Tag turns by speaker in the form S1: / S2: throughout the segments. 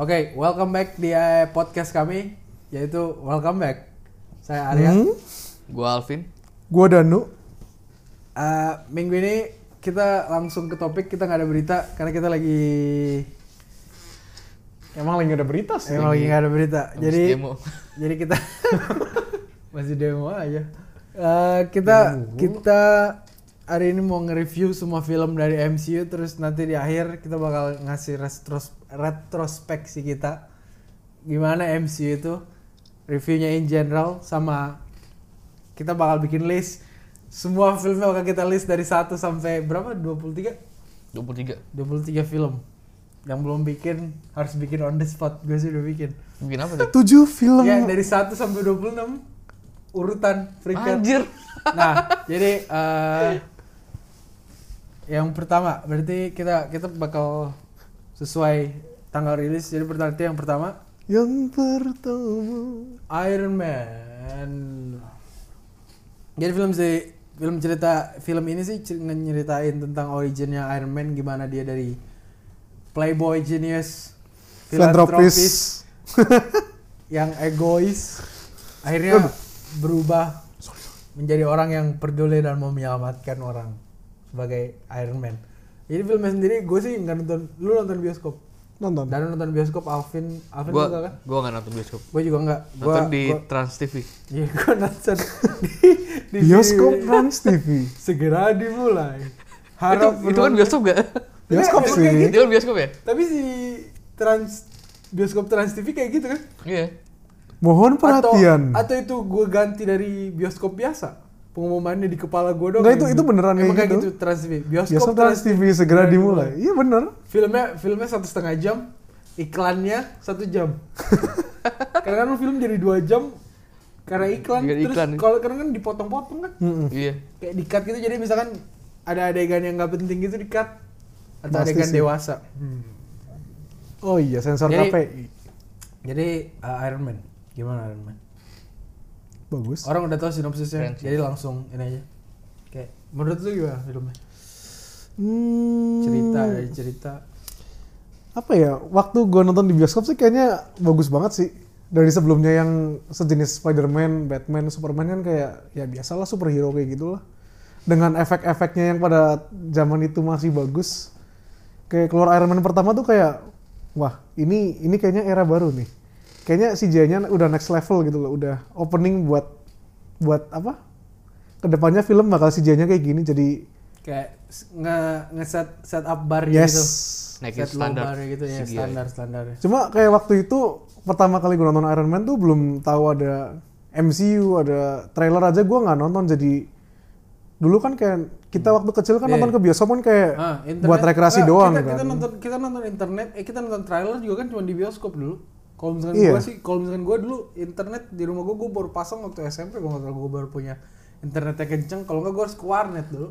S1: Oke, welcome back di eh, podcast kami yaitu Welcome Back. Saya Arya.
S2: Hmm?
S3: Gua Alvin.
S2: Gua Danu.
S1: Eh, minggu ini kita langsung ke topik kita nggak ada berita karena kita lagi
S2: Emang lagi ada berita sih.
S1: emang lagi nggak ada berita.
S3: Habis
S1: Jadi
S3: demo.
S1: jadi kita masih demo aja. Eh, kita kita hari ini mau nge-review semua film dari MCU terus nanti di akhir kita bakal ngasih retros- retrospeksi kita gimana MCU itu reviewnya in general sama kita bakal bikin list semua filmnya bakal kita list dari 1 sampai berapa 23
S3: 23.
S1: 23 film yang belum bikin harus bikin on the spot gue sih udah bikin
S3: Bikin apa tuh?
S2: Tujuh film.
S1: Ya, dari 1 sampai 26 urutan peringkat.
S3: Anjir.
S1: Nah, jadi eh, yang pertama berarti kita kita bakal sesuai tanggal rilis. Jadi berarti yang pertama
S2: Yang pertama.
S1: Iron Man. Jadi film si film cerita film ini sih cer- nyeritain tentang originnya Iron Man gimana dia dari playboy genius filantropis
S2: Filantropis.
S1: yang egois akhirnya berubah menjadi orang yang peduli dan mau menyelamatkan orang sebagai Iron Man. Jadi filmnya sendiri gue sih nggak nonton, lu nonton bioskop,
S2: Nonton.
S1: dan nonton bioskop Alvin, Alvin
S3: Gua
S1: juga kan?
S3: gua enggak nonton bioskop.
S1: Gue juga nggak, gue
S3: Nonton di Trans TV.
S1: Iya, gue nonton di, di
S2: Bioskop
S1: sini.
S2: Trans TV.
S1: Segera dimulai.
S3: Itu,
S1: Harap
S3: itu kan
S1: penonton-
S3: bioskop gak?
S2: Bioskop
S1: Tapi-
S2: sih.
S3: itu kan bioskop ya?
S1: Tapi si trans bioskop trans TV kayak gitu kan?
S3: Iya.
S2: Mohon perhatian.
S1: Atau, atau itu gue ganti dari bioskop biasa. Pengumumannya di kepala gue dong.
S2: Nggak, itu- itu beneran
S1: Emang
S2: kayak
S1: kayak gitu.
S2: gitu?
S1: Trans TV. Bioskop,
S2: Bioskop Trans TV segera dimulai. Iya bener.
S1: Filmnya filmnya satu setengah jam, iklannya satu jam. karena kan film jadi dua jam karena
S2: Iya,
S1: iklan.
S3: Karena
S1: terus
S3: iklan.
S1: kalau karena kan dipotong-potong kan,
S2: Mm-mm.
S3: Iya.
S1: kayak di-cut gitu. Jadi misalkan ada adegan yang nggak penting gitu di-cut atau
S2: Pasti
S1: adegan
S2: sih.
S1: dewasa.
S2: Oh iya sensor
S1: Jadi-
S2: KPI.
S1: Jadi uh, Iron Man, gimana Iron Man?
S2: Bagus.
S1: Orang udah tahu sinopsisnya,
S3: Keren sih.
S1: jadi langsung ini aja. Kayak menurut lu gimana filmnya?
S2: Hmm,
S1: cerita dari cerita
S2: Apa ya? Waktu gua nonton di bioskop sih kayaknya bagus banget sih. Dari sebelumnya yang sejenis Spider-Man, Batman, Superman kan kayak ya biasalah superhero kayak gitulah. Dengan efek-efeknya yang pada zaman itu masih bagus. Kayak keluar Iron Man pertama tuh kayak wah, ini ini kayaknya era baru nih. Kayaknya CGI-nya udah next level gitu loh, udah opening buat buat apa? Kedepannya film bakal CGI-nya kayak gini jadi
S1: kayak s- nge nge set set up bar
S2: yes.
S1: gitu
S3: Naikin
S1: set low
S3: standar
S1: bar gitu ya
S3: CGI.
S1: standar standar
S2: Cuma kayak waktu itu pertama kali gue nonton Iron Man tuh belum tahu ada MCU, ada trailer aja gue nggak nonton. Jadi dulu kan kayak kita waktu kecil kan
S1: Iya.
S2: nonton ke bioskop kan kayak
S1: Ah, internet-
S2: buat rekreasi
S1: Nggak,
S2: doang
S1: kita,
S2: kan.
S1: kita nonton kita nonton internet eh kita nonton trailer juga kan cuma di bioskop dulu kalau misalkan
S2: Iya.
S1: gua sih kalau misalkan gua dulu internet di rumah gua gua baru pasang waktu SMP gua nggak tahu gua baru punya internetnya kenceng kalau nggak gua harus ke warnet dulu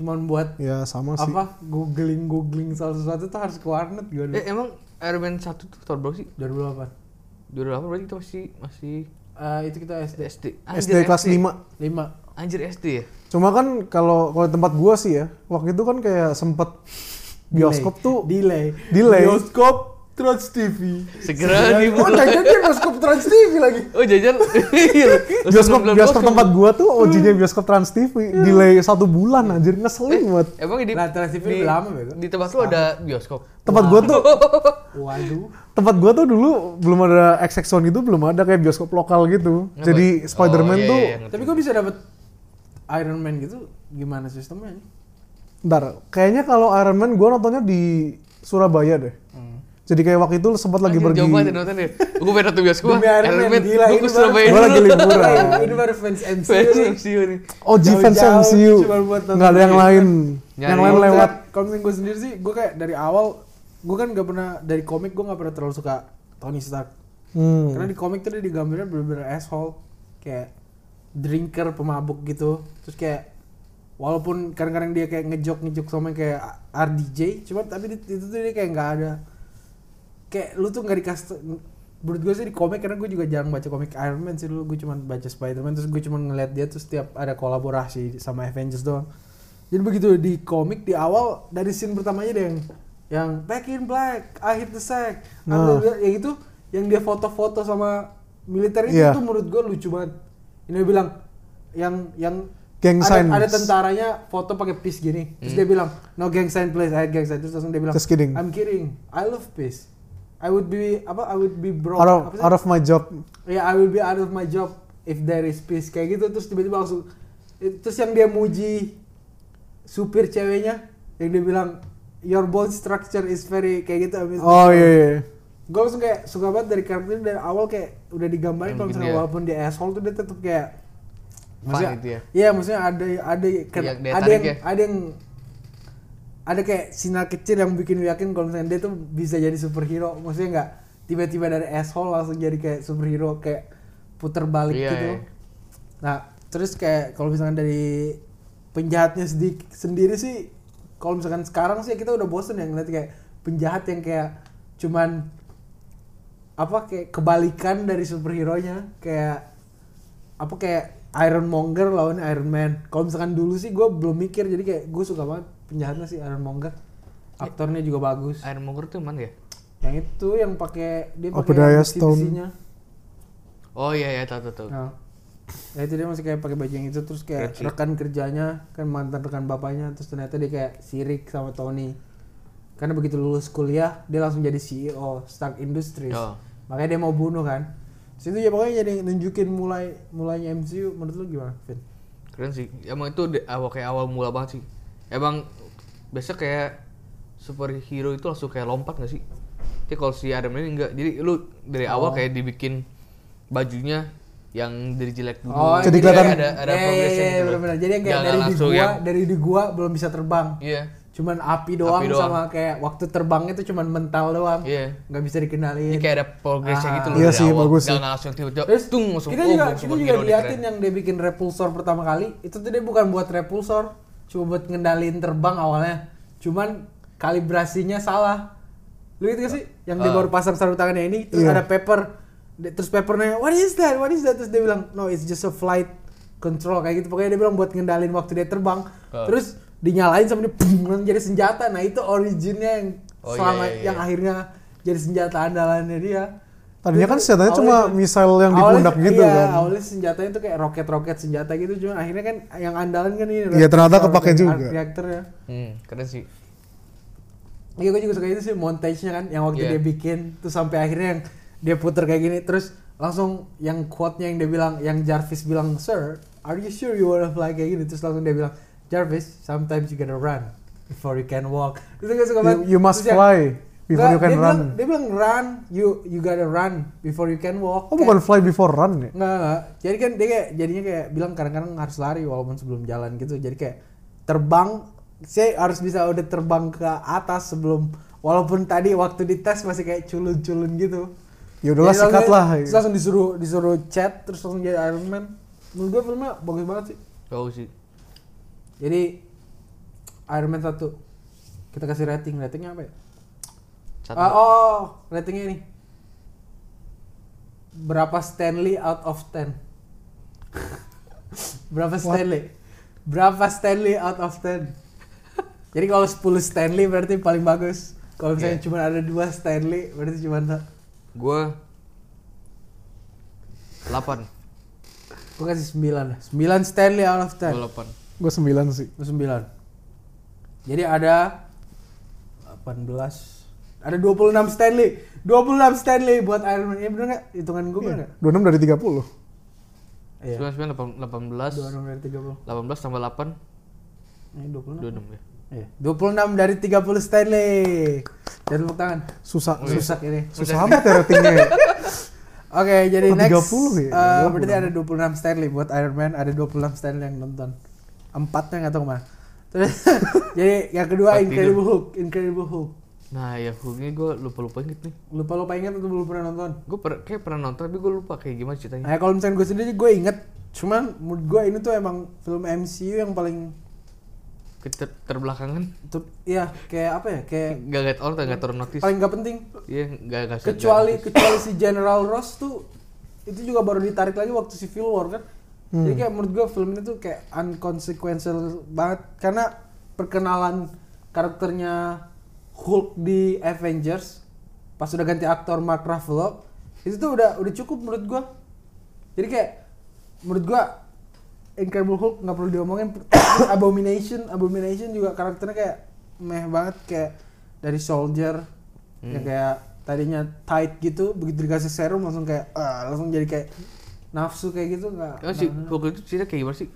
S1: cuman buat
S2: Ya sama sih.
S1: apa googling googling salah sesuatu tuh harus ke warnet gua dulu
S3: Eh emang Iron Man 1 tuh tahun berapa sih?
S1: 2008
S3: 2008 berarti itu masih masih
S1: Eh, itu kita SD
S3: SD.
S2: SD kelas 5.
S1: 5
S3: Anjir SD ya?
S2: Cuma kan kalau kalau di tempat gua sih ya, waktu itu kan kayak sempet bioskop tuh
S1: delay
S2: Delay.
S1: bioskop Trans TV
S3: Segera
S1: oh
S3: dimulai.
S1: jangan dia bioskop Trans TV lagi
S3: Oh jajan. Iya.
S2: bioskop bioskop tempat gua tuh OG-nya bioskop Trans
S1: Iya.
S2: TV delay satu bulan anjir
S1: Eh.
S2: ngeselin buat
S3: Emang di
S1: Nah, Trans TV
S3: di-
S1: lebih lama, Bego.
S3: Di tempat lu ada bioskop.
S2: tempat gua tuh
S1: waduh
S2: tempat gua tuh dulu belum ada XX Zone gitu belum ada kayak bioskop lokal gitu.
S3: Kenapa?
S2: Jadi
S3: Oh,
S2: Spider-Man
S3: iya,
S2: tuh
S3: iya, ngerti.
S1: tapi kok bisa dapet Iron Man gitu gimana sistemnya iya.
S2: ntar kayaknya kalau Iron Man gua nontonnya di Surabaya deh.
S1: Hmm.
S2: Jadi kayak waktu itu sempat
S1: Oh,
S2: lagi
S3: Anjir,
S2: pergi.
S3: Jauh banget ya nonton ya. Gue pengen nonton bioskop.
S1: Demi Iron Man, gila, ini
S3: Gue ke
S1: baru-
S3: Surabaya
S2: Gua lagi
S3: dulu.
S2: liburan.
S1: ini baru fans MCU
S3: Fans
S1: nih.
S3: MCU nih.
S2: Oh, G fans
S1: Jauh-jauh,
S2: MCU.
S1: cuma buat nonton
S2: Nggak ada yang
S1: dia.
S2: lain.
S3: Nyari.
S2: Yang lain lewat.
S1: kalau misalnya gue sendiri sih gue kayak dari awal gue kan gak pernah dari komik gue gak pernah terlalu suka Tony Stark
S2: Hmm.
S1: karena di komik tuh dia digambarnya bener-bener asshole kayak drinker pemabuk gitu terus kayak walaupun kadang-kadang dia kayak ngejok ngejok sama yang kayak RDJ cuma tapi di- itu tuh dia kayak nggak ada kayak lu tuh nggak dikasih menurut gue sih di komik karena gue juga jarang baca komik Iron Man sih dulu gue cuma baca Spider-Man terus gue cuma ngeliat dia tuh setiap ada kolaborasi sama Avengers doang jadi begitu di komik di awal dari scene pertamanya dia yang yang Back in Black, I Hit the Sack,
S2: Nah.
S1: atau yang itu gitu, yang dia foto-foto sama militer itu,
S2: Iya.
S1: itu menurut gue lucu banget. Ini dia bilang yang yang
S2: Gang
S1: ada,
S2: signs.
S1: ada tentaranya foto pakai peace gini. Terus dia bilang, "No gang sign please, I hate gang sign." Terus langsung dia bilang,
S2: Just kidding.
S1: "I'm kidding. I love peace. I would be apa? I would be broke."
S2: out of,
S1: Apa sih?
S2: out of my job
S1: ya I will be out of my job if there is peace kayak gitu terus tiba-tiba langsung eh, terus yang dia muji supir ceweknya yang dia bilang your bone structure is very kayak gitu abis
S2: oh iya iya
S1: gue langsung kayak suka banget dari karakter ini dari awal kayak udah digambarin
S3: Yang
S1: kalau
S3: bikin
S1: misalnya
S3: Ya, dia-
S1: walaupun dia asshole tuh dia tetap kayak
S3: Fun gitu ya.
S1: iya maksudnya ada ada
S3: Iya, daya
S1: ada
S3: tarik
S1: yang
S3: ya.
S1: ada yang ada kayak sinyal kecil yang bikin lu yakin kalau misalnya dia tuh bisa jadi superhero maksudnya nggak tiba-tiba dari asshole langsung jadi kayak superhero kayak puter balik
S3: Iya,
S1: gitu
S3: iya.
S1: nah terus kayak kalau misalnya dari penjahatnya sedi- sendiri sih kalau misalkan sekarang sih kita udah bosen ya ngeliat kayak penjahat yang kayak cuman apa kayak kebalikan dari superhero nya kayak apa kayak Iron Monger lawan Iron Man kalau misalkan dulu sih gue belum mikir jadi kayak gue suka banget penjahatnya sih Iron Monger aktornya juga bagus
S3: Iron Monger tuh mana ya?
S1: yang itu yang pakai dia pakai
S2: Obadiah
S1: besi-
S2: Stone.
S1: besinya.
S3: Oh iya iya tahu tahu tahu.
S1: Nah, ya itu dia masih kayak pakai baju yang itu terus kayak
S3: Keren sih.
S1: rekan kerjanya kan mantan rekan bapaknya terus ternyata dia kayak sirik sama Tony. Karena begitu lulus kuliah dia langsung jadi CEO Stark Industries.
S3: Oh.
S1: Makanya dia mau bunuh kan. Terus itu ya pokoknya jadi nunjukin mulai mulainya MCU menurut lu gimana, Vin?
S3: Keren sih. Emang itu di- awal kayak awal mula banget sih. Emang biasa kayak superhero itu langsung kayak lompat gak sih? Tapi kalau si Iron Man ini enggak. Jadi lu dari
S1: Oh.
S3: awal kayak dibikin bajunya yang dari jelek dulu.
S1: Oh, jadi
S2: Jadi kelihatan-
S3: ada ada
S1: Iya, iya,
S3: progresnya
S1: iya,
S3: gitu loh.
S1: benar-benar. Jadi yang kayak
S3: Jangan
S1: dari di
S3: langsung
S1: gua,
S3: yang-
S1: dari di gua belum bisa terbang.
S3: Iya.
S1: Cuman api doang,
S3: Api doang.
S1: sama kayak waktu terbangnya itu cuman mental doang.
S3: Iya.
S1: nggak bisa dikenalin.
S3: Jadi kayak ada progresnya
S1: Ah.
S3: gitu loh
S2: Iya
S3: dari
S2: sih,
S3: awal.
S2: bagus sih.
S3: Jangan langsung tiba-tiba
S1: Terus
S3: tung langsung
S1: kita
S3: oh,
S1: juga
S3: gua
S1: kita
S3: superhero
S1: juga
S3: nih,
S1: liatin ya.
S3: keren.
S1: yang dia bikin repulsor pertama kali itu tuh dia bukan buat repulsor cuma buat ngendaliin terbang awalnya cuman kalibrasinya salah lu gitu gak sih yang dia
S3: Ah.
S1: baru pasang sarung tangannya ini terus
S2: Iya.
S1: ada paper Dia- terus papernya what is that what is that terus dia bilang no it's just a flight control kayak gitu pokoknya dia bilang buat ngendalin waktu dia terbang
S3: Ah.
S1: terus dinyalain sama dia boom, langsung jadi senjata nah itu originnya yang
S3: Oh, iya,
S1: selama
S3: iya, iya.
S1: yang akhirnya jadi senjata andalannya dia
S2: Tadinya kan senjatanya
S1: Awalnya
S2: cuma
S1: cuma-
S2: misal yang di
S1: Awalnya-
S2: pundak gitu
S1: iya,
S2: kan.
S1: awalnya senjatanya tuh kayak roket-roket senjata gitu cuman akhirnya kan yang andalan kan ini
S2: Iya, ternyata kepake juga.
S1: reaktor ya
S3: Hmm, keren sih.
S1: iya gue juga suka itu sih montage-nya kan yang waktu
S3: Iya.
S1: dia bikin tuh sampai akhirnya yang dia puter kayak gini terus langsung yang quote-nya yang dia bilang yang Jarvis bilang sir are you sure you wanna fly kayak gini terus langsung dia bilang Jarvis sometimes you gotta run before you can walk terus gue suka banget
S2: You, you must
S1: Terus yang-
S2: fly before
S1: Nggak,
S2: you can
S1: dia
S2: run.
S1: bilang, dia bilang run you you gotta run before you can walk
S2: oh
S1: Kayak-
S2: bukan fly before run ya?
S1: Nggak, nggak. Jadi kan dia kayak jadinya kayak bilang kadang-kadang harus lari walaupun sebelum jalan gitu. Jadi kayak terbang saya harus bisa udah terbang ke atas sebelum walaupun tadi waktu dites masih kayak culun-culun gitu.
S2: Ya udahlah
S1: Jadi langsung-
S2: sikat lah.
S1: terus langsung disuruh disuruh chat terus langsung jadi Iron Man. Menurut gue filmnya bagus banget sih.
S3: Tahu sih.
S1: Jadi Iron Man 1 kita kasih rating. Ratingnya apa ya?
S3: Satu.
S1: Ah, oh, ratingnya ini. Berapa Stanley out of 10? Berapa Stanley? Berapa Stanley out of 10? Jadi kalau 10 Stanley berarti paling bagus. Kalau misalnya
S3: Iya.
S1: cuma ada dua Stanley berarti cuma
S3: Gua 8.
S1: gue kasih 9 9 Stanley out of 10.
S3: Gua 8.
S2: Gue 9 sih.
S1: Lu 9. Jadi ada 18 ada 26 Stanley. 26 Stanley buat Iron Man. Iya bener nggak? Hitungan gue bener nggak?
S2: 26 dari 30.
S1: Iya.
S3: 99 18.
S1: 26 dari 30.
S3: 18 tambah 8
S1: Ini 26.
S3: 26 ya.
S1: Iya. 26 dari 30 Stanley. Dan tepuk tangan.
S2: Susah.
S3: Oh, iya.
S1: Susah ini.
S2: Susah amat ya ratingnya ya.
S1: Oke, jadi
S2: Oh,
S1: next
S2: 30 ya?
S1: eh,
S2: 26.
S1: berarti ada 26 Stanley buat Iron Man, ada 26 Stanley yang nonton. Empatnya nggak tahu kemana. Terus jadi yang kedua
S3: Empat
S1: Incredible Hulk, Incredible Hulk. Ya.
S3: Nah, ya ini gua lupa-lupa inget nih.
S1: Lupa lupa ingat atau belum pernah nonton?
S3: Gua per- kayak pernah nonton tapi gua lupa kayak gimana ceritanya.
S1: Nah, kalau misalnya gue sendiri gue inget, cuman menurut gue ini tuh emang film MCU yang paling
S3: Ke ter- terbelakangan
S1: ter- ya kayak apa ya? Kayak
S3: enggak get on enggak turun notice.
S1: paling gak penting.
S3: Iya, enggak enggak
S1: kecuali kecuali si General Ross tuh itu juga baru ditarik lagi waktu Civil War kan jadi kayak menurut gua film ini tuh kayak unconsequential banget karena perkenalan karakternya Hulk di Avengers pas udah ganti aktor Mark Ruffalo itu tuh udah udah cukup menurut gua jadi kayak menurut gua Incredible Hulk nggak perlu diomongin Terus Abomination Abomination juga karakternya kayak meh banget kayak dari Soldier yang kayak tadinya tight gitu begitu dikasih serum langsung kayak ah, langsung jadi kayak nafsu kayak gitu nggak
S3: Emang sih
S1: nggak-
S3: Hulk itu cerita kayak gimana sih?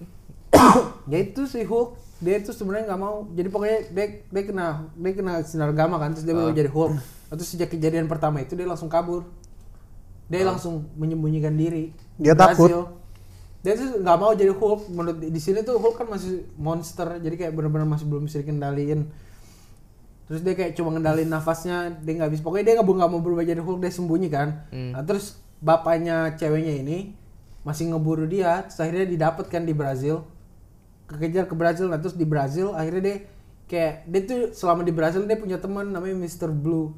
S1: ya itu si Hulk dia itu sebenarnya nggak mau jadi pokoknya dia dia kena dia kena sinar gamma kan terus dia mau
S3: Ah.
S1: jadi Hulk terus sejak kejadian pertama itu dia langsung kabur dia langsung menyembunyikan diri
S2: Dia
S1: Berhasil.
S2: takut.
S1: dia tuh nggak mau jadi Hulk menurut di sini tuh Hulk kan masih monster jadi kayak benar-benar masih belum bisa dikendaliin terus dia kayak cuma ngendalin nafasnya dia nggak bisa pokoknya dia nggak nggak mau berubah jadi Hulk dia sembunyi kan
S3: Hmm.
S1: Nah, terus bapaknya ceweknya ini masih ngeburu dia terus akhirnya didapat kan di Brazil kekejar ke Brazil nah terus di Brazil akhirnya dia kayak dia tuh selama di Brazil dia punya teman namanya Mr. Blue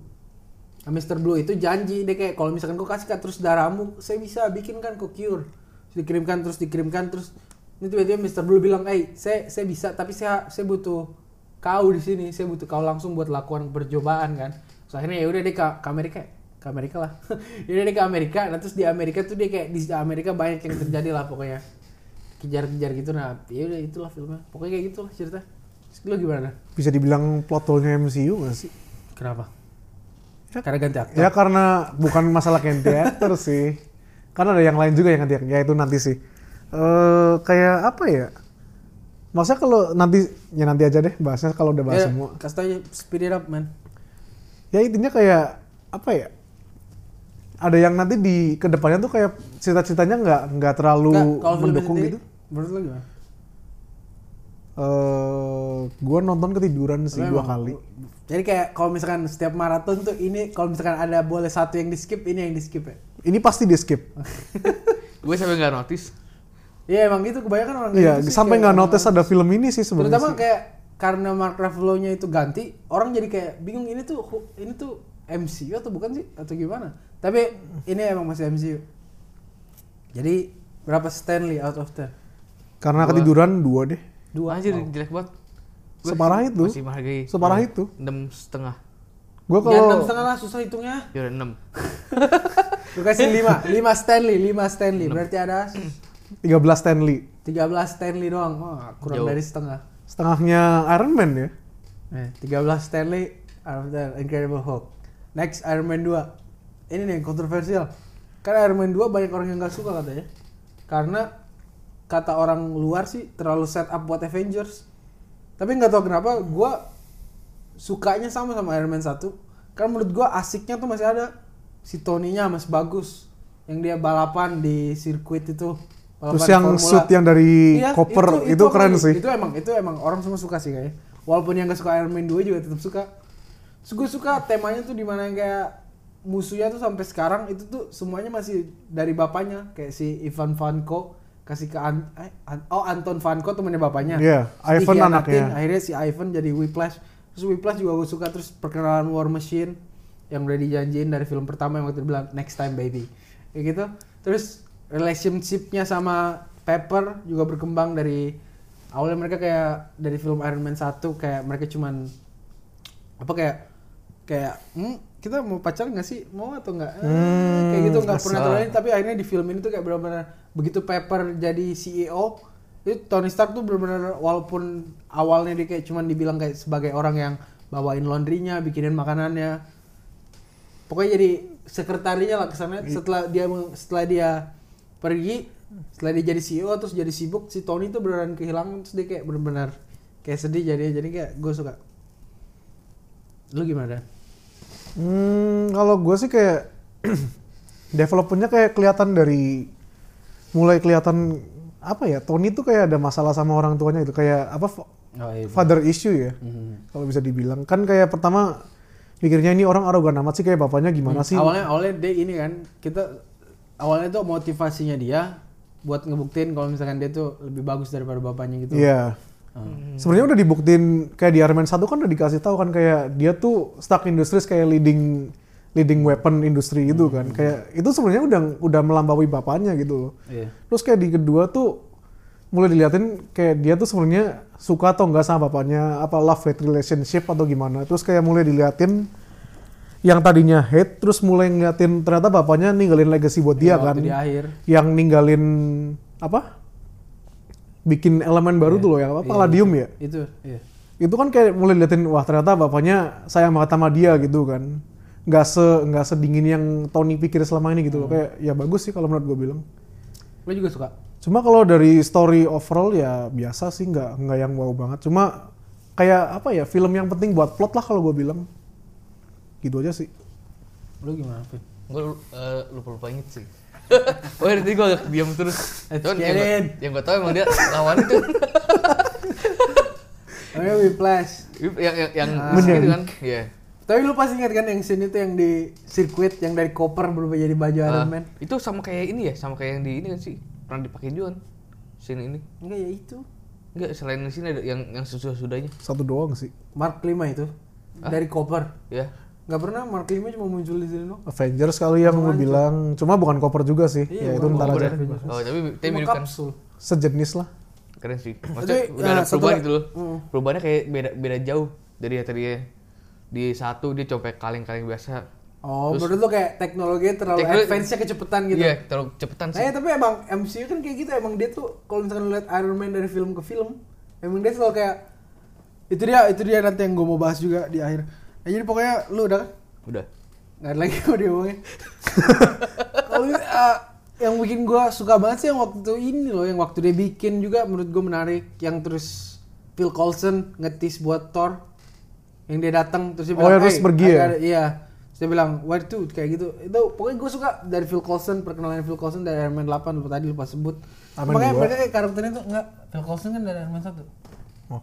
S1: Nah, Mr. Blue itu janji dia kayak kalau misalkan kau kasih kan terus darahmu saya bisa bikin kan kau cure Terus dikirimkan terus dikirimkan terus ini tiba-tiba Mr. Blue bilang eh saya saya bisa tapi saya saya butuh kau di sini saya butuh kau langsung buat lakukan percobaan kan terus akhirnya ya udah deh ke, ke Amerika ke Amerika lah Yaudah deh ke Amerika nah terus di Amerika tuh dia kayak di Amerika banyak yang terjadi lah pokoknya kejar-kejar gitu nah ya udah itulah filmnya pokoknya kayak gitulah cerita Terus lo gimana
S2: Bisa dibilang plot hole-nya MCU nggak sih?
S1: kenapa karena ganti aktor
S2: Ya karena bukan masalah Ken Theater sih. Karena ada yang lain juga yang nanti ya itu nanti sih. Eh kayak apa ya? Masa kalau nanti ya nanti aja deh bahasnya kalau udah bahas
S1: Ya,
S2: semua.
S1: kasih tau aja speed it up man
S2: Ya intinya kayak apa ya? Ada yang nanti di kedepannya tuh kayak cerita-ceritanya nggak nggak terlalu
S1: Nggak, kalau filmnya
S2: mendukung
S1: sendiri,
S2: gitu.
S1: Menurut lo gimana?
S2: Eh gua nonton ketiduran sih
S1: Lo
S2: dua
S1: emang-
S2: kali.
S1: Jadi kayak kalau misalkan setiap maraton tuh ini kalau misalkan ada boleh satu yang di skip ini yang di skip ya.
S2: Ini pasti di skip.
S3: Gue sampai nggak notice.
S1: Iya emang gitu kebanyakan orang
S2: Iya,
S1: gitu sih,
S2: sampai
S1: kayak
S2: nggak notice ada film ini sih sebenarnya.
S1: Terutama
S2: sih.
S1: kayak karena Mark Ruffalo-nya itu ganti, orang jadi kayak bingung ini tuh ini tuh MCU atau bukan sih atau gimana? Tapi ini emang masih MCU. Jadi berapa Stanley out of 10?
S2: Karena
S3: Gua-
S2: ketiduran dua deh.
S1: Dua.
S3: Anjir jelek banget. Gua
S2: Separah
S3: masih-
S2: itu.
S3: Masih menghargai. iya,
S2: Separah itu.
S3: Enam setengah.
S2: Gua
S1: Jangan Iya, enam
S2: kalau
S1: setengah lah susah hitungnya.
S3: Ya udah enam.
S1: Lu kasih lima, lima Stanley, lima Stanley. Berarti ada
S2: 13 Stanley,
S1: 13 Stanley doang. Wah, kurang
S3: Jauh.
S1: dari setengah.
S2: setengahnya Iron Man ya.
S1: Eh, 13 Stanley Iron Man, Incredible Hulk. Next Iron Man 2. Ini nih yang kontroversial. Karena Iron Man 2 banyak orang yang nggak suka katanya. Karena kata orang luar sih terlalu set up buat Avengers. Tapi nggak tahu kenapa gua sukanya sama sama Iron Man 1. Karena menurut gua asiknya tuh masih ada si Tony-nya masih bagus. Yang dia balapan di sirkuit itu. Balapan
S2: Terus yang
S1: Oh, Formula.
S2: suit yang dari
S1: Iya,
S2: koper itu, keren
S1: emang-
S2: sih.
S1: Itu emang itu emang orang semua suka sih kayaknya. Walaupun yang gak suka Iron Man 2 juga tetap suka. Terus gue suka temanya tuh dimana yang kayak musuhnya tuh sampai sekarang itu tuh semuanya masih dari bapaknya kayak si Ivan Vanko kasih ke An- eh, An- oh Anton Vanko temannya bapaknya.
S2: Iya,
S1: Terus
S2: Ivan
S1: dikhianatin,
S2: anaknya.
S1: Akhirnya si Ivan jadi Whiplash. Terus Whiplash juga gue suka terus perkenalan War Machine yang udah dijanjiin dari film pertama yang waktu itu bilang next time baby. Kayak gitu. Terus relationship-nya sama Pepper juga berkembang dari awalnya mereka kayak dari film Iron Man 1 kayak mereka cuman apa kayak kayak hmm, kita mau pacar nggak sih mau atau nggak Eh,
S2: Hmm,
S1: kayak gitu nggak pernah
S3: asal.
S1: terlalu tapi akhirnya di film ini tuh kayak benar-benar begitu Pepper jadi CEO itu Tony Stark tuh benar-benar walaupun awalnya dia kayak cuman dibilang kayak sebagai orang yang bawain laundrynya bikinin makanannya pokoknya jadi sekretarinya lah kesannya setelah dia meng- setelah dia pergi setelah dia jadi CEO terus jadi sibuk si Tony tuh beneran kehilangan terus dia kayak bener-bener kayak sedih jadi jadi kayak gue suka lu gimana Dan?
S2: Hmm, kalau gue sih kayak developernya kayak kelihatan dari mulai kelihatan apa ya Tony tuh kayak ada masalah sama orang tuanya itu kayak apa fa-
S1: oh iya Mhm.
S2: father issue ya kalau bisa dibilang kan kayak pertama mikirnya ini orang arogan amat sih kayak bapaknya gimana sih
S1: Hmm, awalnya awalnya dia ini kan kita awalnya tuh motivasinya dia buat ngebuktiin kalau misalkan dia tuh lebih bagus daripada bapaknya gitu Hmm.
S2: Iya. Sebenarnya udah dibuktiin kayak di Iron Man 1 kan udah dikasih tahu kan kayak dia tuh Stark Industries kayak leading leading weapon industri
S1: Hmm.
S2: gitu kan. Kayak itu sebenarnya udah udah melampaui bapaknya gitu loh.
S1: Iya.
S2: Terus kayak di kedua tuh mulai diliatin kayak dia tuh sebenarnya suka atau enggak sama bapaknya apa love hate relationship atau gimana terus kayak mulai diliatin yang tadinya hate terus mulai ngeliatin ternyata bapaknya ninggalin legacy buat
S1: Iya,
S2: dia
S1: Waktu
S2: kan
S1: di akhir
S2: yang ninggalin apa bikin elemen baru tuh loh yang apa palladium ya
S1: Iya. itu iya.
S2: itu kan kayak mulai liatin wah ternyata bapaknya sayang banget sama dia gitu kan nggak se nggak sedingin yang Tony pikir selama ini
S1: Hmm.
S2: gitu loh kayak ya bagus sih kalau menurut gue bilang
S1: Lo juga suka?
S2: cuma kalau dari story overall ya biasa sih nggak nggak yang wow banget cuma kayak apa ya film yang penting buat plot lah kalau gue bilang gitu aja sih
S1: Lo gimana, Vin?
S3: Gue eh, lupa-lupa inget sih. oh ya, tadi gue agak diam terus.
S1: Let's
S3: Cuman
S1: get
S3: yang, gua-
S1: it.
S3: yang gue tau emang dia lawan itu.
S1: Namanya Whiplash.
S3: Iya, yang yang, yang
S1: Ah.
S3: musik gitu kan. Iya.
S1: Tapi lu pasti ingat kan yang scene itu yang di sirkuit yang dari koper berubah jadi baju
S3: Ah,
S1: Iron Man.
S3: itu sama kayak ini ya, sama kayak yang di ini kan sih. Pernah dipakai juga kan. Sini ini.
S1: Enggak ya itu.
S3: Enggak, selain di sini ada yang yang sesudah-sudahnya.
S2: satu doang sih
S1: Mark Lima itu. Dari koper.
S3: Ya.
S1: Nggak pernah Mark Lima cuma muncul di sini doang.
S2: Avengers kali yang gue bilang cuma bukan koper juga sih
S1: Iya,
S2: ya itu
S1: bukan
S2: ntar
S1: koper
S2: aja
S1: ya. Avengers.
S3: Oh, tapi tapi
S1: Cuma
S3: mirip kan.
S1: kapsul.
S2: sejenis lah
S3: Keren sih.
S1: Tapi,
S3: Maksudnya udah
S1: ya,
S3: ada
S1: satu
S3: perubahan
S1: la-
S3: gitu loh.
S1: Hmm.
S3: Perubahannya kayak beda beda jauh dari yang tadinya di satu dia copek kaleng-kaleng biasa.
S1: Oh, menurut lu kayak teknologinya terlalu
S3: Teknologi-
S1: advance-nya kecepetan gitu.
S3: Iya, terlalu cepetan
S1: Nah,
S3: sih.
S1: ya, tapi emang MCU kan kayak gitu emang dia tuh kalau misalkan lu lihat Iron Man dari film ke film, emang dia selalu kayak itu dia itu dia nanti yang gue mau bahas juga di akhir. Nah, jadi pokoknya lu udah kan?
S3: Udah.
S1: Nggak ada lagi yang mau diomongin. Kalau gitu, eh, yang bikin gue suka banget sih yang waktu ini loh, yang waktu dia bikin juga menurut gue menarik. Yang terus Phil Coulson ngetis buat Thor, yang dia datang terus dia
S2: Oh,
S1: bilang,
S2: yang terus
S1: "Hey,
S2: pergi
S1: ada-
S2: ya?
S1: ada- Iya, terus dia bilang where to kayak gitu. Itu pokoknya gue suka dari Phil Coulson perkenalan Phil Coulson dari Iron Man 8 lupa tadi lupa sebut.
S2: Iron Man
S1: Makanya
S2: dua.
S1: mereka kayak karakternya tuh enggak Phil Coulson kan dari Iron Man 1.
S2: Oh.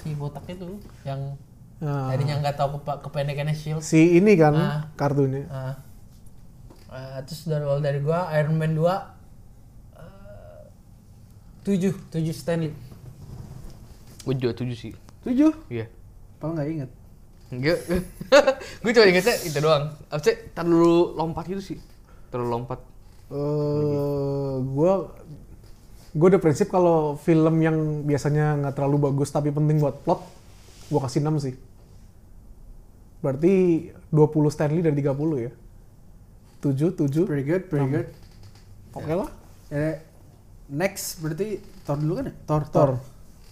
S4: si botak itu yang
S2: Nah,
S4: tadinya nggak tahu kepa- kependekannya shield
S2: si ini kan
S4: Ah.
S2: kartunya
S4: Ah. Ah, terus dari kalau dari gua Iron Man 2 eh, tujuh tujuh Stanley
S3: Gue juga tujuh sih.
S1: 7.
S3: Iya.
S1: Kalau nggak inget.
S3: Enggak. gue cuma ingetnya itu doang. Abisnya terlalu lompat gitu sih. Terlalu lompat.
S2: eh gua gue udah prinsip kalau film yang biasanya nggak terlalu bagus tapi penting buat plot gua kasih 6 sih berarti 20 Stanley dari 30 ya 7, 7 oke
S1: Pretty good, pretty good.
S2: lah
S1: Eh, next berarti Thor dulu kan ya? Thor, Thor.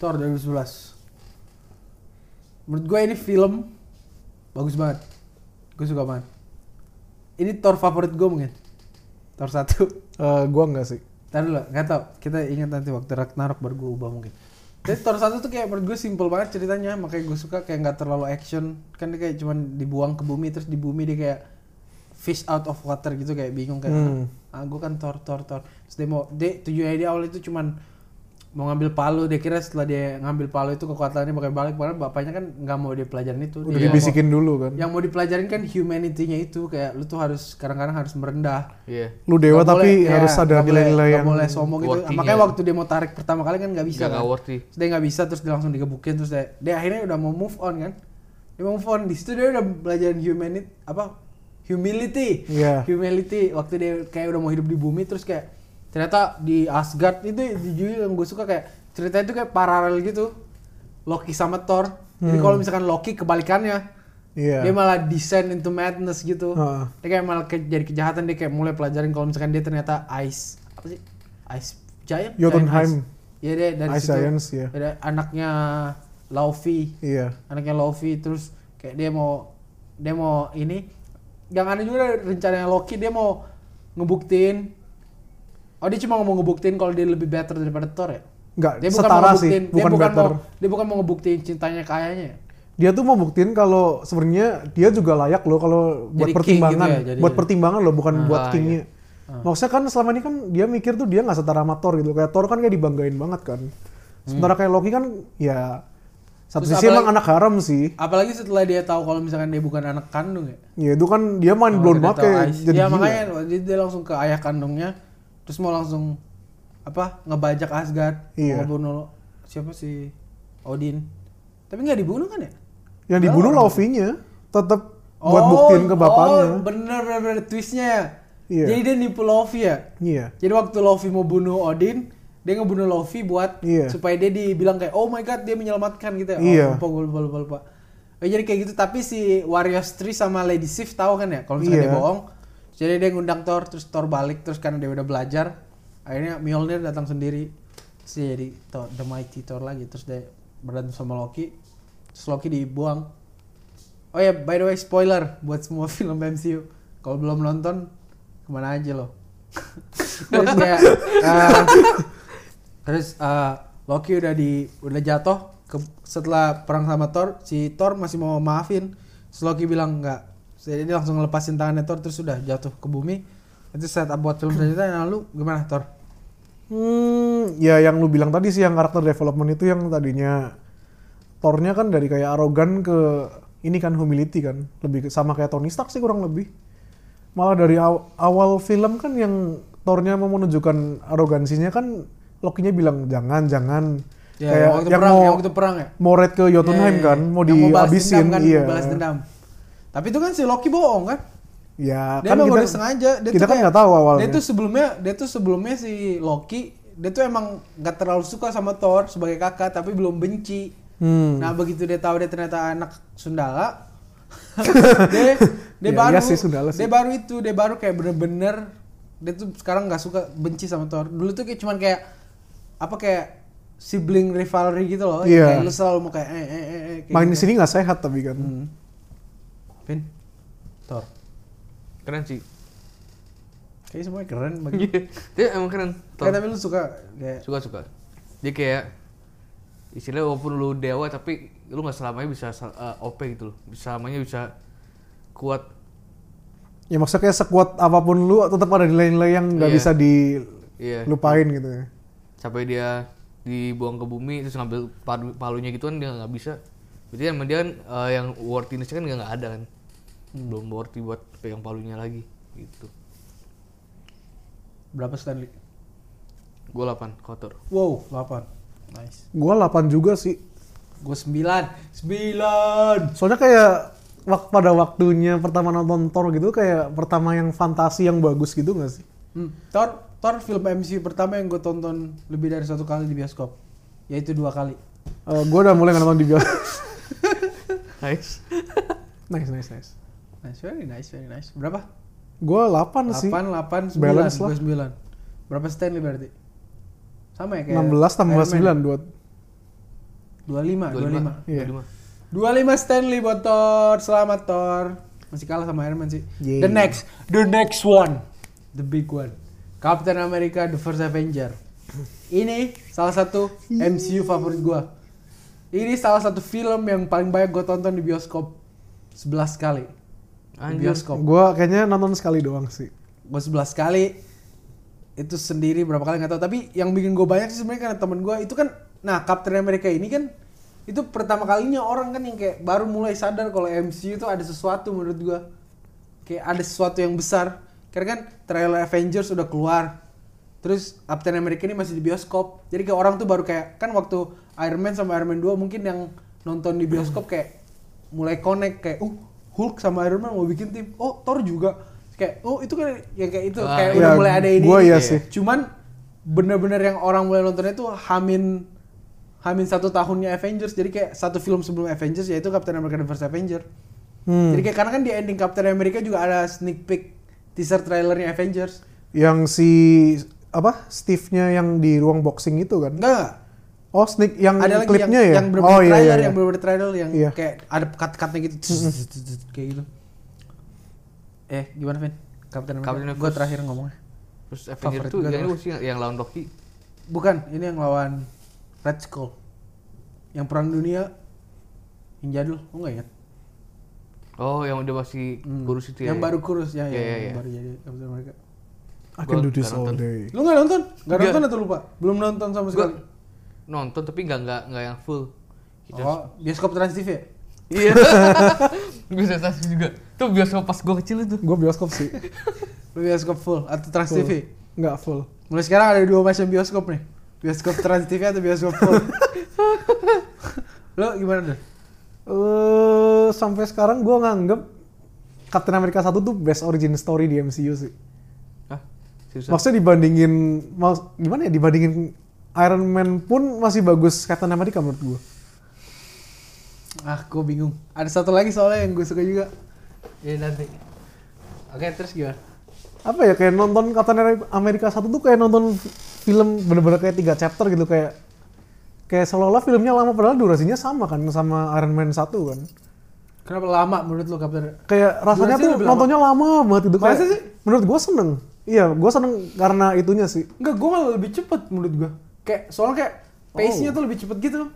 S2: Thor.
S1: Thor 2011. Menurut gue ini film bagus banget. Gue suka banget. Ini Thor favorit gue mungkin. Thor 1.
S2: Eh gua nggak sih
S1: Ntar dulu, gak tau. Kita ingat nanti waktu Ragnarok baru gue ubah mungkin. Tapi Thor 1 tuh kayak menurut gue simple banget ceritanya. Makanya gue suka kayak nggak terlalu action. Kan dia kayak cuman dibuang ke bumi. Terus di bumi dia kayak fish out of water gitu. Kayak bingung kayak
S2: Hmm.
S1: ah gue kan tor tor tor terus dia mau dia tujuannya dia awal itu cuman mau ngambil palu dia kira setelah dia ngambil palu itu kekuatannya bakal balik padahal bapaknya kan nggak mau dia pelajarin itu
S2: udah
S1: Dia
S2: dibisikin dulu kan
S1: mau- yang mau dipelajarin kan humanity-nya itu kayak lu tuh harus kadang-kadang harus merendah
S3: Iya.
S2: lu dewa
S1: Nggak
S2: tapi
S1: boleh-
S2: harus
S1: ya, nggak
S2: ada
S1: boleh-
S2: nilai-nilai
S1: nggak
S2: yang
S1: boleh sombong gitu
S3: worthy-nya.
S1: makanya waktu dia mau tarik pertama kali kan nggak bisa
S3: Nggak
S1: kan
S3: worthy.
S1: Terus dia nggak bisa terus dia langsung digebukin terus dia, dia akhirnya udah mau move on kan dia mau move on di situ dia udah belajar humanity apa humility
S2: Iya.
S1: humility waktu dia kayak udah mau hidup di bumi terus kayak ternyata di Asgard itu jujur yang gue suka kayak ceritanya itu kayak paralel gitu Loki sama Thor
S2: Hmm.
S1: jadi kalau misalkan Loki kebalikannya
S2: iya
S1: dia malah descend into madness gitu.
S2: Heeh.
S1: Dia kayak malah ke- jadi kejahatan dia kayak mulai pelajarin kalau misalkan dia ternyata ice apa sih? Ice giant?
S2: Jotunheim.
S1: Iya dia dari
S2: Ice
S1: situ.
S2: Giants, ya.
S1: Ada anaknya Luffy,
S2: iya
S1: anaknya Luffy terus kayak dia mau dia mau ini yang aneh juga rencananya Loki dia mau ngebuktiin Oh dia cuma mau ngebuktiin kalau dia lebih better daripada Thor ya?
S2: nggak
S1: Dia bukan mau
S2: setara sih
S1: ngebuktiin,
S2: bukan
S1: dia bukan
S2: better
S1: mau dia bukan mau ngebuktiin cintanya ke ayahnya ya?
S2: dia tuh mau buktiin kalau sebenarnya dia juga layak loh kalau
S1: Jadi
S2: buat
S1: king
S2: pertimbangan,
S1: gitu ya, iya. jadi-
S2: buat pertimbangan loh bukan buat
S3: Ah,
S2: kingnya. Maksudnya kan selama ini kan dia mikir tuh dia nggak setara sama Thor gitu, kayak Thor kan kayak dibanggain banget kan. Sementara kayak Loki kan ya
S1: Hmm.
S2: satu
S1: Terus
S2: sisi emang
S1: apalagi-
S2: anak haram sih.
S1: Apalagi setelah dia tahu kalau misalkan dia bukan anak kandung ya.
S2: Ya itu kan
S1: Oh,
S2: dia main blown banget kayak jadi
S1: ya
S2: gila.
S1: makanya dia, dia langsung ke ayah kandungnya terus mau langsung apa ngebajak Asgard
S2: Iya.
S1: mau ngebunuh siapa sih Odin tapi nggak dibunuh kan ya
S2: Yang dibunuh Loki-nya tetap buat buktiin ke
S1: oh
S2: bapaknya.
S1: bener bener, bener twistnya ya
S2: Iya.
S1: jadi dia nipu Loki ya
S2: Iya.
S1: jadi waktu Luffy mau bunuh Odin dia ngebunuh Luffy buat
S2: Iya.
S1: supaya dia dibilang kayak oh my god dia menyelamatkan gitu ya.
S2: Iya.
S1: Oh, lupa gue lupa lupa lupa. Eh, jadi kayak gitu tapi si Warriors 3 sama Lady Sif tahu kan ya kalau misalnya
S2: Iya.
S1: dia bohong. Jadi dia ngundang Thor terus Thor balik terus karena dia udah belajar akhirnya Mjolnir datang sendiri si jadi Thor, the mighty Thor lagi terus dia berantem sama Loki terus Loki dibuang oh ya by the way spoiler buat semua film MCU kalau belum nonton kemana aja loh terus kayak eh, Terus eh, Loki udah di udah jatuh ke, setelah perang sama Thor, si Thor masih mau maafin. Terus Loki bilang enggak. Jadi dia langsung ngelepasin tangannya Thor terus sudah jatuh ke bumi. Itu saat buat film selanjutnya nah, lu gimana Thor?
S2: Hmm, ya yang lu bilang tadi sih yang karakter development itu yang tadinya Thor-nya kan dari kayak arogan ke ini kan humility kan, lebih ke- sama kayak Tony Stark sih kurang lebih. Malah dari aw- awal film kan yang Thor-nya mau menunjukkan arogansinya kan Loki-nya bilang jangan jangan
S1: Ya,
S2: kayak
S1: waktu
S2: yang
S1: perang,
S2: mau
S1: yang waktu perang ya.
S2: mau raid ke
S1: Ya,
S2: Jotunheim
S1: ya, ya.
S2: kan, mau
S1: Yang balas
S2: dihabisin
S1: dendam kan,
S2: iya.
S1: mau balas dendam. Tapi itu kan si Loki bohong kan?
S2: Ya,
S1: Dia
S2: kan
S1: emang
S2: kita,
S1: udah sengaja. Dia tuh
S2: kita kan
S1: kayak-
S2: nggak tahu awalnya.
S1: Dia tuh sebelumnya, dia tuh sebelumnya si Loki, dia tuh emang nggak terlalu suka sama Thor sebagai kakak, tapi belum benci.
S2: Hmm.
S1: Nah begitu dia tahu dia ternyata anak Sundala, dia, dia
S2: Ya,
S1: baru,
S2: iya sih, Sundala sih.
S1: dia baru itu, dia baru kayak bener-bener, dia tuh sekarang nggak suka benci sama Thor. Dulu tuh kayak cuman kayak apa kayak sibling rivalry gitu loh,
S2: Iya.
S1: kayak lu selalu mau kayak eh eh eh, eh kayak
S2: Makin di
S1: gitu.
S2: sini nggak sehat tapi kan.
S1: Hmm. Vin, Thor,
S3: Keren sih.
S1: kayaknya semuanya keren bagi.
S3: Iya. Dia emang keren.
S1: Kayak tapi lu suka kayak
S3: suka suka dia kayak istilahnya walaupun lu dewa tapi lu nggak selamanya bisa sel- eh, op gitu loh bisa selamanya bisa kuat
S2: Ya maksudnya kayak sekuat apapun lu tetap ada nilai-nilai yang nggak
S3: Iya.
S2: bisa dilupain
S3: iya
S2: gitu ya.
S3: sampai dia dibuang ke bumi terus ngambil palu- palunya gitu kan dia nggak bisa berarti emang dia kan eh, yang worthiness kan nggak nggak ada kan belum worthy buat pegang palunya lagi gitu
S1: berapa Stanley?
S3: gue 8 kotor
S1: Wow, 8. Nice.
S2: Gua 8 juga sih.
S1: Gue 9. 9.
S2: Soalnya kayak wak- pada waktunya pertama nonton Thor gitu kayak pertama yang fantasi yang bagus gitu nggak sih?
S1: Hmm. Thor, Thor film MCU pertama yang gue tonton lebih dari satu kali di bioskop. Yaitu dua kali.
S2: Eh, gua udah mulai nonton di bio.
S3: nice
S2: nice, nice, nice.
S1: Nice, very nice, very nice. Berapa?
S2: Gua 8
S1: 8,
S2: sih.
S1: 8, 9.
S2: Balance lah.
S1: Gue 9. Berapa Stanley berarti? Sama ya kayak
S2: 16 tambah
S1: Iron
S2: 9
S1: Man.
S2: dua.
S1: 25, 25.
S3: 25
S2: Iya.
S1: 25 Stanley buat Thor. Selamat Thor. Masih kalah sama Iron Man sih.
S2: Yeay.
S1: The next, the next one. The big one. Captain America The First Avenger. Ini salah satu MCU favorit gua. Ini salah satu film yang paling banyak gue tonton di bioskop 11 kali. Di
S3: Anjir.
S1: bioskop.
S2: Gua kayaknya nonton sekali doang sih.
S1: Gue 11 kali itu sendiri berapa kali nggak tahu tapi yang bikin gue banyak sih sebenarnya karena temen gue itu kan nah Captain America ini kan itu pertama kalinya orang kan yang kayak baru mulai sadar kalau MCU itu ada sesuatu menurut gue kayak ada sesuatu yang besar karena kan trailer Avengers udah keluar terus Captain America ini masih di bioskop jadi kayak orang tuh baru kayak kan waktu Iron Man sama Iron Man 2 mungkin yang nonton di bioskop kayak mulai connect kayak uh Hulk sama Iron Man mau bikin tim oh Thor juga kayak oh itu kan yang kayak itu
S3: Ah,
S1: kayak
S2: iya.
S1: udah mulai ada ini
S2: Gua
S1: ini,
S2: iya
S1: ini.
S2: sih.
S1: cuman bener-bener yang orang mulai nontonnya itu hamin hamin satu tahunnya Avengers jadi kayak satu film sebelum Avengers yaitu Captain America The First Avenger
S2: Hmm.
S1: jadi kayak karena kan di ending Captain America juga ada sneak peek teaser trailernya Avengers
S2: Yang si apa? Steve-nya yang di ruang boxing itu kan.
S1: enggak enggak
S2: Oh, sneak yang
S1: ada lagi yang,
S2: klipnya ya?
S1: yang bener-bener
S2: oh iya
S1: trailer
S2: iya. iya.
S1: yang bener-bener trailer yang
S2: Iya.
S1: kayak ada cut-cutnya gitu kayak gitu eh gimana Vin? Captain
S3: Captain
S1: America
S3: America.
S1: gue terakhir ngomongnya
S3: terus Avenger
S1: Favorit
S3: tuh
S1: gua
S3: yang
S1: tuh.
S3: itu sih yang lawan Loki
S1: Bukan, ini yang lawan Red Skull. Yang perang dunia yang jadul, lu nggak ingat?
S3: oh yang udah masih
S1: Hmm.
S3: kurus itu ya
S1: Yang baru kurus ya, ya,
S3: Iya, iya,
S1: yang
S3: iya.
S1: baru jadi Captain America.
S2: I can do
S3: Gua
S2: this
S3: nggak
S2: all
S3: nonton.
S2: day.
S1: Lu nggak nonton? Nggak
S3: Nggak.
S1: nonton atau lupa? Belum nonton sama
S3: Gua
S1: sekali.
S3: nonton tapi nggak nggak nggak yang full Kita-
S1: Oh, bioskop Trans TV. ya?
S3: Iya. gue sensasi juga. Tuh biasa pas gue kecil itu.
S2: Gue bioskop sih.
S1: Lu bioskop full atau Trans
S2: Full.
S1: TV?
S2: Nggak full.
S1: Mulai sekarang ada dua macam bioskop nih. Bioskop Trans TV atau bioskop full. lu gimana deh?
S2: Eh sampai sekarang gue nganggep Captain America 1 tuh best origin story di MCU sih.
S3: Hah? Seriusan?
S2: Maksudnya dibandingin, mau- gimana ya dibandingin Iron Man pun masih bagus Captain America menurut gue.
S1: Ah, gue bingung. Ada satu lagi soalnya yang gue suka juga. Ya nanti. Oke, terus gimana?
S2: Apa ya kayak nonton Captain America satu tuh kayak nonton film bener-bener kayak tiga chapter gitu kayak kayak seolah-olah filmnya lama padahal durasinya sama kan sama Iron Man 1 kan.
S1: Kenapa lama menurut lo Kapten?
S2: Kayak
S1: Durasinya
S2: rasanya tuh
S1: lebih lama.
S2: nontonnya lama banget gitu
S1: Masa
S2: Kayak-
S1: sih?
S2: Menurut gue seneng. Iya, gue seneng karena itunya sih.
S1: Enggak, gue malah lebih cepet menurut gue. Kayak soalnya kayak
S2: Oh.
S1: pace-nya tuh lebih cepet gitu.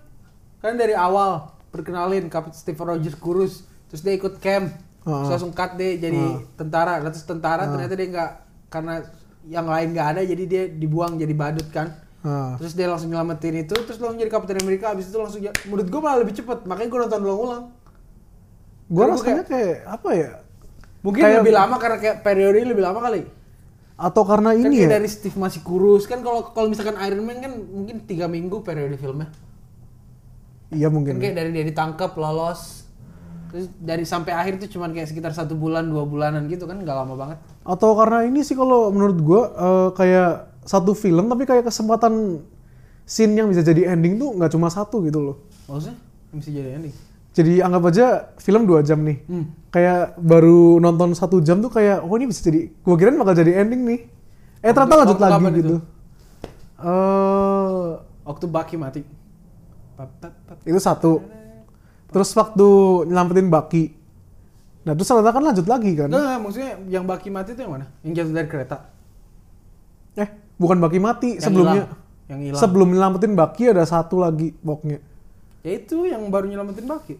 S1: Kan dari awal perkenalin Kapten Steve Rogers kurus, terus dia ikut camp, terus
S2: Ah.
S1: langsung cut dia jadi tentara. Lalu terus tentara ternyata dia nggak karena yang lain nggak ada jadi dia dibuang jadi badut kan.
S2: Nah,
S1: Terus dia langsung nyelamatin itu, terus langsung jadi Kapten Amerika, abis itu langsung ja- menurut gue malah lebih cepet, makanya gue nonton ulang-ulang.
S2: gue
S1: Karena gua
S2: rasanya kayak apa ya?
S1: Mungkin
S2: Kayak-
S1: lebih lama karena kayak periodenya lebih lama kali.
S2: Atau karena
S1: Kan
S2: ini
S1: kayak
S2: ya?
S1: dari Steve masih kurus kan kalau kalau misalkan Iron Man kan mungkin tiga minggu periode filmnya.
S2: Iya mungkin.
S1: Kan kayak dari dia ditangkap lolos terus dari sampai akhir tuh cuman kayak sekitar satu bulan dua bulanan gitu kan nggak lama banget.
S2: Atau karena ini sih kalau menurut gua eh, kayak satu film tapi kayak kesempatan scene yang bisa jadi ending tuh nggak cuma satu gitu loh.
S1: Maksudnya mesti jadi ending.
S2: Jadi anggap aja film dua jam nih.
S1: Hmm.
S2: Kayak baru nonton satu jam tuh kayak oh ini bisa jadi gua kirain bakal jadi ending nih. Eh ternyata lanjut
S1: waktu
S2: lagi
S1: kapan
S2: gitu.
S1: itu?
S2: Eh
S1: Waktu Bucky mati. Pat, pat, pat.
S2: itu kan. satu. Terus waktu nyelamatin Baki. Nah terus ternyata kan lanjut lagi kan.
S1: Nggak, nggak, Nah, maksudnya yang Bucky mati tuh yang mana? Yang jatuh dari kereta.
S2: Eh bukan Baki mati
S1: Yang
S2: sebelumnya.
S1: hilang. Yang hilang.
S2: Sebelum nyelamatin Baki ada satu lagi pokoknya.
S1: ya itu yang baru nyelamatin Bucky.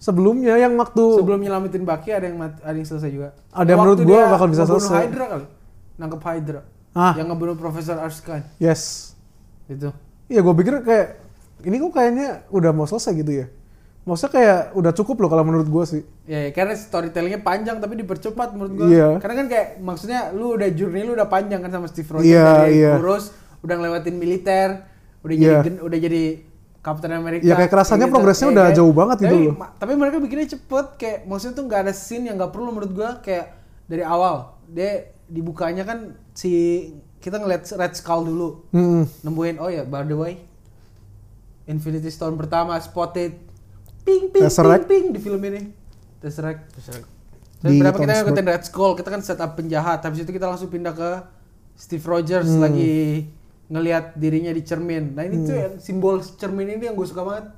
S2: Sebelumnya yang waktu
S1: Sebelum nyelamatin Bucky ada yang mati, ada yang selesai juga.
S2: Ada yang
S1: Waktu
S2: menurut gua
S1: dia
S2: bakal bisa
S1: ngebunuh
S2: selesai.
S1: Hydra kali. Nangkep Hydra.
S2: Ah.
S1: Yang ngebunuh Profesor Arskan
S2: yes.
S1: gitu.
S2: Iya gue pikir kayak ini kok kayaknya udah mau selesai gitu ya. Maksudnya kayak udah cukup loh kalau menurut gue sih.
S1: Ya, ya, karena storytellingnya panjang tapi dipercepat menurut gua.
S2: Iya.
S1: Karena kan kayak maksudnya lu udah journey lu udah panjang kan sama Steve Rogers
S2: Iya,
S1: dari
S2: iya.
S1: kurus, udah ngelewatin militer, udah
S2: Iya.
S1: jadi gen- udah jadi Captain America.
S2: Iya, kayak kerasanya
S1: gitu.
S2: progresnya
S1: Iya,
S2: udah
S1: kayak-
S2: jauh banget gitu
S1: tapi,
S2: loh.
S1: ma- Tapi mereka bikinnya cepet kayak maksudnya tuh nggak ada scene yang nggak perlu menurut gua kayak dari awal. Dia dibukanya kan si kita ngeliat Red Skull dulu
S2: Hmm.
S1: nemuin oh ya by the way Infinity Stone pertama spotted ping ping ping
S2: Tesseract.
S1: ping di film ini Tesseract
S3: Terus-
S1: Terus
S2: Di
S1: pertama kita
S2: Townsburg.
S1: ngikutin Red Skull kita kan setup penjahat habis itu kita langsung pindah ke Steve Rogers
S2: Hmm.
S1: lagi ngelihat dirinya di cermin nah ini tuh yang simbol cermin ini yang gue suka banget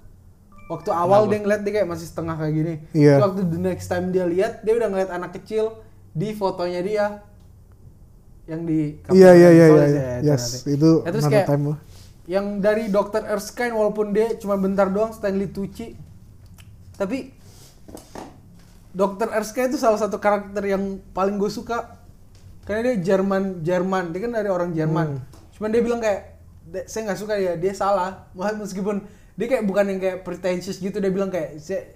S1: waktu awal dia ngeliat dia kayak masih setengah kayak gini
S2: Iya.
S1: Terus waktu the next time dia lihat dia udah ngeliat anak kecil di fotonya dia yang di
S2: Iya iya iya iya.
S1: Soalnya saya- saya
S2: Yes
S1: nanti.
S2: itu
S1: Ya, terus
S2: another
S1: kayak
S2: time lah.
S1: yang dari Dr. Erskine walaupun dia cuma bentar doang Stanley Tucci tapi Dr. Erskine itu salah satu karakter yang paling gue suka karena dia Jerman Jerman dia kan dari orang
S2: Hmm.
S1: Jerman cuman dia bilang kayak "De- saya nggak suka ya dia salah Mas- meskipun dia kayak bukan yang kayak pretentious gitu dia bilang kayak saya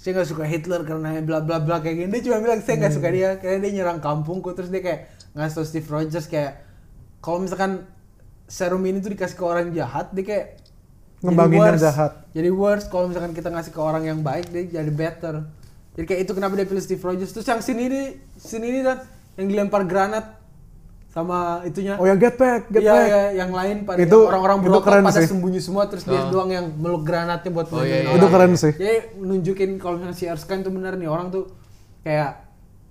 S1: saya nggak suka Hitler karena bla bla bla kayak gini dia cuma bilang saya nggak suka
S2: Hmm.
S1: dia karena dia nyerang kampungku terus dia kayak ngasih tau Steve Rogers kayak kalau misalkan serum ini tuh dikasih ke orang jahat dia kayak jadi
S2: Ngembangin yang
S1: worse.
S2: jahat.
S1: jadi worse kalau misalkan kita ngasih ke orang yang baik dia jadi better jadi kayak itu kenapa dia pilih Steve Rogers terus yang sini ini sini ini dan yang dilempar granat sama itunya
S2: Oh yang get back get
S1: Iya,
S2: back.
S1: iya, yang lain pada
S2: Itu-
S1: orang-orang
S2: itu
S1: brokok
S2: keren
S1: pada
S2: sih.
S1: sembunyi semua terus dia
S3: Oh.
S1: doang yang meluk granatnya buat
S3: Oh,
S1: melindungi
S3: iya, iya,
S2: Itu
S1: orang.
S2: keren sih.
S1: Jadi nunjukin kalau misalnya si Erskine tuh bener nih orang tuh kayak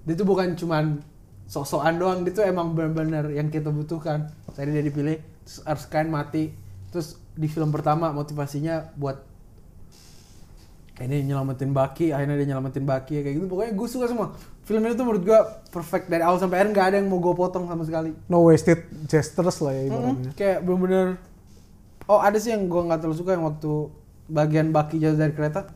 S1: dia tuh bukan cuman sok-sokan doang, dia tuh emang bener-bener yang kita butuhkan. Tadi dia dipilih, terus Erskine mati. Terus di film pertama motivasinya buat kayak ini nyelamatin Baki, akhirnya dia nyelamatin Baki kayak gitu. Pokoknya gue suka semua. Film ini tuh menurut gue perfect dari awal sampai akhir nggak ada yang mau gue potong sama sekali.
S2: No wasted gestures lah ya
S1: Mm-mm,
S2: ibaratnya.
S1: kayak bener-bener oh ada sih yang gua nggak terlalu suka yang waktu bagian baki jatuh dari kereta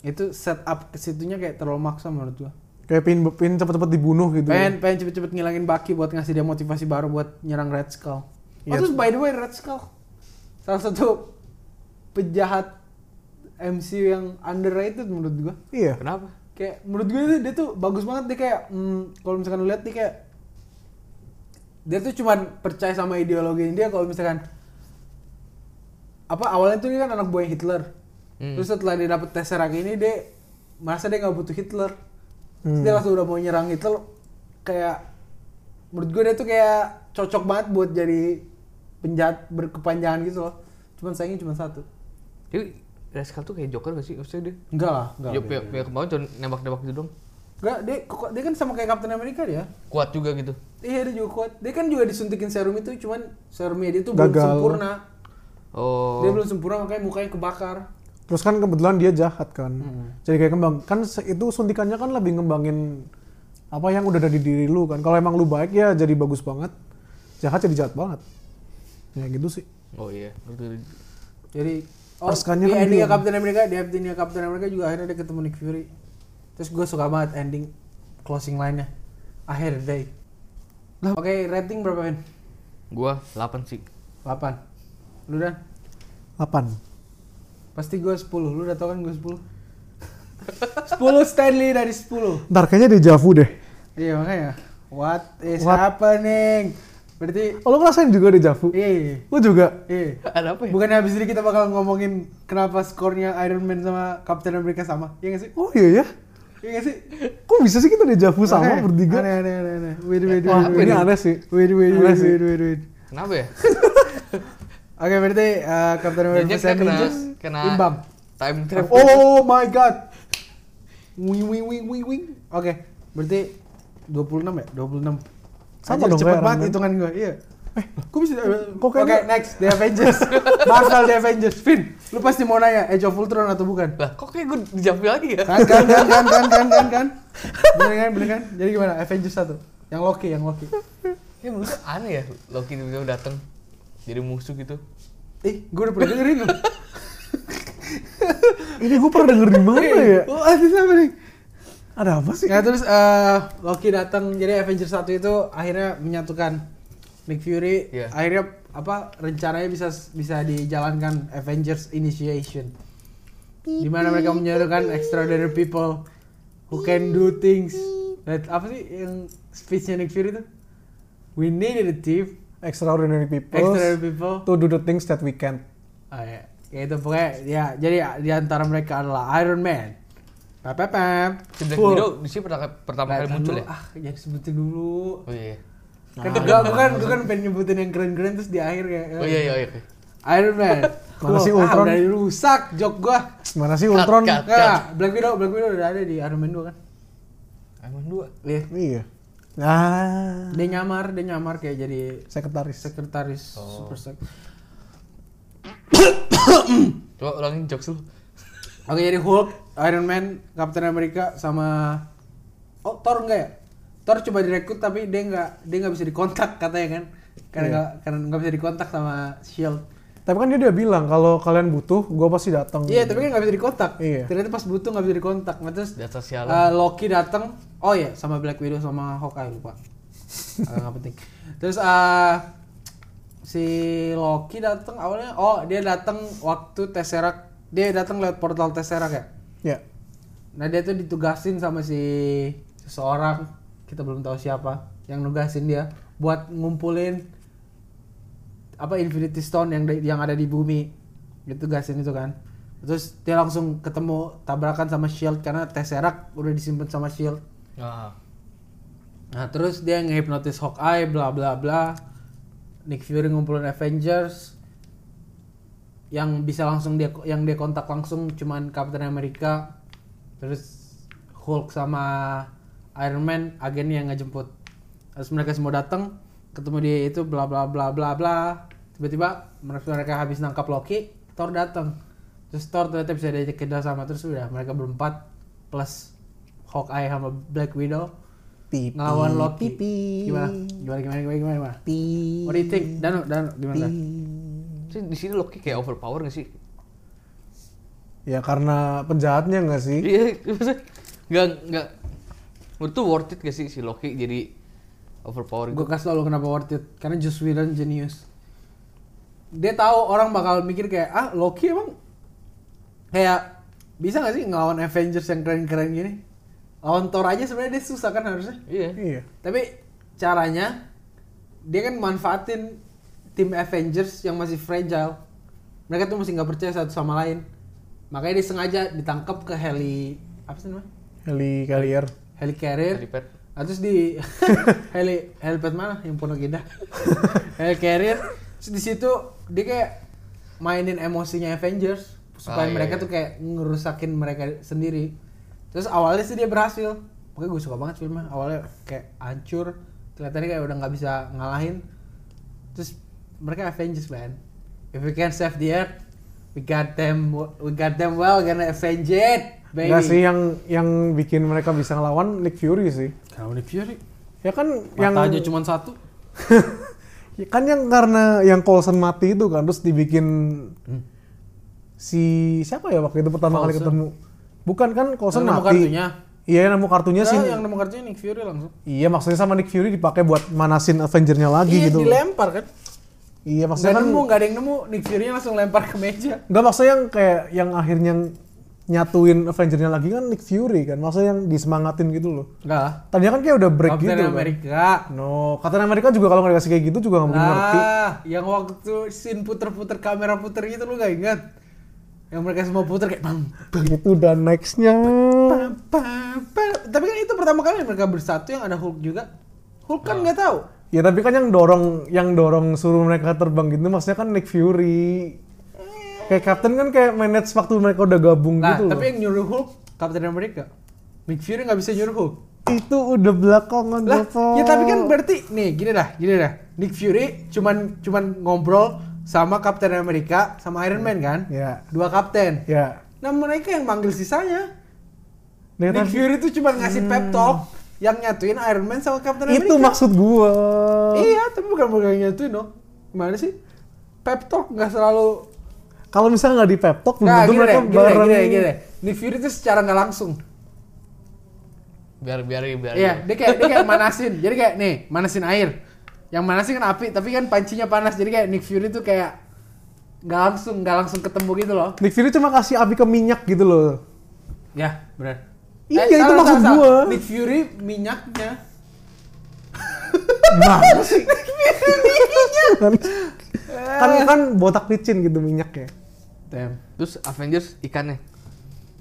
S1: itu setup ke situnya kayak terlalu maksa menurut gua
S2: Kayak pin pin cepet-cepet dibunuh gitu.
S1: pengen pengen cepet-cepet ngilangin baki buat ngasih dia motivasi baru buat nyerang Red Skull oh
S2: Iya.
S1: terus by the way Red Skull salah satu penjahat MCU yang underrated menurut gua
S2: Iya.
S3: Kenapa?
S1: kayak menurut gue tuh dia tuh bagus banget dia kayak hmm, kalau misalkan lu lihat dia kayak dia tuh cuman percaya sama ideologi dia kalau misalkan apa awalnya tuh dia kan anak buah Hitler
S3: Hmm.
S1: terus setelah dia dapet tesseract ini dia merasa dia nggak butuh Hitler terus dia langsung udah mau nyerang Hitler kayak menurut gue dia tuh kayak cocok banget buat jadi penjahat berkepanjangan gitu loh. Cuman sayangnya cuma satu.
S3: Jadi Rascal tuh kayak Joker gak sih? Maksudnya dia
S1: Enggak lah, enggak.
S3: Ya, pihak, pihak kemarin cuma nembak-nembak gitu dong
S1: Enggak, dia kok- dia kan sama kayak Captain America dia.
S3: Kuat juga gitu
S1: Iya, dia juga kuat. Dia kan juga disuntikin serum itu, cuman serumnya dia tuh belum
S2: Gagal.
S1: sempurna.
S3: Oh
S1: Dia belum sempurna makanya mukanya kebakar.
S2: Terus kan kebetulan dia jahat kan.
S1: Hmm.
S2: Jadi kayak kembang kan se- itu suntikannya kan lebih ngembangin apa yang udah ada di diri lu kan. Kalau emang lu baik ya jadi bagus banget. Jahat jadi jahat banget. Ya gitu sih.
S3: Oh iya Ngerti.
S1: Jadi oh,
S2: Raskalnya
S1: di
S2: kan
S1: endingnya
S2: dia-
S1: Captain America, di endingnya Captain America juga akhirnya dia ketemu Nick Fury. Terus gue suka banget ending closing line-nya. Akhir day. Oke, rating berapa, men?
S3: Gua 8 sih
S1: 8. Lu dan?
S2: 8.
S1: Pasti gue 10. Lu udah tau kan gue 10. 10 Stanley dari 10.
S2: Ntar kayaknya deja vu deh.
S1: Iya makanya. What is
S2: What?
S1: happening? Berarti
S2: Oh, lu ngerasain juga deja vu?
S1: eh
S2: Lu juga?
S1: eh
S3: Ada apa ya?
S1: bukannya habis ini kita bakal ngomongin kenapa skornya Iron Man sama Captain America sama? Iya gak sih?
S2: Oh iya ya.
S1: Iya gak sih?
S2: Kok bisa sih kita deja vu sama
S1: Makanya,
S2: bertiga?
S1: Aneh aneh aneh. aneh. Wait wait wait.
S2: Wah,
S1: wait,
S2: ini
S1: wait.
S2: aneh sih.
S1: Wait wait
S2: Aneh
S1: wait
S2: sih.
S1: wait wait. wait.
S3: Kenapa ya?
S1: Oke berarti eh, Captain America
S3: Jejak
S1: sama
S3: kena
S1: Avengers
S3: kena
S1: imbang.
S3: time travel.
S2: Oh my god.
S1: Wing wing wing wing wing. Oke berarti 26 ya 26.
S2: Sama
S1: Anjir,
S2: dong
S1: cepet
S2: kayak
S1: banget
S2: Iron Man. Eh,
S1: hitungan gue. Iya. Kok bisa? eh,
S2: kok
S1: Oke,
S2: kayak lu-
S1: next The Avengers. Marvel The Avengers. Vin, lu pasti mau nanya Age of Ultron atau bukan?
S3: Lah, kok kayak gue dijampi lagi ya?
S1: Kan kan kan kan kan kan kan kan. Bener kan, bener kan? Jadi gimana? Avengers satu. Yang Loki, yang Loki.
S3: Ya menurut gue aneh ya, Loki tiba-tiba datang jadi musuh gitu.
S1: Ih, gue udah pernah dengerin lu.
S2: Ini gue pernah denger di mana ya?
S1: Oh, ada siapa nih?
S2: Ada apa sih?
S1: Ya terus eh, Loki datang jadi Avengers 1 itu akhirnya menyatukan Nick Fury.
S3: Iya.
S1: Akhirnya apa rencananya bisa bisa dijalankan Avengers Initiation. Di mana mereka menyatukan extraordinary people who can do things. That- apa sih yang speech-nya Nick Fury itu? We needed a team,
S2: Extraordinary people.
S1: extraordinary people.
S2: To do the things that we can't.
S1: Oh, ya. ya itu pokoknya ya jadi di antara mereka adalah Iron Man. Pepepep.
S3: Si Black
S1: Full.
S3: Widow di sini pertama, pertama kali
S1: Tahan
S3: muncul
S1: dulu,
S3: ya?
S1: Ah, jangan sebutin dulu.
S3: Oh iya.
S1: Kan gua gua kan gua kan pengen nyebutin yang keren-keren terus di akhir kayak
S3: nah,
S1: eh,
S3: Oh iya iya iya.
S1: Iron Man.
S2: Mana sih
S1: Wah,
S2: Ultron?
S1: udah rusak jok gua.
S2: Mana sih Ultron?
S3: Cut, cut.
S1: Enggak, Black Widow, Black Widow udah ada di Iron Man 2 kan.
S3: Iron Man 2.
S1: Iya.
S2: Iya. Ah,
S1: Dia nyamar, dia nyamar kayak jadi
S2: sekretaris.
S1: sekretaris
S3: Oh.
S1: super sek.
S3: Coba ulangin jokes lu.
S1: Oke, jadi Hulk, Iron Man, Captain America sama Oh, Thor enggak ya? Thor coba direkrut tapi dia enggak dia enggak bisa dikontak katanya kan. Karena
S2: Iya.
S1: enggak karena enggak bisa dikontak sama Shield.
S2: Tapi kan dia udah bilang kalau kalian butuh, gua pasti datang.
S1: Iya, tapi kan nggak bisa dikontak.
S2: Iya.
S1: Ternyata pas butuh nggak bisa dikontak. Nah, terus
S3: Data sialan.
S1: eh, Loki datang. Oh iya, sama Black Widow sama Hawkeye lupa. Eh, Nggak penting. Terus eh, si Loki datang awalnya. Oh dia datang waktu Tesseract. Dia datang lewat portal Tesseract ya.
S2: Ya.
S1: Nah dia tuh ditugasin sama si seseorang kita belum tahu siapa yang nugasin dia buat ngumpulin apa Infinity Stone yang di- yang ada di bumi ditugasin itu kan terus dia langsung ketemu tabrakan sama Shield karena Tesseract udah disimpan sama Shield
S3: Nah,
S1: nah terus dia ngehipnotis Hawkeye bla bla bla Nick Fury ngumpulin Avengers yang bisa langsung dia yang dia kontak langsung cuman Captain America terus Hulk sama Iron Man agennya yang ngejemput terus mereka semua datang ketemu dia itu bla bla bla bla bla tiba-tiba mereka mereka habis nangkap Loki Thor datang terus Thor ternyata bisa diajak kerja sama terus udah mereka berempat plus Hawkeye sama Black Widow ngelawan Loki Gitu. gimana gimana gimana gimana gimana, gimana? What do you think? Danu, Danu, gimana?
S3: Terus di sini Loki kayak overpower gak sih?
S2: Ya karena penjahatnya nggak sih?
S3: Iya, maksudnya enggak enggak menurut tuh worth it gak sih si Loki jadi overpower
S1: Gue
S3: gitu?
S1: kasih tau lo kenapa worth it Karena Joss Whedon genius Dia tahu orang bakal mikir kayak Ah Loki emang Kayak Bisa gak sih ngelawan Avengers yang keren-keren gini Lawan Thor aja sebenarnya dia susah kan harusnya
S3: Iya.
S2: Iya.
S1: Tapi caranya Dia kan manfaatin Tim Avengers yang masih fragile Mereka tuh masih nggak percaya satu sama lain Makanya dia sengaja ditangkap ke heli Apa sih namanya?
S2: Heli Kalier.
S1: Helicarrier Ah,
S3: Helipad.
S1: Nah, terus di heli helipad mana yang Pondok Indah? helicarrier Terus di situ dia kayak mainin emosinya Avengers supaya
S3: Ah, iya,
S1: mereka
S3: iya.
S1: tuh kayak ngerusakin mereka sendiri. Terus awalnya sih dia berhasil. Pokoknya gue suka banget filmnya. Awalnya kayak hancur, kelihatannya kayak udah nggak bisa ngalahin. Terus mereka Avengers man. If we can save the earth, we got them, we got them well gonna avenge it, baby.
S2: Nggak sih yang yang bikin mereka bisa ngelawan Nick Fury sih.
S1: Kenapa nih Fury?
S2: Ya kan
S1: Mata
S2: yang
S1: aja cuma satu.
S2: Ya kan yang karena yang Coulson mati itu kan terus dibikin si siapa ya waktu itu pertama kali
S1: Hmm. Coulson.
S2: ketemu. Bukan kan Coulson
S1: Yang nemu
S2: mati.
S1: kartunya.
S2: Iya yang nemu kartunya
S1: Nah,
S2: sih.
S1: yang nemu kartunya Nick Fury langsung.
S2: Iya maksudnya sama Nick Fury dipakai buat manasin Avengernya lagi
S1: Iya
S2: gitu.
S1: dilempar kan.
S2: Iya
S1: Gak
S2: maksudnya kan
S1: nemu, gak ada yang nemu. Nick Fury langsung lempar ke meja.
S2: Enggak maksudnya yang kayak yang akhirnya nyatuin Avengernya lagi kan Nick Fury kan. Maksudnya yang disemangatin gitu loh.
S1: Enggak lah.
S2: Tadinya kan kayak udah break
S1: Captain
S2: gitu kan.
S1: America.
S2: No, Captain America juga kalau nggak dikasih kayak gitu juga nggak mungkin ngerti.
S1: Nah, yang waktu scene puter-puter kamera puter gitu lu gak ingat? Yang mereka semua puter kayak bang,
S2: Itu dan Gitu nextnya.
S1: bang, bang, bang. Tapi kan itu pertama kali mereka bersatu yang ada Hulk juga. Hulk kan nggak tahu.
S2: Ya tapi kan yang dorong yang dorong suruh mereka terbang gitu maksudnya kan Nick Fury. Kayak Captain kan kayak manage waktu mereka udah gabung
S1: Nah,
S2: gitu loh.
S1: tapi yang nyuruh Hulk Captain America. Nick Fury nggak bisa nyuruh Hulk.
S2: Itu udah belakangan
S1: Lah,
S2: Bapak.
S1: ya tapi kan berarti nih gini dah, gini dah. Nick Fury cuman cuman ngobrol sama Captain America sama Iron Man kan?
S2: Ya.
S1: Dua kapten.
S2: Ya.
S1: Nah mereka yang manggil sisanya.
S2: Nah,
S1: Nick
S2: tapi-
S1: Fury tuh cuma ngasih pep talk yang nyatuin Iron Man sama Captain America.
S2: Hmm. itu maksud gua.
S1: Iya, tapi bukan bukan yang nyatuin dong. Gimana sih? Pep talk nggak selalu.
S2: Kalau misalnya nggak di pep talk belum
S1: Nah,
S2: tentu
S1: gini
S2: mereka
S1: deh, gini deh,
S2: bareng.
S1: gini deh, gini deh. Nick Fury tuh secara nggak langsung.
S3: biar biar biar
S1: Iya, dia kayak dia kayak manasin. Jadi kayak nih, manasin air. Yang manasin kan api, tapi kan pancinya panas. Jadi kayak Nick Fury tuh kayak nggak langsung nggak langsung ketemu gitu loh.
S2: Nick Fury cuma kasih api ke minyak gitu loh.
S1: Ya, benar.
S2: Iya, itu maksud gua.
S1: Nick Fury minyaknya.
S2: Gimana sih? kan kan botak licin gitu minyaknya.
S1: Damn.
S3: terus Avengers ikannya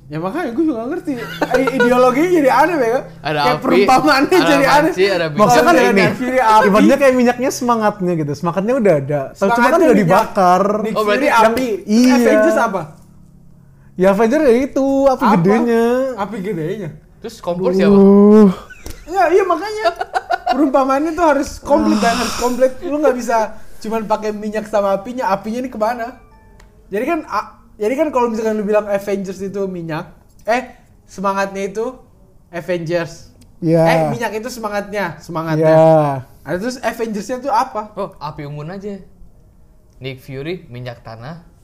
S1: Ya makanya gue juga nggak ngerti. I- Ideologinya jadi aneh ya.
S3: Ada
S1: kayak
S3: api,
S1: perumpamaannya
S3: ada
S1: jadi aneh.
S3: panci, ada biji.
S2: Maksudnya kan
S1: Kalau
S2: ini,
S1: Nick Fury api.
S2: ibaratnya kayak minyaknya semangatnya gitu. Semangatnya udah ada. Tapi cuma kan
S1: semangatnya
S2: udah
S1: minyak.
S2: dibakar.
S1: Nick
S3: Oh,
S1: Fury
S3: berarti
S1: api.
S2: iya.
S1: Avengers apa?
S2: Ya Avenger ya itu, api
S1: Apa?
S2: gedenya.
S1: Api gedenya.
S3: terus kompor siapa
S2: Uh,
S1: Ya, iya makanya perumpamaannya tuh harus komplit dan harus komplit. Lu nggak bisa cuman pakai minyak sama apinya. Apinya ini kemana? Jadi kan, a- jadi kan kalau misalkan lu bilang Avengers itu minyak, eh semangatnya itu Avengers.
S2: Ya.
S1: Eh minyak itu semangatnya, semangatnya.
S2: ya.
S1: Ada terus Avengersnya tuh apa?
S3: oh api unggun aja Nick Fury minyak tanah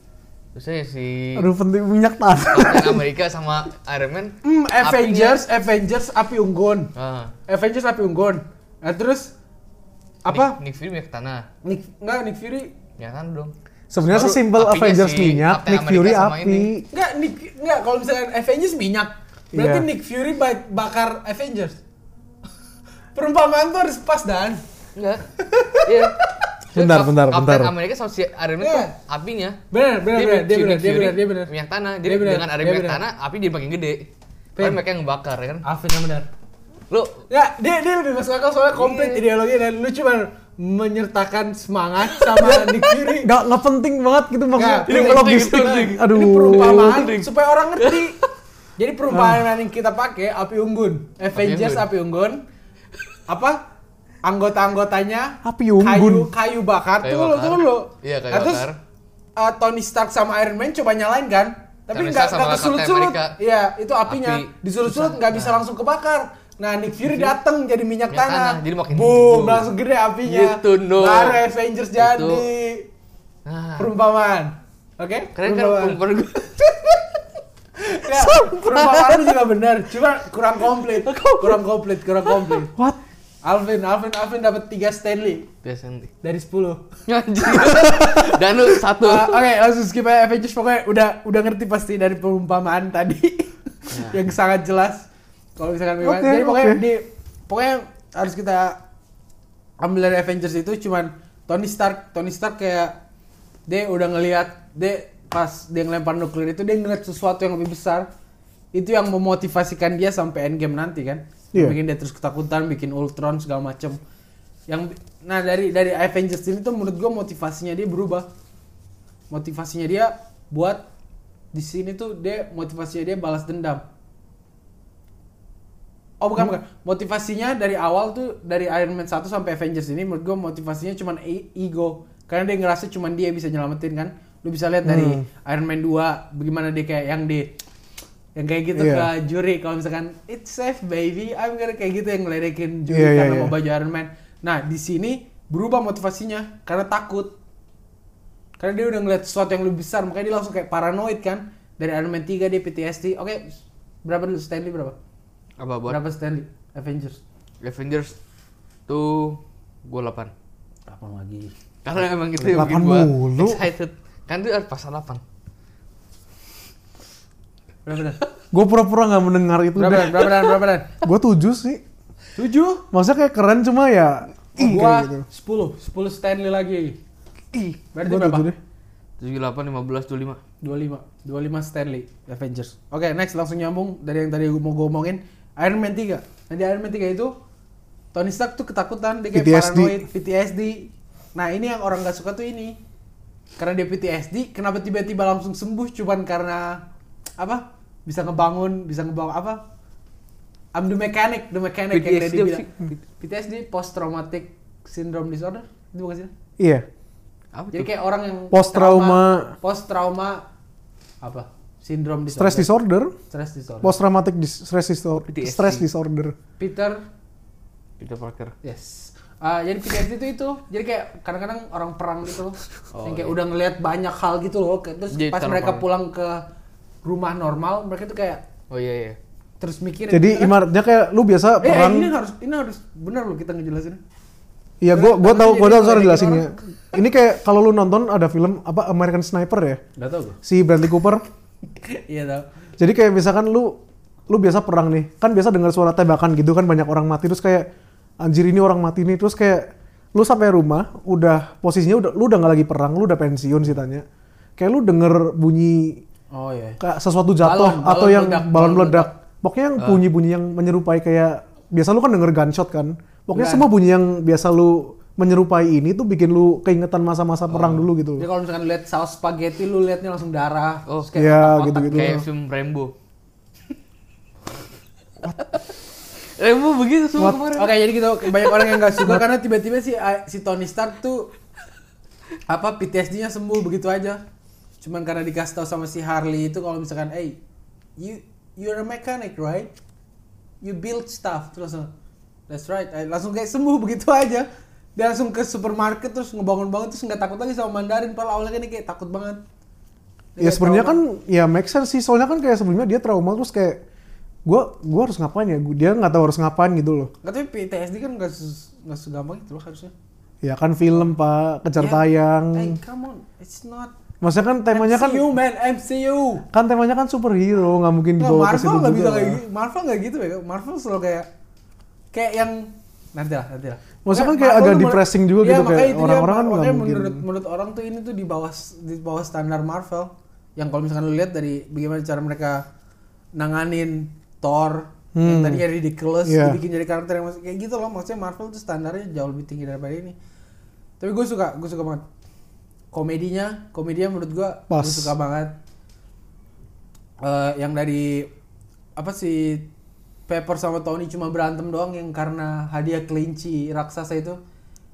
S3: terusnya si
S2: Aduh penting minyak tanah.
S3: Captain Amerika sama Iron Man
S1: Hmm,
S3: apinya-
S1: Avengers, Avengers api unggun.
S3: Ah,
S1: Avengers api unggun. Nah, terus apa?
S3: Nick, Nick Fury minyak tanah
S1: Nick, enggak Nick Fury.
S3: minyak tanah dong
S2: Sebenarnya
S3: Baru
S2: sesimpel
S3: apinya
S2: Avengers
S3: si
S2: minyak,
S3: Captain
S2: Nick
S3: America
S2: Fury
S3: sama
S2: api.
S3: ini.
S1: Enggak Nick enggak kalau misalkan Avengers minyak. Berarti
S2: Iya.
S1: Nick Fury ba- bakar Avengers. Perumpamaan tuh harus pas dan.
S3: enggak iya
S2: Bentar,
S3: Cap-
S2: bentar, bentar.
S3: Captain Amerika sama si Iron Man tuh
S1: Iya.
S3: apinya
S1: Benar, benar,
S3: Dia
S1: benar, dia
S3: Fury-
S1: benar, dia
S3: Fury
S1: benar, dia benar.
S3: minyak tanah
S1: Dia
S3: jadi
S1: benar,
S3: dengan ada
S1: dia
S3: minyak
S1: benar.
S3: tanah api jadi makin gede
S1: Fair.
S3: kan mereka yang ngebakar ya kan
S1: Alvin yang benar.
S3: lu
S1: Ya, dia dia lebih masuk akal soalnya
S3: Iya.
S1: komplit ideologi dan lu cuma menyertakan semangat sama Nick Fury.
S2: Gak, nggak penting banget gitu maksudnya.
S1: Nggak, ini
S2: Ini
S1: penting,
S2: logistik.
S3: penting.
S2: Aduh.
S1: Ini perumpamaan supaya orang ngerti. Jadi
S2: Ah.
S1: perumpamaan yang kita pakai api unggun, Avengers api
S3: Api
S1: unggun. Apa? Anggota-anggotanya
S2: Api
S1: Kayu
S2: unggun.
S1: kayu bakar
S3: Kayu
S1: tuh lo
S3: bakar.
S1: tuh lo.
S3: Iya, kayu
S1: Nah, terus,
S3: bakar.
S1: eh, Tony Stark sama Iron Man coba nyalain kan? Tapi
S3: Tony
S1: nggak
S3: Stark sama
S1: nggak
S3: Captain
S1: kesulut-sulut.
S3: America.
S1: Iya, itu apinya.
S3: Api.
S1: Disulut-sulut
S3: Susah.
S1: nggak bisa
S3: Nah.
S1: langsung kebakar. Nah, Nick Fury dateng jadi minyak,
S3: Minyak tanah,
S1: tanah.
S3: jadi makin
S1: Boom,
S3: boom.
S1: langsung gede apinya.
S3: Gitu, no. Gitu.
S1: Baru Avengers
S3: Itu.
S1: jadi.
S3: nah
S1: Perumpamaan. Oke?
S3: keren kan kompor gue
S1: Ya, perumpamaan lu juga benar, cuma kurang komplit. Kurang komplit, kurang komplit.
S2: What?
S1: Alvin, Alvin, Alvin dapat 3 Stanley
S3: biasa nanti
S1: dari 10.
S3: anjing dan lu satu
S1: Uh, Oke, langsung skip aja Avengers pokoknya udah udah ngerti pasti dari perumpamaan tadi yang sangat jelas. Kalau misalkan memang-
S2: Oke,
S1: jadi pokoknya
S2: oke.
S1: di pokoknya harus kita ambil dari Avengers itu cuman Tony Stark, Tony Stark kayak dia udah ngelihat dia pas dia ngelempar nuklir itu dia ngeliat sesuatu yang lebih besar. Itu yang memotivasikan dia sampai endgame nanti kan.
S2: Iya.
S1: Bikin dia terus ketakutan, bikin Ultron segala macem. Yang nah dari dari Avengers ini tuh menurut gua motivasinya dia berubah. Motivasinya dia buat di sini tuh dia motivasinya dia balas dendam. Oh bukan bukan. Motivasinya dari awal tuh dari Iron Man 1 sampai Avengers ini menurut gua motivasinya cuman e- ego. Karena dia ngerasa cuman dia bisa nyelamatin kan. Lu bisa lihat dari Iron Man 2 bagaimana dia kayak yang di yang kayak gitu
S2: Iya.
S1: ke juri kalau misalkan it's safe baby I'm gonna kayak gitu yang ngeledekin juri
S2: Iya, iya,
S1: karena
S2: iya.
S1: mau baju Iron Man. Nah, di sini berubah motivasinya karena takut. Karena dia udah ngeliat sesuatu yang lebih besar, makanya dia langsung kayak paranoid kan. Dari Iron Man 3 dia PTSD. Oke, berapa dulu Stanley berapa?
S3: apa buat
S1: Berapa Stanley? Avengers.
S3: Avengers tuh gue 8
S1: Kapan lagi?
S3: karena emang gitu itu yang bikin
S2: Delapan
S3: gue
S2: mulu.
S3: excited kan itu pas 8
S1: Berapa dan?
S2: Gue pura-pura nggak mendengar itu
S1: Berapa dan?
S2: deh.
S1: Berapa dan? Berapa dan?
S2: Gue tujuh sih.
S1: Tujuh.
S2: Maksudnya kayak keren cuma ya. ih,
S1: Gua
S2: kayak gitu.
S1: sepuluh. Sepuluh Stanley lagi.
S2: Ih,
S1: Berarti
S2: gua
S1: berapa?
S2: tujuh deh.
S3: 78 15
S1: 25
S3: 25
S1: 25 Stanley Avengers. Oke, next langsung nyambung dari yang tadi gua mau gue omongin Iron Man 3. Nah, di Iron Man 3 itu Tony Stark tuh ketakutan, dia kayak
S2: PTSD.
S1: paranoid, PTSD. Nah, ini yang orang gak suka tuh ini. Karena dia PTSD, kenapa tiba-tiba langsung sembuh cuman karena apa? Bisa ngebangun, bisa ngebangun apa? I'm the mechanic, the mechanic yang tadi
S3: PTSD apa
S1: bilang.
S3: sih?
S1: PTSD post traumatic syndrome disorder. Itu bukan sih?
S2: Iya.
S3: apa
S1: Jadi
S3: tuh?
S1: kayak orang yang
S2: Post trauma.
S1: post trauma apa? Sindrom disorder.
S2: Stress disorder,
S1: Stress disorder.
S2: post traumatic dis- stress disorder,
S3: PTSD.
S2: stress disorder.
S1: Peter,
S3: Peter Parker
S1: yes. Ah, jadi PTSD itu itu. Jadi kayak kadang-kadang orang perang gitu loh.
S3: Oh,
S1: yang kayak
S3: iya.
S1: udah ngelihat banyak hal gitu loh. Kayak- Terus
S3: Jadi
S1: pas
S3: terpang.
S1: mereka pulang ke rumah normal, mereka tuh kayak
S3: oh iya iya
S1: terus mikir
S2: Jadi imaratnya kayak lu biasa
S1: eh, eh, ini
S2: perang.
S1: harus ini harus benar loh kita ngejelasin.
S2: Iya, gua
S1: Tapi
S2: gua tahu
S1: jadi
S2: gua tahu cara
S1: ngeledekin
S2: jelasinnya. Ini kayak kalau lu nonton ada film apa American Sniper ya?
S1: Enggak tahu gue.
S2: Si Bradley Cooper.
S1: Iya tahu.
S2: Jadi kayak misalkan lu lu biasa perang nih, kan biasa dengar suara tembakan gitu kan banyak orang mati terus kayak anjir ini orang mati nih terus kayak lu sampai rumah udah posisinya udah lu udah nggak lagi perang, lu udah pensiun sih tanya. Kayak lu denger bunyi
S1: Oh iya.
S2: kayak sesuatu jatuh
S1: Balon-
S2: atau
S1: balon
S2: yang
S1: meledak, Ah.
S2: balon
S1: balon
S2: meledak. Pokoknya yang bunyi-bunyi yang menyerupai kayak biasa lu kan denger gunshot kan. Pokoknya
S1: Nah.
S2: semua bunyi yang biasa lu menyerupai ini tuh bikin lu keingetan
S1: Ah.
S2: masa-masa perang dulu gitu.
S1: Jadi kalau misalkan lihat saus spaghetti lu liatnya langsung darah.
S3: Oh,
S1: terus kayak
S2: Iya
S1: otak-otak
S2: gitu-gitu.
S3: kayak film Rambo Rambo begitu semua kemarin
S1: Oke, jadi gitu banyak orang yang nggak suka karena tiba-tiba si eh, si Tony Stark tuh apa PTSD-nya sembuh begitu aja. Cuman karena dikasih tahu sama si Harley itu kalau misalkan, "Hey, you you're a mechanic, right? You build stuff." Terus langsung, That's right. Eh, Langsung kayak sembuh begitu aja. Dia langsung ke supermarket terus ngebangun-bangun terus nggak takut lagi sama Mandarin. Padahal awalnya kan dia kayak takut banget. Dia
S2: Ya
S1: kayak
S2: sebenarnya
S1: trauma.
S2: kan ya make sense sih soalnya kan kayak sebelumnya dia trauma terus kayak gua gua harus ngapain ya Gua- dia nggak tahu harus ngapain gitu loh
S1: Nggak, tapi PTSD kan nggak sus- nggak segampang itu loh harusnya.
S2: ya kan film pak kejar
S1: Ya.
S2: tayang
S1: Hey, come on, it's not
S2: maksudnya kan temanya kan
S1: MCU man, MCU.
S2: kan temanya kan superhero nggak mungkin
S1: Nggak,
S2: dibawa ke
S1: Nah, Marvel
S2: situ
S1: nggak bisa
S2: juga kan.
S1: kayak gitu. Marvel nggak gitu ya. Marvel selalu kayak kayak yang nanti lah, nanti lah.
S2: Maksudnya kan
S1: Makanya
S2: kayak
S1: Marvel
S2: agak
S1: tuh menurut-
S2: depressing juga
S1: Iya,
S2: gitu,
S1: makanya
S2: kayak
S1: itu dia,
S2: orang-orang kan nggak
S1: makanya
S2: mungkin.
S1: Menurut menurut orang tuh ini tuh di bawah di bawah standar Marvel. Yang kalau misalkan lu lihat dari bagaimana cara mereka nanganin Thor yang
S2: Hmm.
S1: tadinya ridiculous
S2: Iya.
S1: dibikin jadi karakter yang masih kayak gitu loh. Maksudnya Marvel tuh standarnya jauh lebih tinggi daripada ini. Tapi gue suka, gue suka banget komedinya, komedinya menurut gue
S2: Pas.
S1: gue suka banget. Eh, yang dari apa sih Pepper sama Tony cuma berantem doang yang karena hadiah kelinci raksasa itu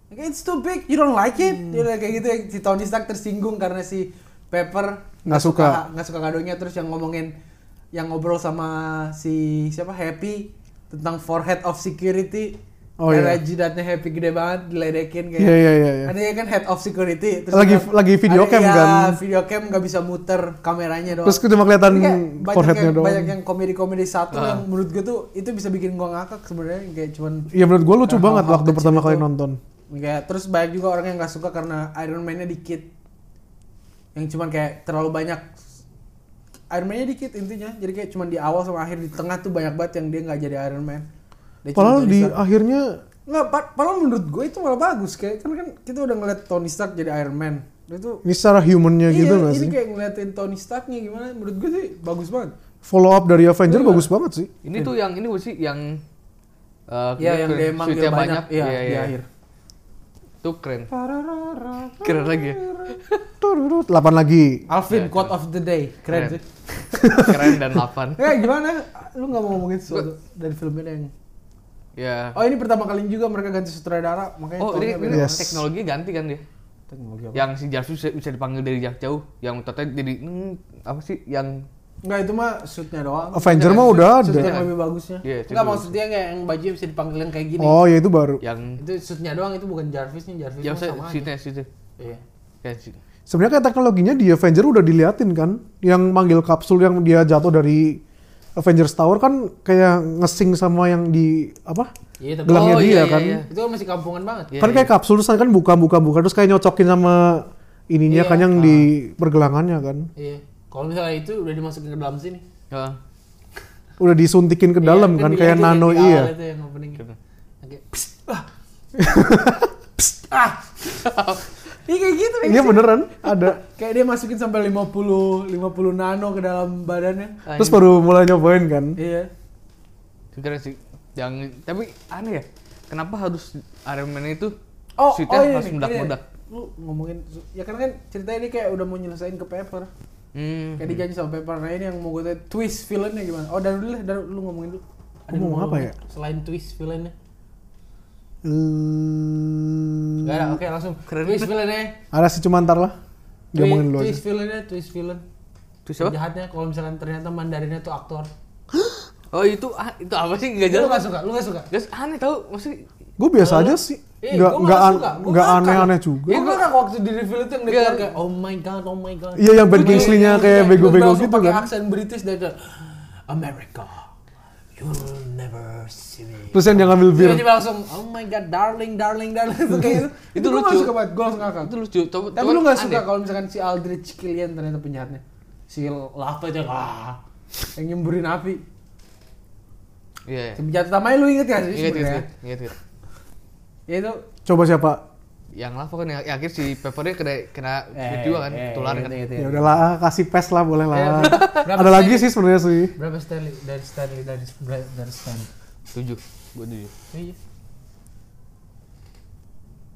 S1: Like, it's too big you don't like it
S2: Hmm.
S1: Dia udah kayak gitu si Tony Stark tersinggung karena si Pepper
S2: nggak suka
S1: suka- nggak suka kadonya terus yang ngomongin yang ngobrol sama si siapa Happy tentang forehead of security
S2: Oh,
S1: karena
S2: iya.
S1: jidatnya Happy gede banget diledekin kayak
S2: Iya, iya, iya, iya.
S1: ada yang kan head of security
S2: Lagi-
S1: ada-
S2: lagi video
S1: ada-
S2: cam
S1: iya,
S2: kan?
S1: video cam nggak bisa muter kameranya doang
S2: terus cuma kelihatan
S1: Tapi kayak Iya, banyak
S2: foreheadnya
S1: yang-
S2: doang Ah.
S1: banyak yang komedi-komedi satu yang menurut gue tuh itu bisa bikin gua ngakak sebenarnya yang kayak cuman
S2: ya menurut gua lucu
S1: Nah,
S2: banget
S1: hal-hal
S2: waktu
S1: kecil
S2: pertama
S1: itu.
S2: kali nonton
S1: kayak terus banyak juga orang yang nggak suka karena Iron Man-nya dikit yang cuman kayak terlalu banyak Iron Man-nya dikit intinya jadi kayak cuman di awal sama akhir di tengah tuh banyak banget yang dia nggak jadi Iron Man Dia cuma
S2: padahal
S1: Tony
S2: di
S1: Stark.
S2: akhirnya
S1: nggak pa- padahal menurut gue itu malah bagus kayak kan kan kita udah ngeliat Tony Stark jadi Iron Man itu
S2: ini secara humannya gitu
S1: iya,
S2: nggak
S1: ini
S2: sih
S1: kayak ngeliatin Tony Starknya gimana menurut gue sih bagus banget
S2: follow up dari Avenger bagus banget sih
S3: ini tuh yang ini gua sih yang eh,
S1: Iya
S3: dia
S1: yang
S3: ke-
S1: dia manggil
S3: suitnya
S1: banyak, iya, di akhir.
S3: Itu keren. Keren lagi ya.
S2: Tururut, Delapan lagi.
S1: Alvin
S3: Ya,
S1: quote of the day keren,
S3: Keren.
S1: sih
S3: Keren dan lapan.
S1: Eh gimana? Lu nggak mau ngomongin sesuatu dari filmnya yang
S3: Ya.
S1: Oh ini pertama kali juga mereka ganti sutradara makanya
S3: Oh,
S1: tonnya
S3: ini, ini Ya.
S1: beda.
S2: Yes.
S3: teknologi ganti kan dia?
S1: teknologi apa?
S3: Yang si Jarvis bisa, bisa dipanggil dari jarak jauh, yang ternyata jadi hmm, apa sih yang
S1: Enggak itu mah suitnya doang.
S2: Avenger mah Oh, udah
S1: Suit yang
S2: ada.
S1: lebih bagusnya.
S3: Iya, itu
S1: Enggak
S3: bagus.
S1: maksudnya kayak yang baju bisa dipanggil yang kayak gini.
S2: Oh ya itu baru.
S3: yang
S1: Itu suitnya doang itu bukan Jarvisnya, Jarvis
S3: yang
S1: mah sama aja.
S3: situ situ.
S1: Iya.
S3: Kayak si-
S2: Sebenarnya kayak teknologinya di Avenger udah diliatin kan, yang manggil kapsul yang dia jatuh dari Avengers Tower kan kayak ngesing sama yang di apa?
S1: Iya, tapi
S2: Gelangnya
S3: Oh,
S2: dia
S3: iya, iya,
S2: kan.
S3: iya.
S1: itu masih kampungan banget.
S3: Iya,
S2: kan
S3: iya.
S2: kayak kapsul terus kan buka buka buka terus kayak nyocokin sama ininya
S1: Iya,
S2: kan yang
S1: ah.
S2: di pergelangannya kan.
S1: Iya. Kalau misalnya itu udah dimasukin ke dalam sini.
S3: Heeh.
S2: Udah disuntikin ke dalam
S1: Iya,
S2: kan
S1: dilihatin
S2: kayak
S1: yang
S2: nano
S1: di awal
S2: iya.
S1: Itu yang openingnya.
S3: Gitu.
S1: Kayak, "Psst, ah." Psst, ah. Iya kayak gitu. kayak
S2: Iya
S1: gitu.
S2: beneran ada.
S1: Kayak dia masukin sampai 50 50 nano ke dalam badannya.
S3: Ah,
S2: Terus baru mulai nyobain kan.
S1: Iya.
S3: ini keren sih. Yang tapi aneh ya. Kenapa harus Iron Man itu
S1: Oh,
S3: suitnya
S1: oh iya
S3: harus
S1: nih,
S3: meledak-meledak?
S1: ini nih. Lu ngomongin ya karena kan ceritanya ini kayak udah mau nyelesain ke paper.
S3: Hmm.
S1: Kayak dijanji sama paper. Nah, ini yang mau gue tanya twist villainnya gimana? Oh, dan dulu lah, dan lu ngomongin dulu.
S2: Gua mau
S1: yang
S2: apa
S1: ngomongin
S2: ya?
S1: Selain twist villainnya.
S2: Iya. Hmm,
S1: Enggak ada. Oke, langsung.
S3: Keren.
S1: Twist villainnya.
S2: ada sih cuma ntar lah.
S1: Twi-
S2: Diomongin dulu aja.
S1: Twist villainnya, twist villain.
S3: Itu siapa?
S1: Jahatnya kalau misalkan ternyata Mandarinnya tuh aktor.
S3: Oh, itu ah, itu apa sih? Enggak
S1: Lu
S3: jelas.
S1: gak suka? Lu gak suka?
S3: Guys, aneh tau maksudnya
S2: Gue biasa aja sih.
S1: Eh,
S2: Nggak
S1: gua malah
S2: nggak an-
S1: suka. Gua
S2: nggak
S1: makan.
S2: aneh-aneh juga.
S1: Gue kan waktu di reveal itu yang dia
S3: Iya.
S1: keluar kayak oh my god, oh my god.
S2: Iya, yang bad
S1: Terus
S2: Kingsley-nya
S1: dia- dia-
S2: kayak
S1: dia
S2: bego-bego
S1: langsung
S2: gitu
S1: pakai
S2: kan.
S1: aksen British dan dia, America, you will never see me.
S2: Terus yang dia ngambil bir.
S1: Dia tiba langsung oh my god, darling, darling, darling itu kayak gitu.
S3: Itu
S1: gua
S3: lucu.
S1: nggak suka banget, gue langsung ngakak.
S3: itu lucu. Coba,
S1: Tapi
S3: coba
S1: lu nggak
S3: aneh.
S1: suka kalau misalkan si Aldrich Killian ternyata penjahatnya, si Lava aja ah, yang nyemburin api.
S3: Iya. iya.
S1: Si penjahat utamanya lu inget gak sih?
S3: Ingat ingat
S1: sebenarnya?
S3: ingat, ingat. ingat.
S1: Ya itu
S2: Coba siapa?
S3: Yang lava kan yang, yang akhir si Peppernya kena kena
S1: eh,
S3: juga kan,
S1: eh,
S3: tular
S1: ingat,
S3: kan.
S1: ingat, ingat.
S2: Ya udahlah, ah, kasih pes lah, boleh
S1: Ya,
S2: lah.
S1: berapa
S2: Ada lagi
S1: Stanley?
S2: sih sebenarnya sih.
S1: Berapa Stanley dari Stanley dari dari Stanley?
S3: Tujuh, gua tujuh.
S1: Iya.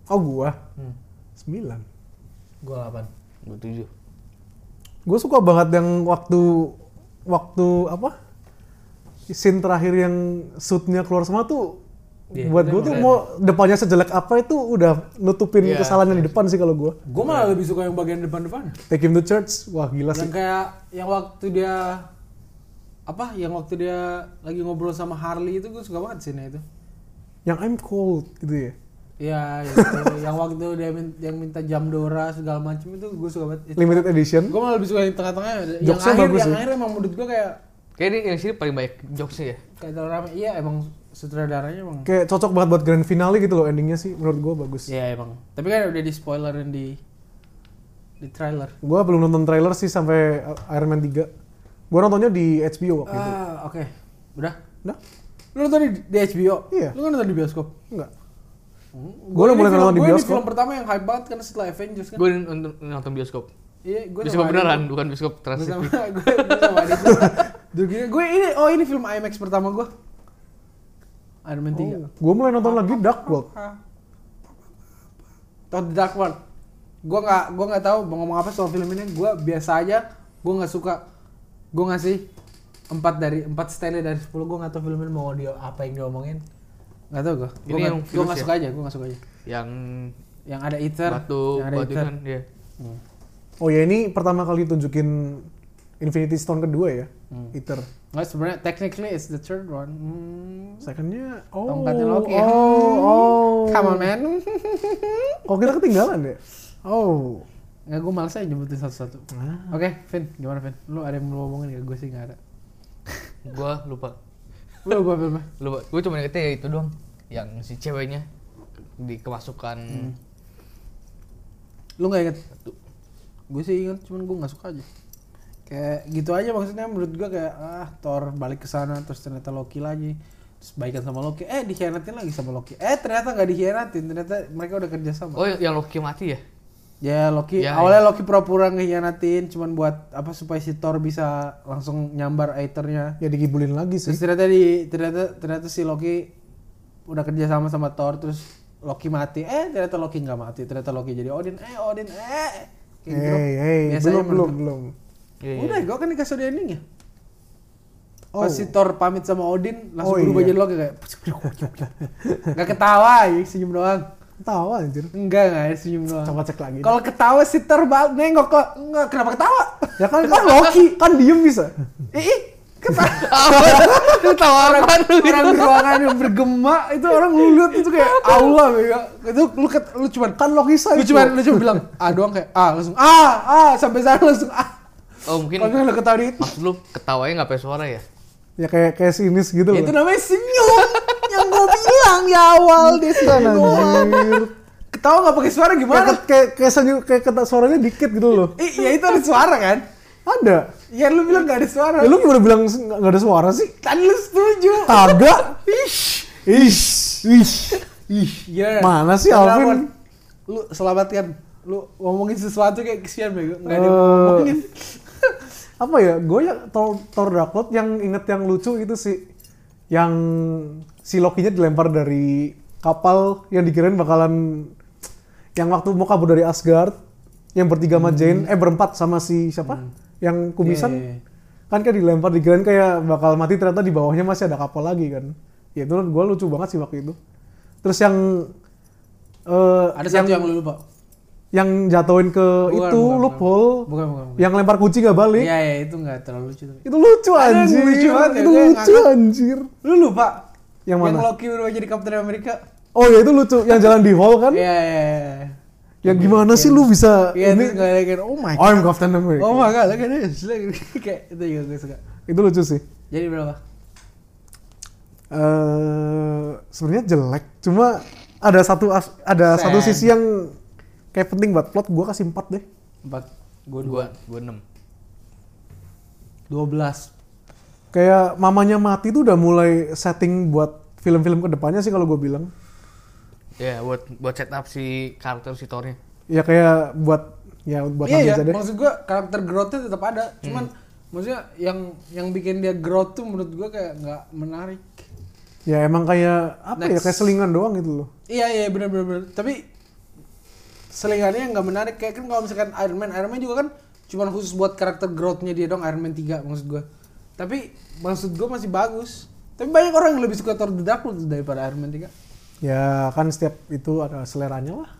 S2: Oh gua
S1: Hmm.
S2: sembilan.
S1: Gue 8.
S3: Gua tujuh.
S2: Gue suka banget yang waktu waktu apa? Scene terakhir yang suitnya keluar semua tuh
S1: Iya,
S2: buat
S1: itu
S2: gue tuh
S1: keren.
S2: mau depannya sejelek apa itu udah nutupin
S3: Iya,
S2: kesalahannya di depan sih kalau gue.
S1: Gue malah lebih suka yang bagian depan-depan.
S2: Take him to church, wah gila sih.
S1: Yang kayak yang waktu dia apa? Yang waktu dia lagi ngobrol sama Harley itu gue suka banget sini itu.
S2: Yang I'm cold gitu ya.
S1: Ya, itu. yang waktu dia min- yang minta jam Dora segala macam itu gue suka banget.
S2: Limited edition.
S1: Gue malah lebih suka yang tengah-tengah. Yang
S2: Jokesnya
S1: akhir,
S2: bagus
S1: yang
S2: sih.
S1: akhir emang menurut gue kayak
S3: Kayak ini yang sini paling banyak jokesnya ya.
S1: kayak terlalu rame. Iya, emang sutradaranya emang.
S2: Kayak cocok banget buat grand finale gitu loh endingnya sih menurut gue bagus.
S1: Iya emang. Tapi kan udah di spoilerin di di trailer.
S2: Gue belum nonton trailer sih sampai uh, Iron Man 3. Gue nontonnya di HBO waktu itu.
S1: Ah, oke. Udah.
S2: Nah,
S1: Lu nonton di, di HBO?
S2: Iya.
S1: Lu kan nonton di bioskop?
S2: enggak.
S1: Gue
S2: udah mulai nonton di bioskop.
S1: film pertama yang hype banget karena setelah Avengers kan.
S3: Gua nonton, nonton bioskop.
S1: Iya, gue
S3: Bioskop beneran, bukan bioskop
S1: Gue
S3: trans.
S1: sama
S3: TV.
S1: gue sama adik gue. Duh, gini, gue ini oh ini film IMAX pertama gue. Iron Man 3.
S2: Gue Oh. mulai nonton lagi Dark World.
S1: Todd The Dark World. Gue nggak gue nggak tahu mau ngomong apa soal film ini. Gue biasa aja. Gue nggak suka. Gue ngasih 4 dari 4 stele dari 10 gue nggak tahu film ini mau dia apa yang diomongin. Nggak tahu gue.
S3: Ini
S1: Gue
S3: yang
S1: nggak gue
S3: virus
S1: nggak
S3: ya?
S1: suka aja. Gue nggak suka aja.
S3: yang
S1: Yang ada Ether.
S3: batu
S1: yang ada
S3: batu
S1: Ether. Hmm.
S3: kan ya.
S2: Oh ya ini pertama kali tunjukin Infinity Stone kedua ya,
S1: Hmm.
S2: Ether.
S1: Nggak sebenarnya technically it's the third one. Hmm.
S2: Secondnya, oh,
S1: Tongkatnya Loki. ya?
S2: oh, oh.
S1: Come on man.
S2: Kok kita ketinggalan ya? Oh,
S1: Nggak gue males aja nyebutin satu-satu.
S3: Hmm.
S2: Ah.
S1: Oke, Vin, gimana Vin? Lu ada yang mau ngomongin gak? Gue sih nggak ada.
S3: Gua lupa.
S1: Lu gue filmnya.
S3: Lupa. Gua cuma ingetnya ya itu doang. Yang si ceweknya dikemasukan
S1: Hmm. Lu nggak inget? Gue sih inget, cuman gue nggak suka aja. Kayak gitu aja maksudnya menurut gue kayak ah Thor balik ke sana terus ternyata Loki lagi terus baikan sama Loki eh dikhianatin lagi sama Loki eh ternyata nggak dikhianatin ternyata mereka udah kerja sama
S3: Oh, yang, yang Loki mati ya?
S1: ya Loki
S3: Ya,
S1: awalnya Loki pura-pura ngehianatin cuman buat apa supaya si Thor bisa langsung nyambar Aethernya
S2: ya dikibulin lagi sih.
S1: Terus ternyata di ternyata ternyata si Loki udah kerja sama sama Thor terus Loki mati, eh ternyata Loki nggak mati, ternyata Loki jadi Odin, eh Odin, eh kayak gitu.
S2: Hey, hey,
S1: Biasanya
S2: belum, belum,
S1: menutup.
S2: belum.
S3: Iya, iya.
S1: Udah, gue kan dikasih dia ending ya.
S2: Oh.
S1: Pas si Thor pamit sama Odin, langsung
S2: Oh,
S1: berubah
S2: iya.
S1: jadi Loki kayak nggak ketawa, ya, senyum doang.
S2: Tahu anjir.
S1: Enggak, enggak, ya, senyum doang.
S2: Coba cek lagi.
S1: Kalau ketawa si Thor bal- nengok kok, enggak kenapa ketawa?
S2: ya kan kan Loki kan diem bisa.
S1: Ih, ih, ketawa.
S3: Lu tahu apaan lu?
S1: orang kan. di ruangan yang bergema itu orang lulut itu kayak Allah ya. Itu lu ket- lu cuman
S2: Kan Loki
S1: lu
S2: saya.
S1: cuman lu cuma bilang ah doang kayak ah langsung ah ah sampai sana langsung ah.
S3: Oh mungkin
S1: Kalau enggak lu ketawa dikit, "Ah."
S3: maksud lu ketawanya nggak pakai suara ya?
S2: ya kayak kayak sinis gitu.
S1: Ya,
S2: loh.
S1: itu namanya senyum yang gue bilang di awal dia
S2: Kan
S1: senyum doang.
S2: anjir.
S1: Ketawa nggak pakai suara
S2: Kayak
S1: gimana?
S2: kayak kayak senyum kayak kata suaranya dikit gitu loh.
S1: Ih, ya itu ada suara kan?
S2: Ada.
S1: Ya lu bilang nggak ada suara.
S2: Ya lu udah bilang se- nggak nggak ada suara sih?
S1: Tadi lu setuju.
S2: Kagak.
S1: Ish.
S2: Ish, ish.
S1: Ih, gila.
S2: Mana sih
S1: Saudara,
S2: Alvin?
S1: Mon. Lu selamatkan. Lu ngomongin sesuatu kayak kesian bego. Enggak ada yang
S2: Eh.
S1: ngomongin.
S2: Apa ya? Gue ya Thor, Thor Dark Lord yang inget yang lucu itu sih. Yang si Loki-nya dilempar dari kapal yang dikirain bakalan yang waktu mau kabur dari Asgard yang bertiga sama Jane, eh berempat sama si siapa? Yang kumisan.
S1: Hmm. Iya, iya, iya.
S2: Kan kayak dilempar dikirain kayak bakal mati ternyata di bawahnya masih ada kapal lagi kan. Ya itu gue lucu banget sih waktu itu. Terus yang eh,
S1: Ada satu yang lu lupa.
S2: yang jatuhin ke
S1: Bukan,
S2: itu
S1: bukan,
S2: loophole
S1: Bukan, bukan, bukan.
S2: Oh. yang lempar kunci gak balik
S1: Iya, ya, itu enggak terlalu lucu. tapi.
S2: itu lucu
S1: Ada yang
S2: anjir
S1: lucu banget ya, dia
S2: itu
S1: yang
S2: lucu
S1: ngangkat.
S2: anjir
S1: Lu lupa?
S2: Yang
S1: Yang
S2: mana?
S1: Loki berubah jadi Captain America.
S2: oh ya itu lucu yang jalan di hall kan
S1: Iya, iya, iya.
S2: yang gimana sih lu bisa
S1: Iya, itu
S2: ini
S1: enggak ada kayak, oh my god.
S2: I'm Captain America
S1: Oh my god, look at this. Look at this. Kayak itu juga gue suka.
S2: itu lucu sih
S1: Jadi berapa?
S2: eh sebenarnya jelek cuma ada satu as- ada
S1: Sad.
S2: satu sisi yang kayak penting buat plot gua kasih 4 deh
S1: Empat. Gue dua.
S3: Gua gua enam.
S1: Dua belas.
S2: kayak mamanya mati tuh udah mulai setting buat film-film kedepannya sih kalau gue bilang
S3: Ya buat buat setup si karakter si Thornya.
S2: ya kayak buat ya buat nanti
S1: Iya ya,
S2: aja deh Hmm.
S1: maksud gua karakter growth-nya tetap ada, cuman maksudnya yang yang bikin dia growth tuh menurut gua kayak nggak menarik.
S2: Ya emang kayak apa ya
S1: Next.
S2: kayak selingan doang gitu loh.
S1: Iya iya benar benar benar. Tapi selingannya nggak menarik kayak kan kalau misalkan Iron Man, Iron Man juga kan cuman khusus buat karakter growth-nya dia dong Iron Man 3 maksud gua. Tapi maksud gua masih bagus. Tapi banyak orang yang lebih suka Thor The Dark World daripada Iron Man 3.
S2: Ya kan setiap itu ada seleranya lah.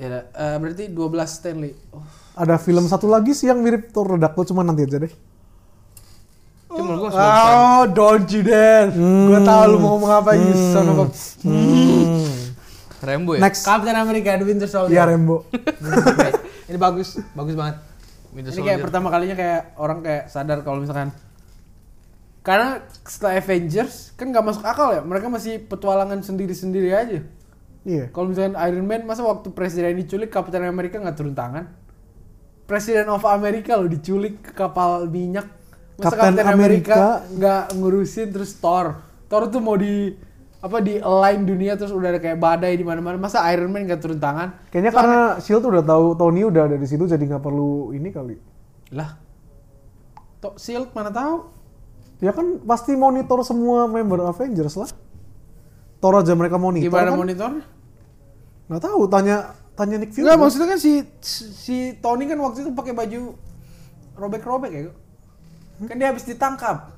S1: Ya, eh, berarti 12 Stanley. Oh.
S2: Ada film satu lagi sih yang mirip Thor The Dark World, cuma nanti aja deh.
S3: Itu menurut gua sebagus-
S1: Oh, don't you dare. Gua tahu lu mau ngomong apa, you son of a-
S3: Rembo ya.
S2: Next.
S1: Captain America The Winter Soldier.
S2: Ya Rembo.
S1: ini bagus, bagus banget.
S3: Winter
S1: ini kayak
S3: Soldier.
S1: pertama kalinya kayak orang kayak sadar kalau misalkan karena setelah Avengers kan nggak masuk akal ya, mereka masih petualangan sendiri-sendiri aja.
S2: Iya.
S1: Kalau misalkan Iron Man masa waktu presiden diculik Captain America nggak turun tangan? Presiden of America loh diculik ke kapal minyak. Masa
S2: Captain
S1: Captain,
S2: America-
S1: America nggak ngurusin terus Thor. Thor tuh mau di apa di align dunia terus udah ada kayak badai di mana-mana. Masa Iron Man nggak turun tangan?
S2: Kayaknya karena Shield E udah tahu Tony udah ada di situ jadi nggak perlu ini kali.
S1: Lah. Tok Shield mana tahu?
S2: Ya kan pasti monitor semua member Avengers lah. Thor aja mereka monitor
S1: Gimana
S2: kan.
S1: monitornya?
S2: Nggak tahu tanya tanya Nick Fury.
S1: Enggak, maksudnya kan si si Tony kan waktu itu pakai baju robek-robek ya. Kan dia habis ditangkap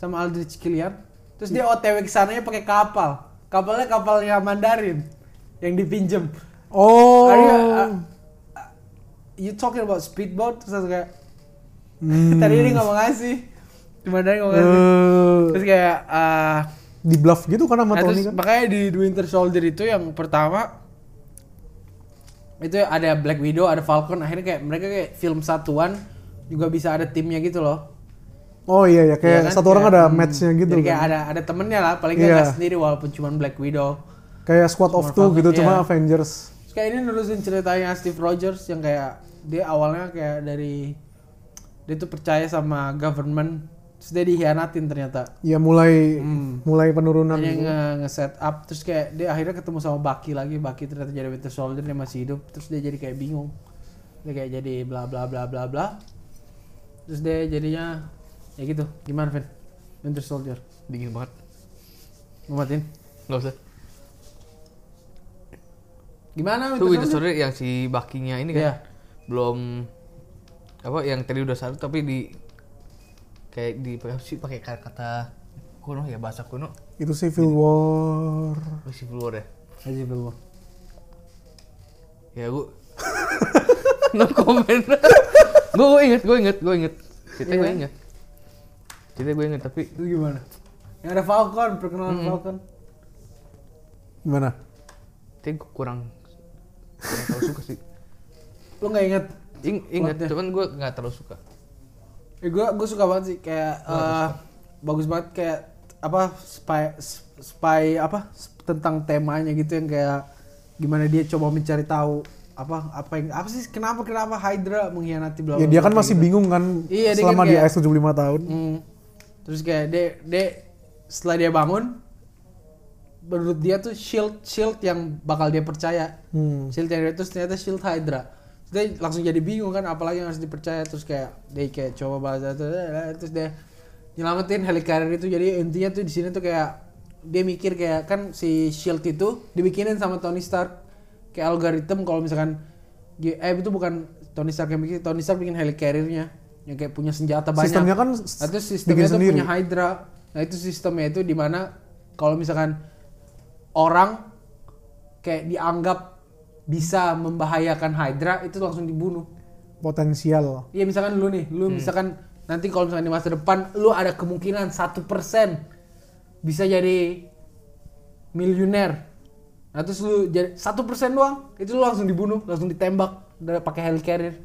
S1: sama Aldrich Killian. Terus dia OTW ke sananya pakai kapal. Kapalnya kapalnya Mandarin yang dipinjem.
S2: Oh.
S1: Are you, uh, uh, you talking about speedboat? Terus aku kayak
S2: Hmm.
S1: tadi dia nggak mau ngasih. Di Mandarin nggak mau ngasih.
S2: Eh,
S1: Terus kayak ah,
S2: di bluff gitu kan sama
S1: Nah,
S2: Tony
S1: terus
S2: kan.
S1: makanya di The Winter Soldier itu yang pertama itu ada Black Widow, ada Falcon, akhirnya kayak mereka kayak film satuan juga bisa ada timnya gitu loh.
S2: Oh iya ya
S1: Iya
S2: kayak
S1: kan?
S2: satu
S1: Kayak,
S2: orang ada
S1: hmm,
S2: match-nya gitu
S1: Jadi kayak
S2: kan.
S1: ada ada temennya lah, paling
S2: Iya.
S1: nggak nggak sendiri walaupun cuma Black Widow.
S2: Kayak Squad of
S1: Marvel,
S2: Two gitu
S1: iya.
S2: cuma Avengers.
S1: Terus kayak ini nerusin ceritanya Steve Rogers yang kayak dia awalnya kayak dari dia tuh percaya sama government, terus dia dihianatin ternyata.
S2: Ya mulai
S1: Hmm. Iya,
S2: mulai penurunan.
S1: Dia
S2: gitu.
S1: nge, set up terus kayak dia akhirnya ketemu sama Baki lagi Baki ternyata jadi Winter Soldier dia masih hidup terus dia jadi kayak bingung dia kayak jadi bla bla bla bla bla terus dia jadinya ya gitu gimana Vin Winter Soldier
S3: Dingin banget.
S1: ngobatin
S3: Nggak usah.
S1: Gimana
S3: Oh, Itu Winter
S1: Soldier?
S3: Soldier yang si bakinya ini kan
S1: Iya.
S3: belum apa yang tadi udah satu tapi di kayak di apa sih pakai kata kuno ya bahasa kuno
S2: Itu Civil War.
S3: masih keluar ya.
S1: Haji Bilbo.
S3: Ya gua no comment. Iya. gua gua inget, gua inget, gua inget. Cerita gua inget. Cerita gua inget tapi
S1: Itu gimana? Yang ada Falcon, perkenalan Falcon.
S2: Gimana?
S3: tapi gua kurang kurang terlalu suka sih.
S1: Lu nggak inget?
S3: Ing, ya? inget, cuman gua nggak terlalu suka.
S1: Eh, gue gue suka banget sih kayak eh, bagus banget kayak apa spy spy apa tentang temanya gitu yang kayak gimana dia coba mencari tahu apa apa yang apa sih kenapa kenapa Hydra mengkhianati bla
S2: Ya
S1: bla
S2: dia
S1: bla
S2: kan
S1: kayak
S2: masih
S1: gitu.
S2: bingung kan
S1: Iya, dia
S2: selama
S1: kan
S2: di
S1: kayak-
S2: AS 75 tahun.
S1: Hmm. Terus kayak dia dia setelah dia bangun menurut dia tuh shield shield yang bakal dia percaya.
S2: Hmm.
S1: Shield yang dia terus ternyata shield Hydra. Terus dia langsung jadi bingung kan apalagi yang harus dipercaya terus kayak dia kayak coba bahasa terus, eh, terus dia nyelamatin helicarrier itu jadi intinya tuh di sini tuh kayak dia mikir kayak kan si shield itu dibikinin sama Tony Stark kayak algoritma kalau misalkan eh itu bukan Tony Stark yang bikin Tony Stark bikin helicarriernya yang kayak punya senjata banyak
S2: Sistemnya kan
S1: Nah, itu
S2: bikin
S1: sistemnya itu
S2: sendiri.
S1: punya Hydra. Nah itu sistemnya itu dimana kalau misalkan orang kayak dianggap bisa membahayakan Hydra itu langsung dibunuh.
S2: Potensial.
S1: Iya misalkan lu nih, lu misalkan nanti kalau misalkan di masa depan lu ada kemungkinan satu persen bisa jadi miliuner. Nah terus lu jadi satu persen doang, itu lu langsung dibunuh, langsung ditembak dari pakai helicarrier.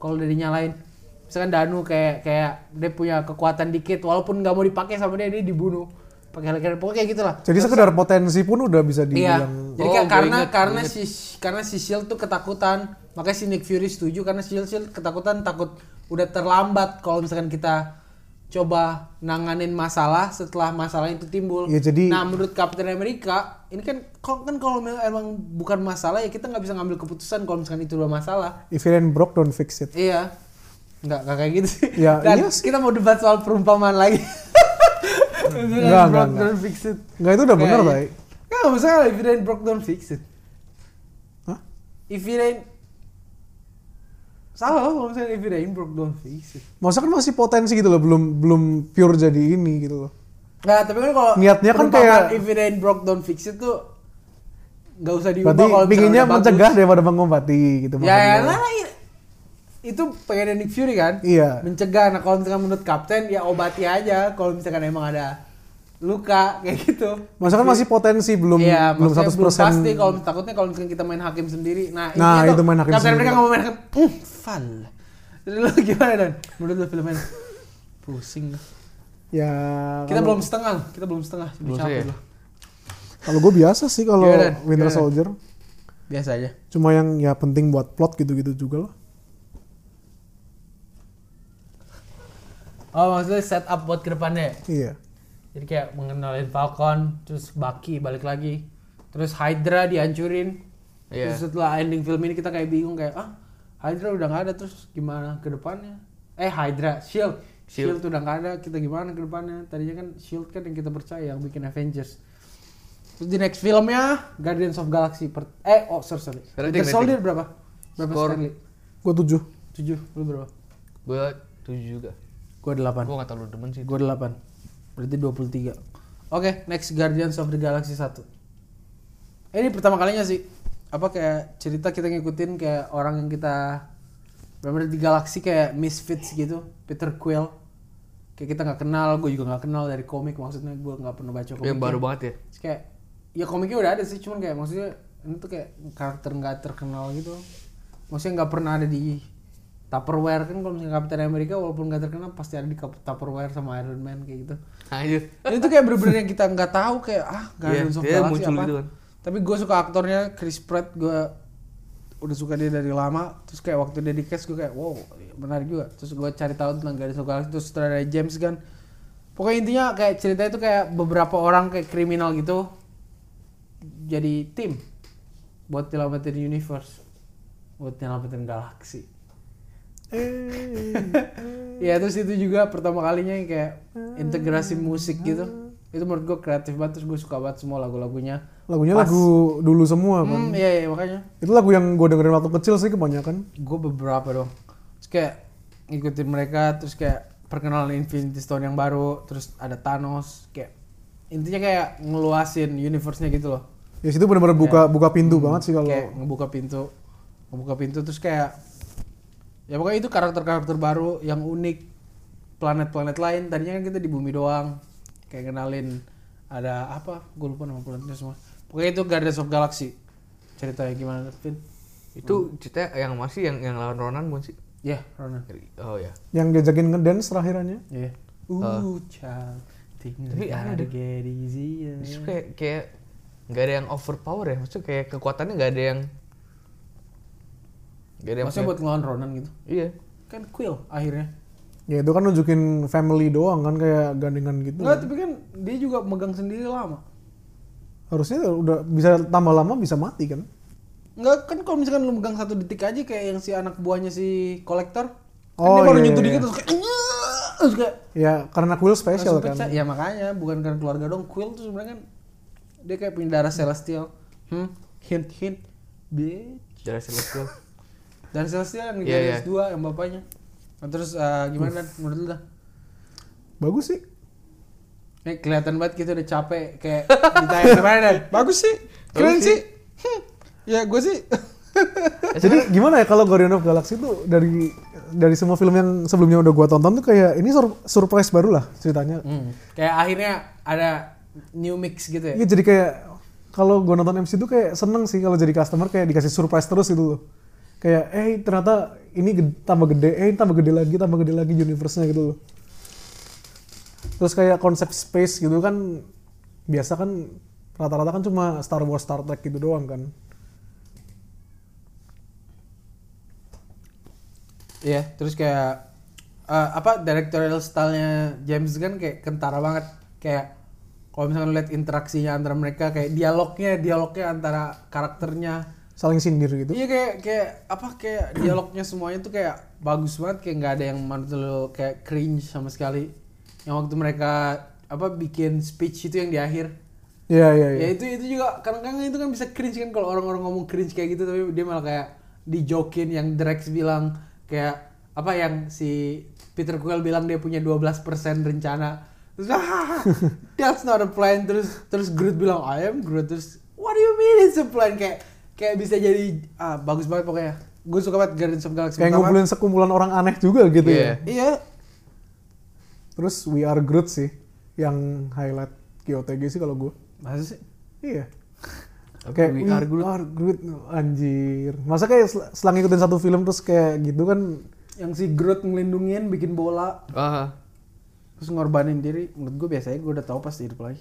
S1: Kalau udah dinyalain, misalkan Danu kayak kayak dia punya kekuatan dikit, walaupun nggak mau dipakai sama dia dia dibunuh pakai helicarrier. Pokoknya kayak gitulah.
S2: Jadi sekedar potensi pun udah
S1: Iya.
S2: bisa dibilang.
S1: Jadi
S3: Oh,
S1: kayak
S3: gua
S1: karena
S3: ingat,
S1: karena si karena si Shield E tuh ketakutan, makanya si Nick Fury setuju karena Shield Shield ketakutan takut udah terlambat kalau misalkan kita coba nanganin masalah setelah masalah itu timbul.
S2: Ya, jadi-
S1: Nah menurut Captain America ini kan kok- kan kalau memang- emang bukan masalah ya kita nggak bisa ngambil keputusan kalau misalkan itu udah masalah.
S2: If it ain't broke, don't fix it.
S1: Iya. Nggak, nggak kayak gitu sih.
S2: Ya,
S1: Dan
S2: iya sih.
S1: kita mau debat soal perumpamaan lagi.
S2: Nggak, nggak, nggak.
S1: Don't fix it.
S2: Nggak itu udah bener,
S1: Kayak-
S2: Bay.
S1: Nggak, nggak masalah. If it ain't broke, don't fix it.
S2: Hah?
S1: If it ain't... Salah loh kalau misalnya if it ain't broke, don't fix it.
S2: Maksudnya kan masih potensi gitu loh, belum belum pure jadi ini gitu loh.
S1: Nah, tapi kan kalau
S2: Niatnya kan
S1: perumpamaan
S2: kayak-
S1: if it ain't broke, don't fix it tuh nggak usah diubah
S2: Berarti
S1: kalau misalnya
S2: pinginnya
S1: Iya, udah bagus.
S2: mencegah daripada mengobati gitu
S1: Ya, ya
S2: maksudnya.
S1: nah, i- itu pengen Nick Fury kan?
S2: Iya.
S1: Mencegah. Nah, kalau misalkan menurut kapten ya obati aja kalau misalkan emang ada luka kayak gitu.
S2: Maksudnya kan masih potensi belum
S1: Iya,
S2: belum
S1: maksudnya
S2: 100%
S1: pasti kalau takutnya kalau misalkan kita main hakim sendiri. Nah,
S2: Nah,
S1: intinya
S2: itu main hakim
S1: Captain
S2: sendiri.
S1: America nggak mau main hakim. Hmm, fal. Jadi lu gimana dan? Menurut lu filmnya pusing.
S2: Ya
S1: Kita
S2: kalau-
S1: belum setengah, kita belum setengah. Udah
S3: Belum
S1: capek
S3: sih ya?
S1: gua.
S2: Kalau gue biasa sih kalau
S1: Gimana?
S2: Winter
S1: Gimana?
S2: Soldier.
S1: Biasa aja.
S2: Cuma yang ya penting buat plot gitu-gitu juga lah.
S5: Oh maksudnya set up buat kedepannya. ya?
S2: Iya.
S5: Jadi kayak mengenalin Falcon, terus Bucky balik lagi, terus Hydra dihancurin.
S3: Iya.
S5: Terus setelah ending film ini kita kayak bingung kayak ah Hydra udah nggak ada terus gimana ke depannya? Eh Hydra, Shield.
S3: Shield.
S5: Shield, E udah nggak ada, kita gimana ke depannya? Tadinya kan Shield kan yang kita percaya yang bikin Avengers. Terus di next filmnya Guardians of Galaxy per- eh oh sorry sorry.
S3: Rating,
S5: Winter Soldier berapa? Berapa
S3: Skor.
S5: Stanley?
S2: Gue tujuh.
S5: 7, lu berapa?
S3: Gua tujuh juga.
S1: Gua 8.
S3: Gua nggak terlalu demen sih.
S1: Gua 8. Berarti 23. Oke, next Guardians of the Galaxy 1. Eh, ini pertama kalinya sih apa kayak cerita kita ngikutin kayak orang yang kita benar di galaksi kayak misfits gitu, Peter Quill. Kayak kita nggak kenal, gue juga nggak kenal dari komik maksudnya gue nggak pernah baca komik.
S3: Yang baru banget ya.
S1: Terus kayak ya komiknya udah ada sih, cuman kayak maksudnya ini tuh kayak karakter nggak terkenal gitu. Maksudnya nggak pernah ada di Tupperware kan kalau misalnya Captain America walaupun nggak terkenal pasti ada di kap- Tupperware sama Iron Man kayak gitu.
S3: Anjir.
S1: Ini tuh kayak bener-bener yang kita nggak tahu kayak ah
S3: Iya,
S1: Guardians of
S3: dia
S1: Galaxy
S3: muncul
S1: apa.
S3: gitu kan.
S1: Tapi gue suka aktornya Chris Pratt gue udah suka dia dari lama terus kayak waktu dia di cast gue kayak wow menarik juga terus gue cari tahu tentang Guardians of Galaxy terus sutradara James Gunn pokoknya intinya kayak cerita itu kayak beberapa orang kayak kriminal gitu jadi tim buat nyelamatin universe buat nyelamatin galaksi Ya, Iya terus itu juga pertama kalinya yang kayak integrasi musik gitu itu menurut gue kreatif banget terus gue suka banget semua lagu-lagunya
S2: Lagunya
S1: Pas.
S2: lagu dulu semua kan.
S1: hmm iya iya makanya
S2: Itu lagu yang gue dengerin waktu kecil sih kebanyakan.
S1: gue beberapa dong terus kayak ngikutin mereka terus kayak perkenalan Infinity Stone yang baru terus ada Thanos kayak intinya kayak ngeluasin universe-nya gitu loh
S2: Ya situ benar-benar buka buka pintu
S1: Hmm,
S2: banget sih kalau
S1: kayak ngebuka pintu ngebuka pintu terus kayak ya pokoknya itu karakter-karakter baru yang unik planet-planet lain tadinya kan kita di bumi doang kayak kenalin ada apa gue lupa nama planetnya semua pokoknya itu Guardians of Galaxy ceritanya gimana Vin?
S3: Itu cerita yang masih yang yang lawan Ronan bukan sih?
S1: ya Ronan
S3: Oh ya.
S2: yang diajakin ngedance terakhirannya.
S1: ya uh child things
S3: Tapi ada
S1: gotta
S3: deh.
S1: get easier.
S3: Terus kayak kayak nggak ada yang overpower ya, maksudnya kayak kekuatannya nggak ada yang nggak ada yang
S1: maksudnya
S3: punya-
S1: buat ngelawan Ronan gitu
S3: iya
S1: kan Quill akhirnya
S2: Ya itu kan nunjukin family doang kan kayak gandengan gitu.
S1: Enggak, tapi kan dia juga megang sendiri lama
S2: Harusnya udah bisa tambah lama bisa mati kan.
S1: Enggak, kan kalau misalkan lu megang satu detik aja kayak yang si anak buahnya si kolektor. kan
S2: Oh,
S1: dia baru
S2: iya,
S1: nyentuh
S2: iya,
S1: dikit
S2: iya.
S1: terus kayak terus kayak
S2: Ya karena Quill
S1: langsung
S2: special kan.
S1: pecah. Ya makanya bukan karena keluarga dong, Quill tuh sebenarnya kan dia kayak punya darah celestial. Hmm, hint hint. Bitch.
S3: darah celestial
S1: Darah celestial yang di
S3: Iya,
S1: Guardians
S3: iya.
S1: 2 yang bapaknya. Nah, terus eh, gimana Dan? menurut lu dah?
S2: Bagus sih.
S1: Nih kelihatan banget kita udah capek kayak ditanya gimana Dan? Bagus sih. Keren
S3: Bagus
S1: sih. Hmm, ya gue sih
S2: Jadi gimana ya kalau Guardian of Galaxy tuh dari dari semua film yang sebelumnya udah gua tonton tuh kayak ini sur- surprise baru lah ceritanya.
S1: Hmm, kayak akhirnya ada new mix gitu ya.
S2: Iya jadi kayak kalau gue nonton MC itu kayak seneng sih kalau jadi customer kayak dikasih surprise terus gitu loh. Kayak eh ternyata ini ged- tambah gede, eh ini tambah gede lagi, tambah gede lagi universe-nya gitu loh. Terus kayak konsep space gitu kan biasa kan rata-rata kan cuma Star Wars, Star Trek gitu doang kan.
S1: Iya, terus kayak eh, apa directorial stylenya James Gunn kayak kentara banget. Kayak kalau misalkan lu lihat interaksinya antara mereka kayak dialognya, dialognya antara karakternya.
S2: Saling sindir gitu.
S1: Iya kayak kayak apa kayak dialognya semuanya tuh kayak bagus banget kayak nggak ada yang menurut lu kayak cringe sama sekali. Yang waktu mereka apa bikin speech itu yang di akhir.
S2: Iya iya iya.
S1: Ya itu itu juga kadang-kadang itu kan bisa cringe kan kalau orang-orang ngomong cringe kayak gitu tapi dia malah kayak dijokin yang Drex bilang kayak apa yang si Peter Quill bilang dia punya 12% rencana. Terus "Ah, that's not a plan terus terus Groot bilang I am Groot terus what do you mean it's a plan kayak kayak bisa jadi ah, bagus banget pokoknya. Gue suka banget Guardians of Galaxy
S2: Kayak
S1: pertama.
S2: ngumpulin sekumpulan orang aneh juga gitu
S3: Iya.
S2: ya.
S1: Iya,
S2: Terus We Are Groot sih yang highlight GOTG sih kalau gue.
S1: masa sih?
S2: Iya.
S3: Apa,
S2: Kayak
S3: We
S2: we are
S3: Are
S2: good. anjir. Masa kayak sel- selang ikutin satu film terus kayak gitu kan
S1: Yang si Groot ngelindungin bikin bola
S3: ah
S1: terus ngorbanin diri. Menurut gue biasanya gue udah tahu pasti hidup lagi.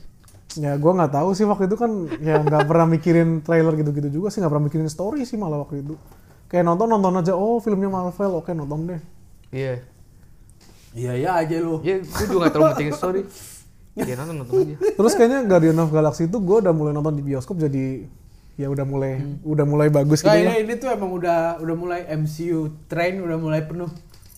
S2: ya gua nggak tahu sih waktu itu kan ya nggak pernah mikirin trailer gitu-gitu juga sih nggak pernah mikirin story sih malah waktu itu kayak nonton nonton aja oh filmnya Marvel oke nonton deh
S3: iya
S1: Iya iya aja lu.
S3: iya gue juga nggak terlalu penting story ya nonton nonton aja
S2: terus kayaknya Guardian of Galaxy itu gua udah mulai nonton di bioskop jadi ya udah mulai udah mulai bagus gitu
S1: Nah,
S2: lah
S1: ini, ini tuh emang udah udah mulai MCU train udah mulai penuh,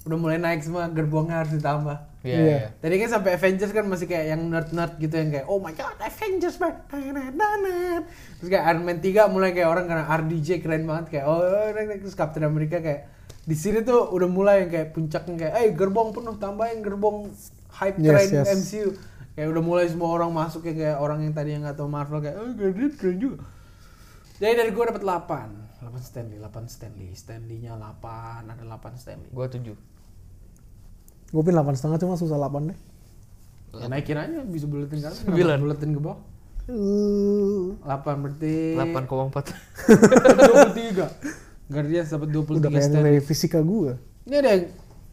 S1: udah mulai naik semua gerbongnya harus ditambah.
S3: iya
S2: Iya.
S3: iya
S1: Tadi kan sampai Avengers kan masih kayak yang nerd-nerd gitu yang kayak oh my god Avengers man. Ta-na-na-na. Terus kayak Iron Man 3 mulai kayak orang karena RDJ keren banget kayak oh rek, rek. terus Captain America kayak di sini tuh udah mulai yang kayak puncaknya kayak eh gerbong penuh tambahin gerbong hype
S2: Yes,
S1: train
S2: yes.
S1: MCU. Kayak udah mulai semua orang masuk yang kayak orang yang tadi yang nggak tahu Marvel kayak oh Guardian keren juga. Jadi dari gue dapat 8. 8 Stanley, 8 Stanley. Stanley-nya 8, ada 8 Stanley.
S3: gue tujuh
S2: gue pin delapan setengah cuma susah delapan deh
S1: Ya, naikin aja bisa buletin kan.
S3: Sembilan.
S1: Buletin ke bawah.
S2: Uh,
S1: 8 berarti
S3: delapan koma empat
S1: 23 Guardians dapat 23
S2: udah kayak
S1: stand.
S2: nilai fisika gua
S1: Ini ada yang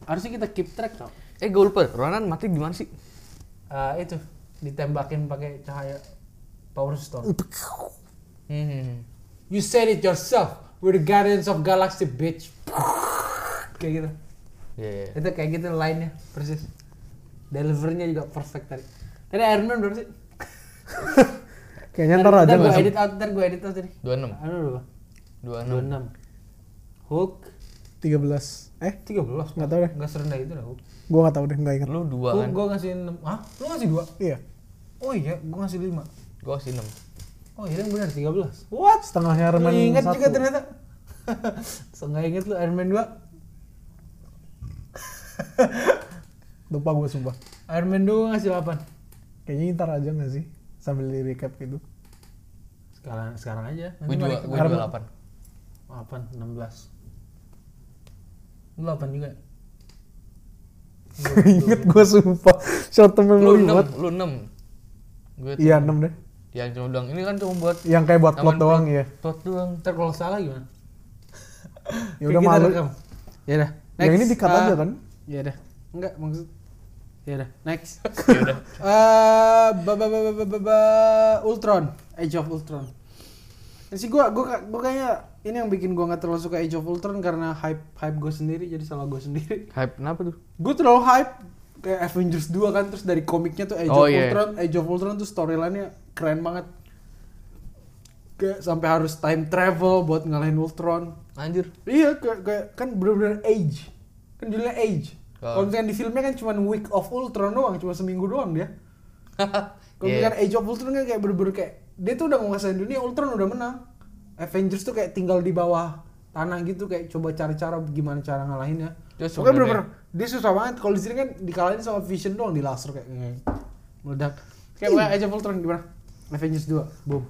S1: harusnya kita keep track tau.
S3: eh gue lupa Ronan mati di mana sih
S1: Ah, itu ditembakin pakai cahaya power stone.
S3: hmm.
S1: You said it yourself. We're the Guardians of Galaxy bitch. kayak gitu.
S3: iya iya
S1: Itu kayak gitu line-nya persis. Delivernya juga perfect tadi. Tadi Iron Man berapa sih?
S2: kayaknya ntar aja
S1: gue
S2: nggak
S1: edit out, ntar gue edit out tadi.
S3: dua enam
S1: Aduh, berapa?
S3: dua enam
S1: 26. Hook
S2: tiga belas eh
S1: 13.
S2: Nggak tahu deh.
S1: Enggak serendah itu dah Hook.
S2: gua nggak tahu deh nggak inget
S3: lu dua
S1: Gue
S3: kan
S1: gue ngasih 6. Hah? Lu ngasih 2?
S2: iya
S1: Oh iya, gua ngasih 5.
S3: Gue kasih 6.
S1: Oh iya, yang benar 13. What?
S2: Setengahnya Iron Man
S1: Lu ingat
S2: 1.
S1: juga ternyata. Setengah ingat lu Iron Man 2.
S2: Lupa gue sumpah.
S1: Iron Man 2 ngasih 8.
S2: Kayaknya ntar aja gak sih? Sambil di recap gitu.
S1: Sekarang sekarang aja.
S3: Gue juga, gue
S2: Karena-
S3: juga 8.
S1: 8, 16. Lu 8 juga.
S2: Ingat gue sumpah. Short term
S3: Lu
S2: memory buat.
S3: 6, lu 6. Gue
S2: Iya 6 deh.
S3: yang cuma bilang, ini kan cuma buat
S2: Yang kayak buat plot
S3: Taman
S2: doang ya.
S3: plot doang.
S1: Ntar kalau salah gimana?
S2: Ya udah malu.
S1: rekam. Ya udah.
S2: Yang ini dikat aja kan?
S1: Ya udah. Enggak maksud. Ya udah, next.
S3: Ya udah.
S1: Eh, ba ba ba ba ba- ba ba Ultron, Age of Ultron. Dan sih gua gua ka- gua kayaknya ini yang bikin gua nggak terlalu suka Age of Ultron karena hype hype gua sendiri jadi salah gua sendiri.
S3: Hype kenapa tuh?
S1: Gua terlalu hype kayak Avengers 2 kan terus dari komiknya tuh Age
S3: Oh,
S1: of
S3: iya.
S1: Ultron, Age of Ultron tuh storyline-nya keren banget. Kayak sampai harus time travel buat ngalahin Ultron.
S3: Anjir.
S1: Iya, kayak, kayak- kan bener-bener age. Kan judulnya age.
S3: Ah.
S1: Kalau misalkan di filmnya kan cuma Week of Ultron doang, cuma seminggu doang dia. Kalau
S3: Iya.
S2: eh
S1: misalkan Age of Ultron kan kayak bener-bener kayak dia tuh udah nguasain dunia, Ultron udah menang. Avengers tuh kayak tinggal di bawah tanah gitu kayak coba cari-cara gimana cara ngalahinnya. Pokoknya
S3: Terus sebenarnya-
S1: bener-bener dia susah banget. Kalau di sini kan dikalahin sama Vision doang di laser kayak kayak meledak. Kayak
S3: Iya.
S1: pokoknya Age of Ultron gimana? Avengers 2, boom.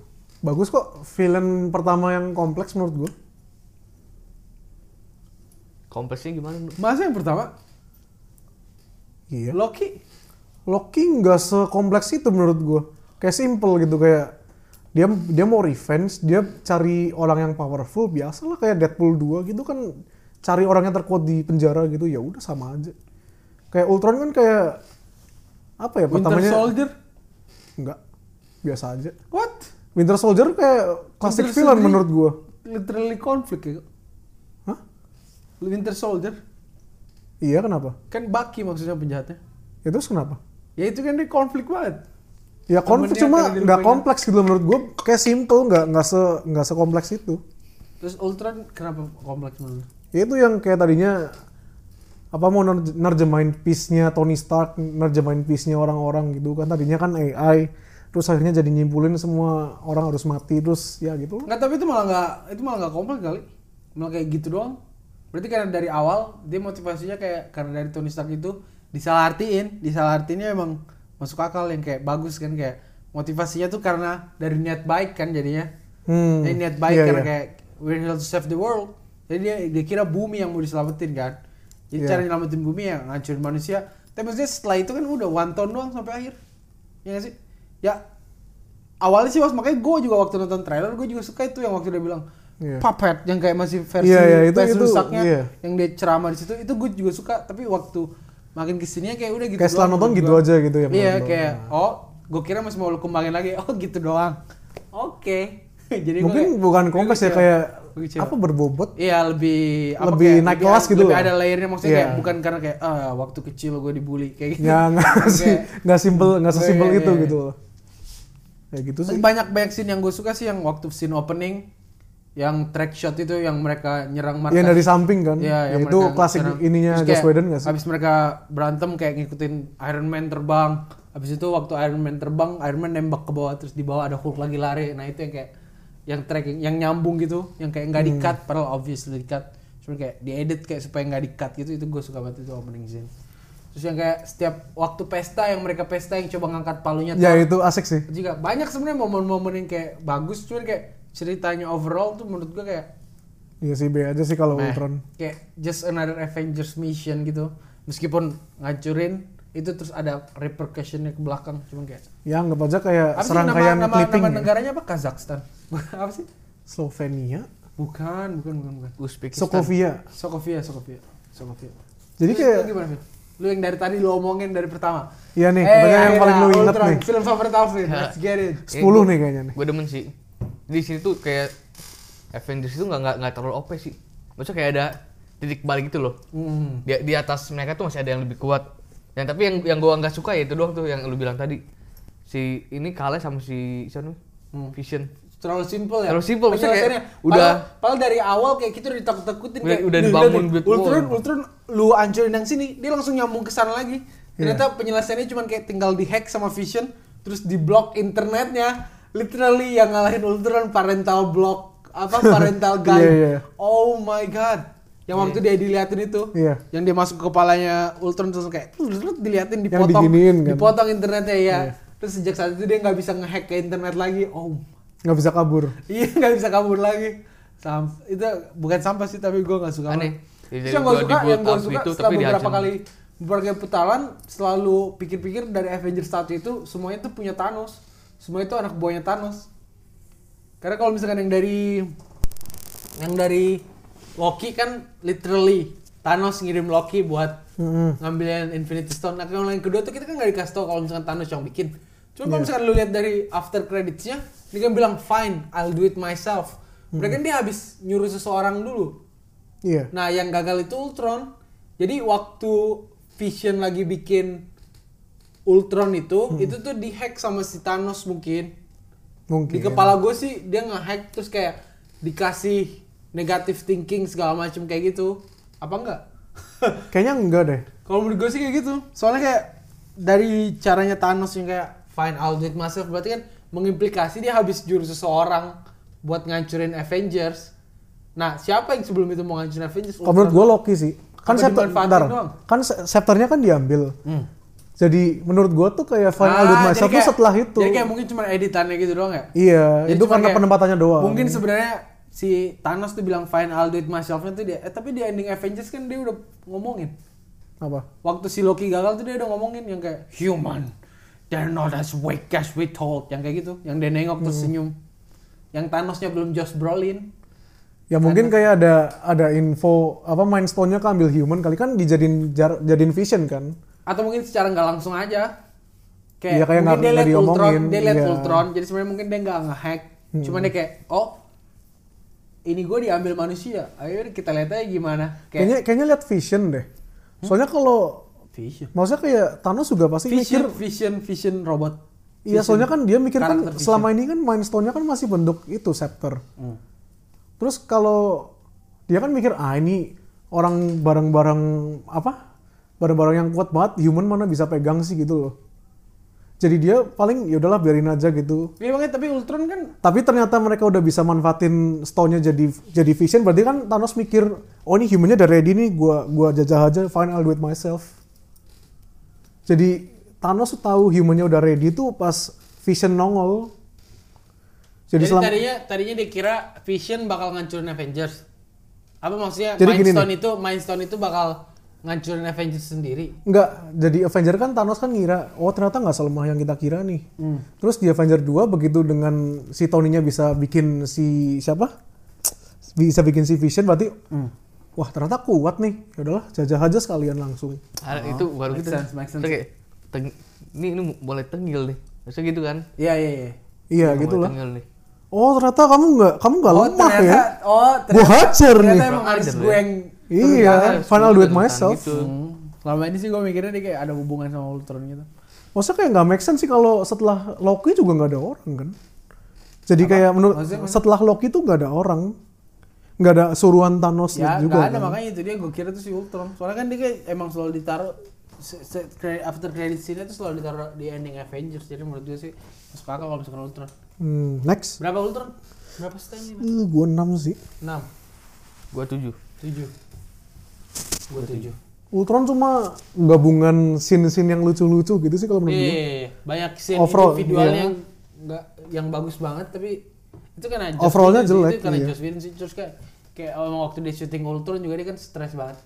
S2: Bagus kok villain pertama yang kompleks menurut gue.
S3: Kompleksnya gimana? Lu?
S1: Masa yang pertama
S2: Iya.
S1: Loki
S2: Loki nggak sekompleks itu menurut gue. Kayak simple gitu kayak dia dia mau revenge, dia cari orang yang powerful biasalah kayak Deadpool 2 gitu kan cari orang yang terkuat di penjara gitu ya udah sama aja. Kayak Ultron kan kayak apa ya
S1: Winter
S2: pertamanya
S1: Soldier.
S2: enggak biasa aja.
S1: What?
S2: Winter Soldier kayak klasik
S1: Winter
S2: villain
S1: Soldier-
S2: menurut gue.
S1: literally konflik ya
S2: Hah?
S1: Winter Soldier
S2: Iya kenapa?
S1: kan Bucky maksudnya penjahatnya
S2: Ya terus kenapa?
S1: ya itu kan dia konflik banget
S2: Ya konflik
S1: Temennya
S2: cuma
S1: akan
S2: nggak
S1: dirupanya.
S2: kompleks gitu loh menurut gue. Kayak simple nggak nggak se nggak sekompleks itu.
S1: terus Ultron kenapa kompleks menurut lu?
S2: Ya itu yang kayak tadinya apa mau ner- nerjemahin piece-nya Tony Stark, nerjemahin piece-nya orang-orang gitu kan. Tadinya kan AI, terus akhirnya jadi nyimpulin semua orang harus mati terus ya gitu.
S1: nggak tapi itu malah nggak itu malah nggak kompleks kali malah kayak gitu doang berarti karena dari awal dia motivasinya kayak karena dari Tony Stark itu disalahartiin disalahartiinnya emang masuk akal yang kayak bagus kan kayak motivasinya tuh karena dari niat baik kan jadinya
S2: Hmm.
S1: Ini niat baik
S2: Iya,
S1: karena
S2: iya.
S1: kayak we're here to save the world. Jadi dia, dia kira bumi yang mau diselamatin kan. Jadi
S2: Iya.
S1: cara nyelamatin bumi ya ngancurin manusia. Tapi maksudnya setelah itu kan udah one ton doang sampai akhir. Iya gak sih? Ya awalnya sih was makanya gue juga waktu nonton trailer gue juga suka itu yang waktu dia bilang
S2: Iya.
S1: puppet yang kayak masih versi
S2: Iya, iya, itu-
S1: versi
S2: itu,
S1: rusaknya
S2: iya.
S1: yang dia ceramah di situ itu gue juga suka tapi waktu makin kesininya kayak udah gitu
S2: Kayak setelah
S1: doang
S2: nonton
S1: menurut
S2: gitu
S1: gua.
S2: aja gitu ya,
S1: iya
S2: menurut
S1: kayak oh gue kira masih mau lu kembangin lagi oh gitu doang oke jadi gua
S2: Mungkin
S1: kayak-
S2: bukan
S1: gua
S2: kompleks ya
S1: kecewa.
S2: kayak
S1: Gua kecewa.
S2: apa berbobot.
S1: Iya lebih apa
S2: Lebih naik kelas gitu
S1: Lebih
S2: loh.
S1: ada layernya maksudnya
S2: Iya.
S1: kayak bukan karena kayak ah waktu kecil gue dibully kayak gitu.
S2: Ya nggak sih, nggak simple, nggak sesimpel
S1: Iya, iya,
S2: itu
S1: iya.
S2: gitu. loh. Ya gitu sih.
S1: Banyak banyak scene yang gue suka sih yang waktu scene opening yang track shot itu yang mereka nyerang markas.
S2: Yang dari samping kan.
S1: Iya,
S2: Ya,
S1: yang
S2: itu
S1: mereka
S2: klasik
S1: nyerang.
S2: ininya
S1: Terus
S2: Joss
S1: kayak
S2: Whedon nggak sih?
S1: Habis mereka berantem kayak ngikutin Iron Man terbang. Habis itu waktu Iron Man terbang, Iron Man nembak ke bawah terus di bawah ada Hulk lagi lari. Nah, itu yang kayak yang tracking yang nyambung gitu, yang kayak
S2: Hmm.
S1: nggak di-cut padahal obviously di-cut. Cuma kayak diedit kayak supaya nggak di-cut gitu itu gue suka banget itu opening scene. Terus yang kayak setiap waktu pesta yang mereka pesta yang coba ngangkat palunya
S2: Ya
S1: Thor
S2: itu asik sih.
S1: juga banyak sebenarnya momen-momen yang kayak bagus cuman kayak ceritanya overall tuh menurut gue kayak
S2: Iya sih B aja sih kalau
S1: Nah,
S2: Ultron.
S1: Kayak just another Avengers mission gitu. Meskipun ngancurin itu terus ada repercussionnya ke belakang cuman kayak
S2: Ya anggap aja kayak
S1: apa sih nama,
S2: serangkaian
S1: nama,
S2: clipping
S1: nama
S2: ya.
S1: negaranya apa Kazakhstan apa sih
S2: Slovenia,
S1: bukan bukan bukan bukan
S3: Uzbekistan.
S2: Sokovia.
S1: Sofia Sofia Sofia
S2: Jadi
S1: Lu-
S2: kayak
S1: lu gimana Vin? lu yang dari tadi lu omongin dari pertama
S2: Iya nih,
S1: Eh,
S2: pertanyaan yang
S1: akhirnya,
S2: paling lu inget
S1: Ultron,
S2: nih.
S1: film favorit Alvin let's get it
S2: 10 nih kayaknya nih.
S3: Gue Iya, demen sih. Di sini tuh kayak Avengers itu nggak nggak nggak terlalu OP sih. Maksudnya kayak ada titik balik gitu loh.
S1: hmm.
S3: Di, di atas mereka tuh masih ada yang lebih kuat. Yang tapi yang yang gua nggak suka ya itu doang tuh yang lu bilang tadi. Si ini kalah sama si siapa nih?
S2: Hmm.
S3: Vision.
S1: terlalu simple ya
S3: Terlalu simple, maksudnya kayak
S1: Penyelesaiannya.
S3: udah-
S1: padahal, padahal dari awal kayak kita udah ditakut-takutin
S3: Udah-
S1: kayak
S3: udah
S1: "Nih,
S3: dibangun
S1: nih,
S3: build
S1: Ultron
S3: wall."
S1: Ultron lu
S3: Iya.
S1: hancurin yang sini dia langsung nyambung ke sana lagi ternyata penyelesaiannya cuma kayak tinggal di hack sama Vision terus di blok internetnya literally yang ngalahin Ultron parental block apa parental guide
S2: Iya, iya.
S1: oh my god yang waktu dia diliatin itu
S2: Iya.
S1: yang dia masuk ke kepalanya Ultron terus kayak terus diliatin dipotong
S2: diginiin kan.
S1: dipotong internetnya ya
S3: Iya.
S1: terus sejak saat itu dia nggak bisa ngehack ke internet lagi oh
S2: nggak bisa kabur
S1: iya nggak bisa kabur lagi Sam- itu bukan sampah sih tapi gue nggak suka
S3: Aneh.
S1: banget.
S3: Jadi
S1: Terus yang gue
S3: gua
S1: suka yang gue
S3: dibuat
S1: suka
S3: itu,
S1: setelah
S3: tapi
S1: beberapa
S3: dihajam.
S1: kali berbagai putaran selalu pikir-pikir dari Avengers 1 itu semuanya itu punya Thanos semua itu anak buahnya Thanos karena kalau misalkan yang dari yang dari Loki kan literally Thanos ngirim Loki buat ngambilin Infinity Stone. Nah, yang lain kedua tuh kita kan nggak dikasih tau kalau misalkan Thanos yang bikin. Cuma kalau misalkan lu lihat dari after creditsnya, dia kan bilang fine, I'll do it myself. Mereka kan dia habis nyuruh seseorang dulu.
S2: iya
S1: Nah, yang gagal itu Ultron. Jadi waktu Vision lagi bikin Ultron itu, itu tuh dihack sama si Thanos mungkin
S2: mungkin
S1: di kepala gue sih dia nge-hack terus kayak dikasih negative thinking segala macem kayak gitu apa enggak
S2: kayaknya enggak deh
S1: kalau menurut gue sih kayak gitu soalnya kayak dari caranya Thanos yang kayak find out with myself berarti kan mengimplikasi dia habis jurus seseorang buat ngancurin Avengers nah siapa yang sebelum itu mau ngancurin Avengers
S2: Kalau menurut gue Loki sih. Kan
S1: Apa
S2: scepter,
S1: dimanfaatin
S2: bentar.
S1: doang? Hmm.
S2: kan se- scepternya kan diambil. Jadi menurut gue tuh
S1: Ah,
S2: kayak final ah,
S1: jadi
S2: myself tuh
S1: kayak-
S2: setelah itu.
S1: jadi kayak mungkin cuma editannya gitu doang ya
S2: iya,
S1: Jadi
S2: itu
S1: cuma
S2: karena
S1: kayak-
S2: penempatannya doang.
S1: Mungkin sebenarnya si Thanos tuh bilang fine I'll do it myself tuh dia. Eh, tapi di ending Avengers kan dia udah ngomongin.
S2: apa?
S1: Waktu si Loki gagal tuh dia udah ngomongin yang kayak human. They're not as weak as we thought. Yang kayak gitu, yang dia nengok terus
S2: Hmm.
S1: senyum. Yang Thanosnya belum Josh Brolin.
S2: Ya mungkin kayak ada ada info apa mind stone-nya kan ambil human kali kan dijadiin jar, jadiin vision kan.
S1: Atau mungkin secara nggak langsung aja. Kayak,
S2: Iya, kayak
S1: mungkin
S2: nggak-
S1: dia
S2: nggak
S1: lihat Ultron,
S2: diomongin,
S1: dia lihat
S2: iya. Hmm.
S1: Ultron. Jadi sebenarnya mungkin dia nggak ngehack. Cuma dia kayak, oh ini gue diambil manusia. Ayo kita lihat aja gimana. Kayak Hmm?
S2: Kayaknya kayaknya lihat vision deh. Soalnya kalau
S1: Vision.
S2: maksudnya kayak Thanos juga pasti
S1: Vision,
S2: mikir
S1: vision, vision robot.
S2: Iya, soalnya kan dia mikir kan
S1: Karakter vision.
S2: selama ini kan mind stone-nya kan masih bentuk itu scepter.
S1: Hmm.
S2: Terus kalau dia kan mikir ah ini orang barang-barang apa? Barang-barang yang kuat banget, human mana bisa pegang sih gitu loh. Jadi dia paling ya udahlah biarin aja gitu.
S1: Iya banget, tapi Ultron kan
S2: Tapi ternyata mereka udah bisa manfaatin stone-nya jadi jadi vision, berarti kan Thanos mikir, oh ini human-nya udah ready nih, gua gua jajah aja, fine I'll do it myself. Jadi Thanos tuh tahu human-nya udah ready tuh pas Vision nongol. Jadi,
S1: jadi,
S2: selama
S1: tadinya tadinya dia kira Vision bakal ngancurin Avengers. Apa maksudnya
S2: Jadi
S1: Mind
S2: gini
S1: Stone itu Mind Stone itu bakal ngancurin Avengers sendiri.
S2: Enggak, jadi Avenger kan Thanos kan ngira, oh ternyata nggak selemah yang kita kira nih. Terus di Avenger 2 begitu dengan si Tony-nya bisa bikin si siapa? Bisa bikin si Vision berarti wah ternyata kuat nih. Ya udahlah, jajah aja sekalian langsung.
S3: Ada itu baru
S1: makes
S3: kita.
S1: Oh, sense, makes sense.
S3: Kita kayak, teng- ini ini mulai tengil nih. Biasanya gitu kan?
S1: Iya iya iya.
S2: Iya,
S3: Mulai
S2: gitu lah.
S3: Tengil nih.
S2: Oh, ternyata kamu nggak kamu nggak lemah ya.
S1: oh
S2: Gua hajar
S1: ternyata
S2: nih.
S1: emang harus
S3: Hajar
S1: gue
S3: ya.
S1: yang
S2: Iya,
S3: Ternyata
S2: final
S3: sebelum
S2: duet
S3: kan? tentang
S2: myself.
S3: gitu.
S1: Hmm. selama ini sih gue mikirnya dia kayak ada hubungan sama Ultron gitu.
S2: Maksudnya kayak nggak make sense sih kalau setelah Loki juga nggak ada orang kan. Jadi kayak menurut setelah Loki tuh nggak ada orang, nggak ada suruhan Thanos
S1: Ya
S2: juga.
S1: nggak ada
S2: kan.
S1: makanya itu dia gue kira tuh si Ultron. Soalnya kan dia kayak emang selalu ditaruh se- se- cre- after credit scene itu selalu ditaruh di ending Avengers. Jadi menurut gue sih masuk akal kalau misalkan Ultron.
S2: Hmm, next,
S1: Berapa Ultron? Berapa stamina?
S2: Eh, gue 6 sih.
S1: 6,
S3: Gua tujuh.
S1: 7. Gua 7.
S2: Ultron cuma gabungan scene-scene yang lucu-lucu gitu sih
S1: Iya,
S2: kalau menurut gue.
S1: iya, iya. banyak scene
S2: Overall,
S1: individualnya
S2: iya.
S1: yang nggak yang bagus banget tapi itu karena Joss
S2: Overallnya
S1: Whedon sih,
S2: jelek,
S1: Itu karena
S2: iya.
S1: Joss Whedon sih terus kayak kayak emang waktu dia syuting Ultron juga dia kan stres banget.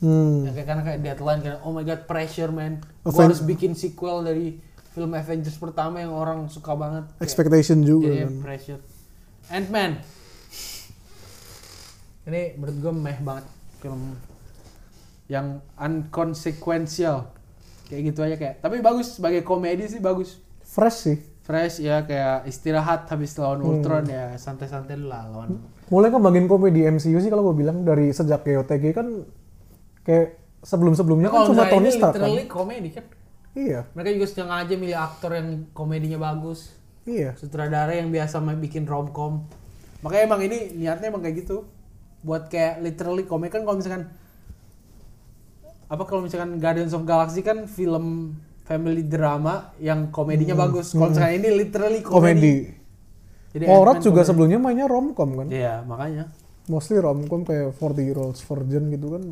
S2: Hmm.
S1: Ya, kayak- karena kayak deadline karena oh my god pressure man.
S2: Aven-
S1: Gua harus bikin sequel dari film Avengers pertama yang orang suka banget. Kayak-
S2: Expectation juga
S1: Jadi
S2: kan.
S1: pressure. Ant-Man. Ini menurut gue meh banget film yang unconsequential kayak gitu aja kayak tapi bagus sebagai komedi sih bagus
S2: Fresh sih.
S1: fresh ya kayak istirahat habis lawan
S2: Hmm.
S1: Ultron ya santai-santai dulu lah lawan
S2: Mulai kembangin komedi MCU sih kalau gue bilang dari sejak GOTG kan kayak sebelum-sebelumnya kan
S1: kalau
S2: cuma
S1: Zai
S2: Tony
S1: Oh, ini
S2: Stark kan.
S1: literally komedi kan
S2: Iya,
S1: mereka juga sengaja milih aktor yang komedinya bagus
S2: iya.
S1: sutradara yang biasa main bikin romcom makanya emang ini niatnya emang kayak gitu buat kayak literally komedi kan kalau misalkan apa kalau misalkan Guardians of Galaxy kan film family drama yang komedinya bagus. Kalau sekarang ini literally komedi.
S2: Hmm. komedi.
S1: Jadi
S2: Borat
S1: Ant-Man
S2: juga
S1: komedi.
S2: sebelumnya mainnya romcom kan.
S1: Iya, makanya.
S2: Mostly romcom kayak 40 Year Olds Virgin gitu kan.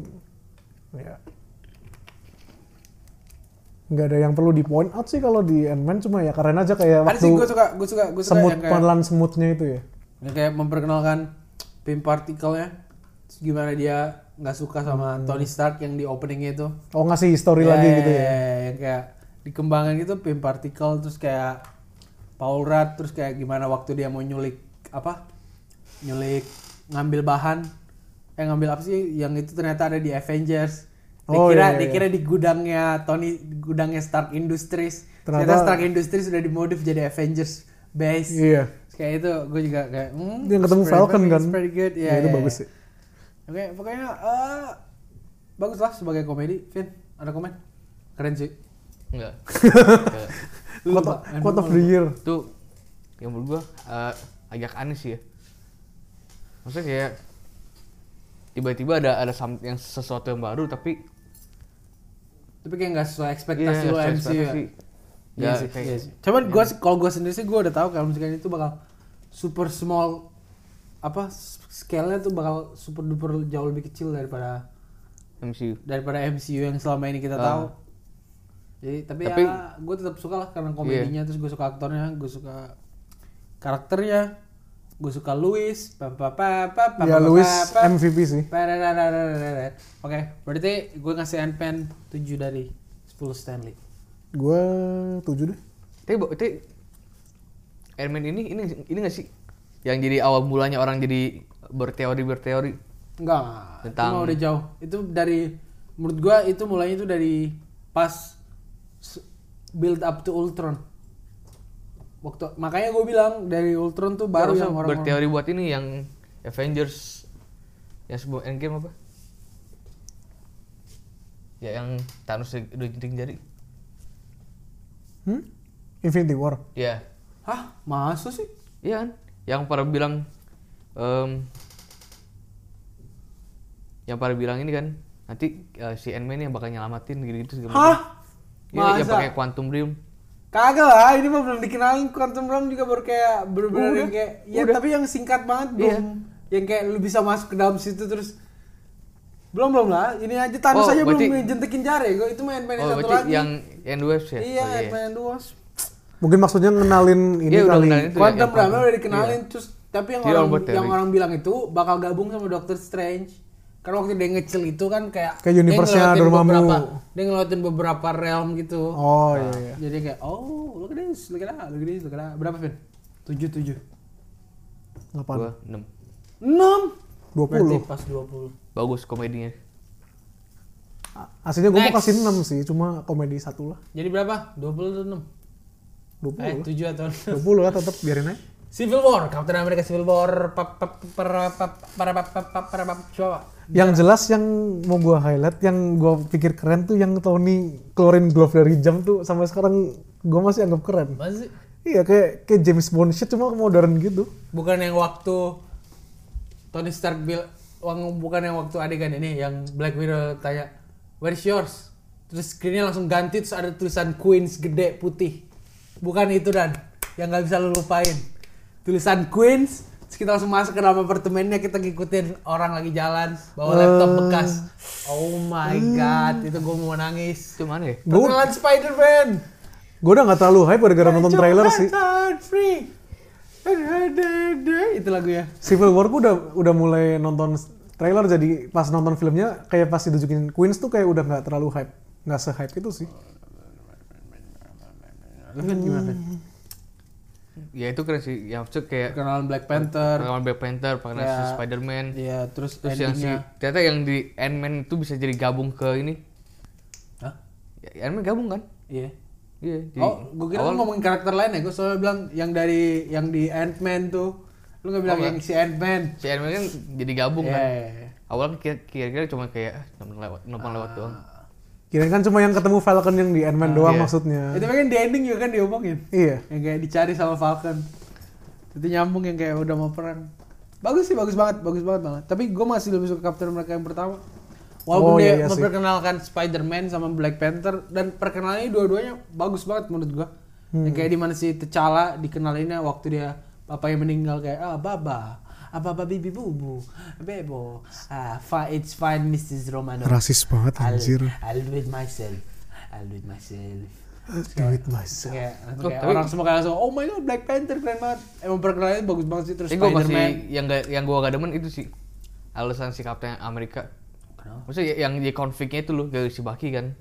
S2: Ya. Nggak ada yang perlu di point out sih kalau di Ant-Man cuma ya keren aja kayak
S1: Ada sih gue
S2: waktu
S1: suka, gue suka, gue suka
S2: semut
S1: yang kayak,
S2: pelan semutnya itu ya.
S1: yang kayak memperkenalkan Pim Particle-nya. Terus gimana dia nggak suka sama
S2: Hmm.
S1: Tony Stark yang di openingnya itu.
S2: Oh
S1: Iya,
S2: ngasih history lagi gitu ya.
S1: Yang kayak dikembangin gitu Pim Particle terus kayak Paul Rudd terus kayak gimana waktu dia mau nyulik apa? Nyulik ngambil bahan eh ngambil apa sih yang itu ternyata ada di Avengers. Dikira
S2: Oh, iya, iya,
S1: dikira di gudangnya Tony gudangnya Stark Industries. Ternyata,
S2: Ternyata-
S1: Stark Industries sudah dimodif jadi Avengers base.
S2: Iya.
S1: Terus Kayak itu gue juga kayak hmm,
S2: Dia ketemu
S1: it's pretty-
S2: Falcon kan.
S1: it's pretty good.
S2: Ya,
S1: Iya,
S2: itu
S1: iya,
S2: bagus
S1: iya.
S2: sih.
S1: Oke, pokoknya eh bagus lah sebagai komedi. Vin, ada komen? Keren sih.
S3: Enggak. Enggak.
S1: Lu
S2: Quote
S1: lupa,
S2: of-
S1: Andrew
S2: quote of
S1: mau
S2: the year.
S3: Itu yang menurut gua eh, agak aneh sih ya. Maksudnya kayak tiba-tiba ada ada some- yang sesuatu yang baru tapi
S1: Tapi kayak nggak sesuai
S3: Iya,
S1: ekspektasi lo
S3: sesuai
S1: MC ya.
S3: ekspektasi.
S1: Iya
S3: Ya,
S1: sih,
S3: kayak-
S1: iya sih. Cuman gua sih- kalau gue sendiri sih gue udah tahu kalau misalkan itu bakal super small apa s- scale-nya tuh bakal super duper jauh lebih kecil daripada
S3: MCU.
S1: daripada MCU yang selama ini kita
S3: Ah.
S1: tahu. Jadi tapi,
S3: Tapi-
S1: ya gue tetap suka lah karena komedinya terus gue suka aktornya, gue suka karakternya, gue suka Louis, pa pa pa pa pa, pa,
S2: Ya
S1: pa,
S2: Louis
S1: pa.
S2: MVP sih.
S1: Perererererereret. Oke, berarti gue ngasih Ant-Man 7 dari 10 Stanley.
S2: Gue tujuh deh.
S3: Tapi bo- tapi Iron Man ini ini ini nggak sih yang jadi awal mulanya orang jadi berteori berteori.
S1: Enggak,
S3: Tentang-
S1: itu mah udah jauh. Itu dari menurut gue itu mulainya itu dari pas s- build up to Ultron. Waktu makanya gue bilang dari Ultron tuh baru
S3: Harusnya
S1: yang orang
S3: berteori buat ini yang Avengers yang sebelum Endgame apa? Ya yang Thanos udah jenting jari.
S2: Hmm? Infinity War.
S3: Ya,
S1: Hah, masa sih?
S3: iya kan? Yang para bilang em, yang para bilang ini kan nanti eh, si Endman yang bakal nyelamatin gitu-gitu segala macam.
S1: Hah?
S3: Iya, yang
S1: Masa?
S3: pakai quantum realm.
S1: Kagak lah, ini mah belum dikenalin Quantum Realm juga baru kayak bener-bener
S3: Udah,
S1: yang kayak ya
S3: udah. Iya.
S1: tapi yang singkat banget belum yang kayak lu bisa masuk ke dalam situ terus belum belum lah ini aja Thanos
S3: Oh,
S1: aja belum
S3: berarti-
S1: jentekin jari gue itu main main
S3: Oh,
S1: satu
S3: berarti
S1: lagi
S3: yang yang dua ya?
S1: iya
S3: Oh,
S1: main main dua
S2: Mungkin maksudnya ngenalin ini
S3: Iya, udah
S2: kali.
S3: ngenalin. Itu ya,
S1: Quantum
S3: yang
S1: Realm
S3: Quantum.
S1: udah dikenalin terus tapi yang
S3: Jadi
S1: orang
S3: orang buat
S1: yang
S3: teori.
S1: orang bilang itu bakal gabung sama Doctor Strange karena waktu dia ngecil itu kan kayak
S2: Kayak
S1: dia
S2: universe-nya
S1: ngelewatin
S2: Dormammu.
S1: beberapa dia ngelewatin beberapa realm gitu
S3: Nah.
S2: Oh iya iya.
S1: Jadi kayak oh look at this, look at that, look at this, look at that. Berapa Vin? 7 7.
S2: 8.
S3: Dua, enam.
S1: 6.
S2: 20.
S1: pas 20.
S3: Bagus komedinya.
S2: A- Aslinya gue mau
S1: Next.
S2: kasih 6 sih, cuma komedi satu lah.
S1: Jadi berapa? 20 atau 6? Eh
S2: 20 lah.
S1: 7 atau 6.
S2: 20 lah tetap biarin aja.
S1: Civil War, Captain America Civil War, pap pap para pap para pap pap pap para pap coba.
S2: Yang jelas yang mau gue highlight, yang gue pikir keren tuh yang Tony keluarin glove dari jam tuh sampai sekarang gue masih anggap keren.
S1: Masih
S2: Iya kayak kayak James Bond shit cuma modern gitu.
S1: bukan yang waktu Tony Stark bil wang- bukan yang waktu adegan ini yang Black Widow tanya where's yours terus screennya langsung ganti terus ada tulisan Queens gede putih bukan itu dan yang nggak bisa lu lupain tulisan Queens terus kita langsung masuk ke dalam apartemennya kita ngikutin orang lagi jalan bawa laptop
S2: Eh.
S1: bekas oh my god itu gue mau nangis
S3: Itu mana ya?
S1: perkenalan Spider-Man
S2: Gue udah nggak terlalu hype gara-gara
S3: Nah,
S2: nonton trailer
S3: kan
S2: sih.
S1: Jonathan Free itu lagu ya
S2: Civil War gue udah udah mulai nonton s- trailer jadi pas nonton filmnya kayak pas ditunjukin Queens tuh kayak udah nggak terlalu hype, nggak se hype itu sih.
S1: Kan gimana?
S3: Ya itu keren sih. Yang maksud kayak
S1: Perkenalan Black Panther.
S3: pengalaman Black Panther, pengalaman si
S1: Ya.
S3: Spider-Man.
S1: Iya, terus,
S3: Terus yang si
S1: endingnya.
S3: ternyata yang di Ant-Man itu bisa jadi gabung ke ini.
S1: Hah?
S3: Ya, Ant-Man gabung kan?
S1: Iya.
S3: Iya. jadi
S1: Oh, gue kira
S3: awal-
S1: lu ngomongin karakter lain ya. Gue soalnya bilang yang dari yang di Ant-Man tuh. Lu nggak bilang
S3: Oh,
S1: yang si Ant-Man.
S3: si Ant-Man kan jadi gabung
S1: Iya,
S3: kan.
S1: iya, iya.
S3: Awalnya kira- kira-kira cuma kayak ah, numpang lewat, numpang lewat doang.
S2: Kirain kan cuma yang ketemu Falcon yang di Ant-Man doang
S3: iya.
S2: maksudnya.
S1: Itu kan di ending juga kan diomongin.
S2: Iya.
S1: Yang kayak dicari sama Falcon. Itu nyambung yang kayak udah mau perang. Bagus sih, bagus banget, bagus banget banget. Tapi gue masih lebih suka Captain America yang pertama. Walaupun
S2: Oh,
S1: dia
S2: iya, iya sih.
S1: memperkenalkan Spider-Man sama Black Panther dan perkenalannya dua-duanya bagus banget menurut gua.
S2: Hmm.
S1: Yang kayak di mana si T'Challa dikenalinnya waktu dia papanya meninggal kayak ah baba, ah baba bibi bubu, bebo, ah fi- it's fine Mrs. Romano.
S2: Rasis banget
S1: I'll,
S2: anjir.
S1: I'll do it myself. I'll do it myself.
S2: Do
S1: Terus
S2: it myself.
S1: Kayak, langsung
S3: Oh,
S1: kayak
S3: tapi-
S1: orang semua kayak langsung oh my god Black Panther keren banget. Emang perkenalannya bagus banget sih terus
S3: Tapi gue masih
S1: Spider-Man.
S3: yang gak, yang gue gak demen itu sih alasan si Kapten Amerika.
S1: Kenapa?
S3: Maksudnya ya, yang di konfliknya itu loh dari si Baki kan.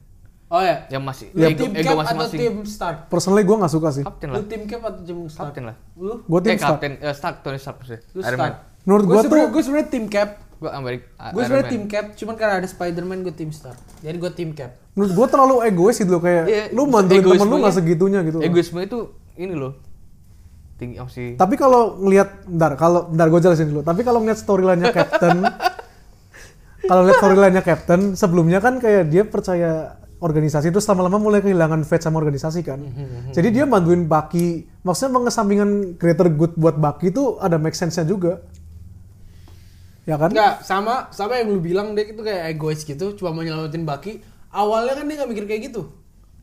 S1: Oh ya.
S3: Yang eh, masih
S1: Lu
S3: ego,
S1: tim
S3: ego
S1: Cap atau
S3: masing-masing.
S1: tim Stark?
S2: Personally gue nggak suka sih.
S3: Kapten
S1: Lu
S3: lah.
S1: tim Cap atau tim Stark?
S3: Kapten lah.
S1: Lu?
S2: Gue tim
S3: eh,
S2: Stark.
S3: Kapten eh, Stark, Tony Stark maksudnya.
S1: Lu
S3: Iron
S1: Stark.
S3: Man.
S2: Menurut gue tuh
S1: gue sebenarnya tim Cap.
S3: Gue Amerika.
S1: Gue sebenarnya tim Cap, cuman karena ada Spider-Man gue tim Stark. Jadi gue tim Cap.
S2: menurut gue terlalu egois gitu loh, kayak
S3: Iya, ya.
S2: lu mantulin temen lu
S3: egoismenya-
S2: nggak segitunya gitu. loh.
S3: Egoisme itu ini loh. Tinggi apa sih?
S2: Tapi kalau ngelihat ntar kalau ntar gue jelasin dulu. Tapi kalau ngelihat storyline-nya Captain kalau lihat storyline-nya Captain sebelumnya kan kayak dia percaya organisasi terus lama-lama mulai kehilangan faith sama organisasi kan.
S1: Hmm,
S2: Jadi dia bantuin Bucky, maksudnya mengesampingkan greater good buat Bucky itu ada make sense-nya juga. Ya kan?
S1: Enggak, sama sama yang lu bilang dia itu kayak egois gitu, cuma mau nyelamatin Bucky. Awalnya kan dia gak mikir kayak gitu.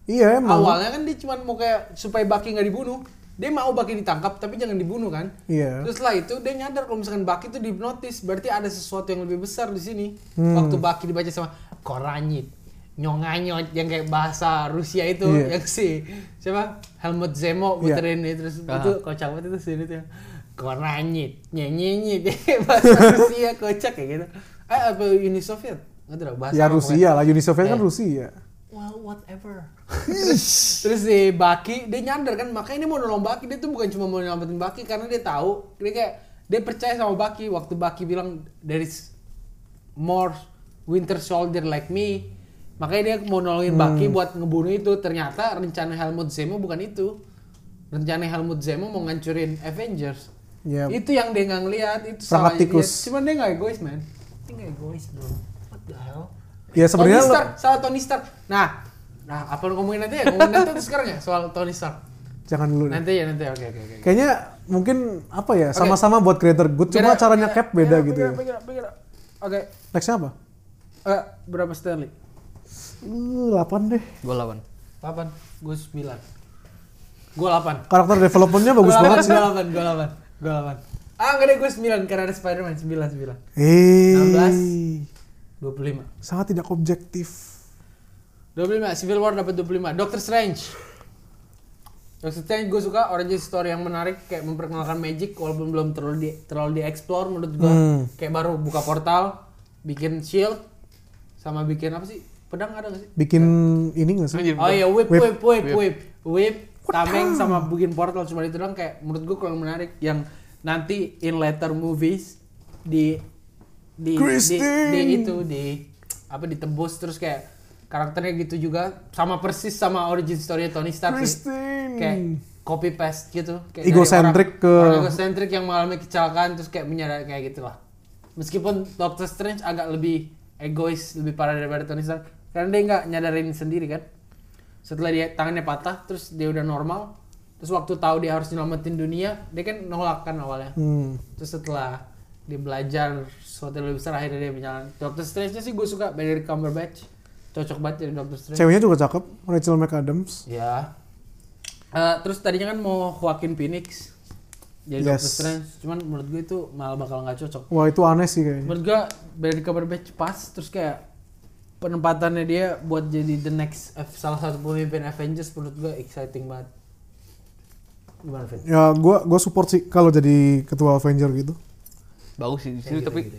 S2: Iya emang.
S1: Awalnya kan dia cuma mau kayak supaya Bucky nggak dibunuh. Dia mau Bucky ditangkap tapi jangan dibunuh kan.
S2: Iya.
S1: Terus setelah itu dia nyadar kalau misalkan Bucky itu dihipnotis, berarti ada sesuatu yang lebih besar di sini.
S2: Hmm.
S1: Waktu Bucky dibaca sama Koranyit, Nyonganyot yang kayak bahasa Rusia itu
S2: Iya.
S1: yang si siapa Helmut Zemo
S2: Iya.
S1: muterin itu terus
S3: Aha.
S1: itu kocak banget itu sini tuh. Koranyit, nyenyit bahasa Rusia kocak kayak gitu. Eh apa Uni Soviet? Nggak tahu bahasa
S2: Ya
S1: apa
S2: Rusia lah, Uni Soviet kan
S1: Eh.
S2: Rusia.
S1: well whatever terus, terus si Baki dia nyadar kan makanya dia mau nolong Baki dia tuh bukan cuma mau nyelamatin Baki karena dia tahu dia kayak dia percaya sama Baki waktu Baki bilang there is more Winter Soldier like me makanya dia mau nolongin Baki buat ngebunuh itu ternyata rencana Helmut Zemo bukan itu rencana Helmut Zemo mau ngancurin Avengers
S2: Ya.
S1: itu yang dia nggak ngeliat itu
S2: Perangkat
S1: salahnya dia.
S2: tikus.
S1: cuman dia nggak egois man dia nggak egois bro what the hell
S2: Ya sebenarnya
S1: Tony
S2: lo-
S1: Stark, soal Tony Stark. Nah, nah apa lu ngomongin nanti ya? Ngomongin nanti atau sekarang ya soal Tony Stark.
S2: jangan dulu. deh.
S1: Nanti ya nanti oke oke oke.
S2: Kayaknya mungkin apa ya, sama-sama buat creator good, cuma
S1: Gerak,
S2: caranya
S1: gerak,
S2: Cap beda
S1: gerak,
S2: gitu
S1: gerak,
S2: ya.
S1: gerak, gerak. Oke,
S2: Nextnya apa?
S1: eh, berapa Stanley?
S2: Uh, 8 deh.
S3: Gue lawan.
S1: 8, gue 9. Gue 8.
S2: Karakter developmentnya bagus banget sih.
S1: Gue 8, gue 8. Gue 8. Ah, enggak deh gue 9 karena ada Spider-Man 9 9.
S2: Hei,
S1: 25.
S2: sangat tidak objektif.
S1: 25, Civil War dapat 25. Doctor Strange. Doctor Strange gue suka origin story yang menarik kayak memperkenalkan magic walaupun belum terlalu di, terlalu dieksplor menurut gue.
S2: Hmm.
S1: Kayak baru buka portal, bikin shield sama bikin apa sih? Pedang ada gak sih?
S2: Bikin ini nggak sih?
S3: Anjir.
S1: Oh iya, whip
S2: Whip.
S1: whip whip whip whip tameng sama bikin portal cuma itu doang kayak menurut gue kurang menarik yang nanti in later movies di di di,
S2: Christine.
S1: di itu di apa ditebus terus kayak karakternya gitu juga sama persis sama origin story Tony Stark sih.
S2: Christine.
S1: kayak copy paste gitu kayak dari
S2: Hmm. Egocentric
S1: orang-
S2: ke-
S1: orang egocentrik yang mengalami kecelakaan terus kayak menyadari kayak gitulah meskipun Doctor Strange agak lebih egois lebih parah daripada Tony Stark karena dia nggak nyadarin sendiri kan setelah dia tangannya patah terus dia udah normal terus waktu tahu dia harus nyelamatin dunia dia kan nolak kan awalnya
S2: Hmm.
S1: terus setelah dia belajar sesuatu yang lebih besar akhirnya dia berjalan Doctor Strange nya sih gue suka Benedict Cumberbatch cocok banget jadi Doctor Strange
S2: Ceweknya juga cakep, Rachel McAdams.
S1: Ya. Eh, terus tadinya kan mau Joaquin Phoenix jadi
S2: Yes.
S1: Doctor Strange, cuman menurut gue itu malah bakal nggak cocok.
S2: Wah itu aneh sih kayaknya.
S1: Menurut gue Benedict Cumberbatch pas, terus kayak penempatannya dia buat jadi the next F- salah satu pemimpin Avengers menurut gue exciting banget. Gimana Vin?
S2: Ya gua gua support sih kalau jadi ketua Avenger gitu.
S3: Bagus sih di
S1: Iya,
S3: situ tapi
S1: gitu,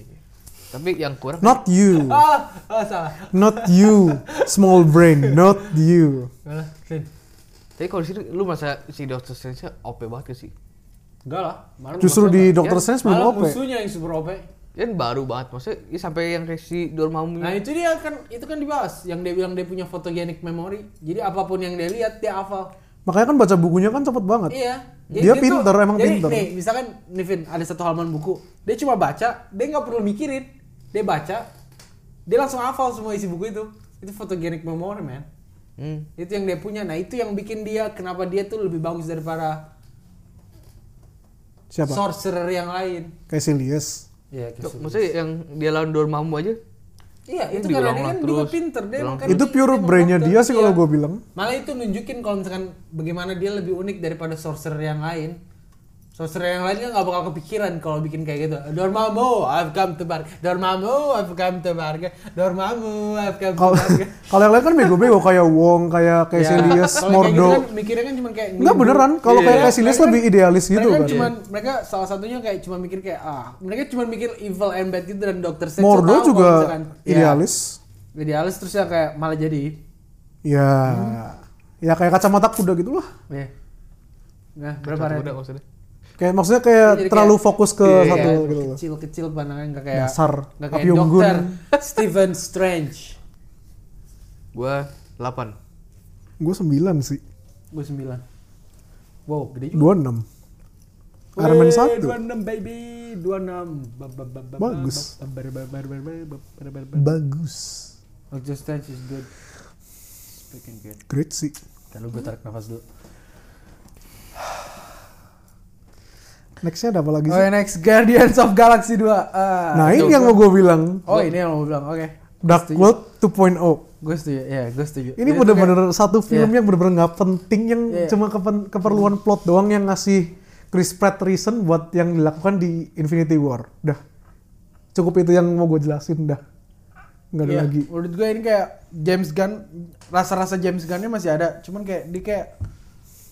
S3: tapi yang kurang
S2: Not you,
S1: Ah, ah, salah.
S2: not you, small brain, not you.
S1: Gimana Vin?
S3: Tapi kalau di situ lu masa si Doctor Strange OP banget gak sih?
S1: Enggak lah. malah
S2: Justru
S1: musuhnya-
S2: di Doctor
S3: Ya,
S2: Strange belum
S1: malah
S2: OP.
S1: musuhnya yang super OP.
S3: Kan baru banget maksudnya ya sampai yang kayak si Dormammu.
S1: Nah itu dia kan itu kan dibahas yang dia bilang dia punya photogenic memory. Jadi apapun yang dia lihat dia hafal.
S2: Makanya kan baca bukunya kan cepet banget.
S1: Iya.
S2: Dia
S1: tuh-
S2: pinter, emang
S1: jadi
S2: pinter.
S1: Nih, misalkan Nivin ada satu halaman buku, dia cuma baca, dia nggak perlu mikirin, dia baca, dia langsung hafal semua isi buku itu. Itu photogenic memory man.
S3: Hmm.
S1: Itu yang dia punya. Nah itu yang bikin dia kenapa dia tuh lebih bagus daripada
S2: Siapa?
S1: sorcerer yang lain.
S2: Caecilius.
S1: Iya,
S3: Tuh, maksudnya yang dia lawan Dormammu aja
S1: Iya, itu
S3: gitu.
S1: karena dia
S3: Diulang lah
S1: kan juga
S3: terus.
S1: pinter dia
S3: Diulang
S1: emang kan
S2: itu
S1: dia-
S2: pure
S1: dia
S2: brainnya
S1: memang
S2: dia
S1: pinter,
S2: sih kalau
S1: iya.
S2: gue bilang
S1: Malah itu nunjukin kalau misalkan bagaimana dia lebih unik daripada sorcerer yang lain. Sorcerer yang lain kan gak bakal kepikiran kalau bikin kayak gitu. Dormammu, I've come to Barga. Dormammu, I've come to Barga. Dormammu, I've come to
S2: kalau
S1: Barga.
S2: kalau yang lain kan bego-bego kayak Wong kayak
S1: Ya,
S2: Caecilius,
S1: kalau kayak gitu
S2: Mordo
S1: kan mikirnya kan cuma kayak
S2: nggak
S1: ngindu.
S2: beneran kalau
S3: Iya,
S2: kayak
S3: iya.
S2: Caecilius
S1: Mereka
S2: lebih
S1: kan-
S2: idealis gitu
S1: mereka
S2: kan
S1: cuman mereka salah satunya kayak cuma mikir kayak ah mereka cuma mikir evil and bad gitu dan dokter Strange
S2: Mordo
S1: tahu kalau
S2: juga
S1: misalkan- ya,
S2: idealis
S1: idealis terus ya kayak malah jadi
S2: ya ya kayak kacamata kuda gitu lah
S1: ya nah berapa
S3: Berapa
S1: red
S3: udah maksudnya?
S2: kayak maksudnya kayak
S1: Jadi kayak-
S2: terlalu fokus ke
S3: Iya, iya,
S2: satu
S1: kayak
S2: gitu loh Nah,
S1: kecil kecil pandangan nggak kayak
S2: Dasar,
S1: nggak kayak
S2: api unggun.
S1: dokter Stephen Strange
S3: Gua 8.
S2: gue sembilan sih
S1: gue sembilan wow gede juga
S2: dua enam Iron Man satu
S1: dua enam baby dua enam
S2: Bagus. bagus
S1: Doctor Oh, Strange is good Speaking good
S2: great sih
S1: Lalu gue tarik nafas dulu.
S2: nextnya ada apa lagi
S6: Oke
S1: Oh,
S2: sih
S1: iya.
S6: next Guardians of Galaxy 2. Ah,
S2: nah ini yang mau gue bilang
S6: oh ini yang mau bilang. Oke.
S2: Dark
S6: Setuju.
S2: World 2.0
S6: Gue setuju.
S1: Iya,
S6: Ya, gue setuju.
S2: Ini
S6: Itu
S2: bener-bener satu film
S6: Iya.
S2: yang bener-bener nggak penting yang
S6: Iya.
S2: cuma kepen- keperluan plot doang yang ngasih Chris Pratt reason buat yang dilakukan di Infinity War. Dah. Cukup itu yang mau gue jelasin dah. Nggak ada
S6: Iya,
S2: lagi.
S6: Menurut gue ini kayak James Gunn, rasa-rasa James Gunn-nya masih ada, cuman kayak dia kayak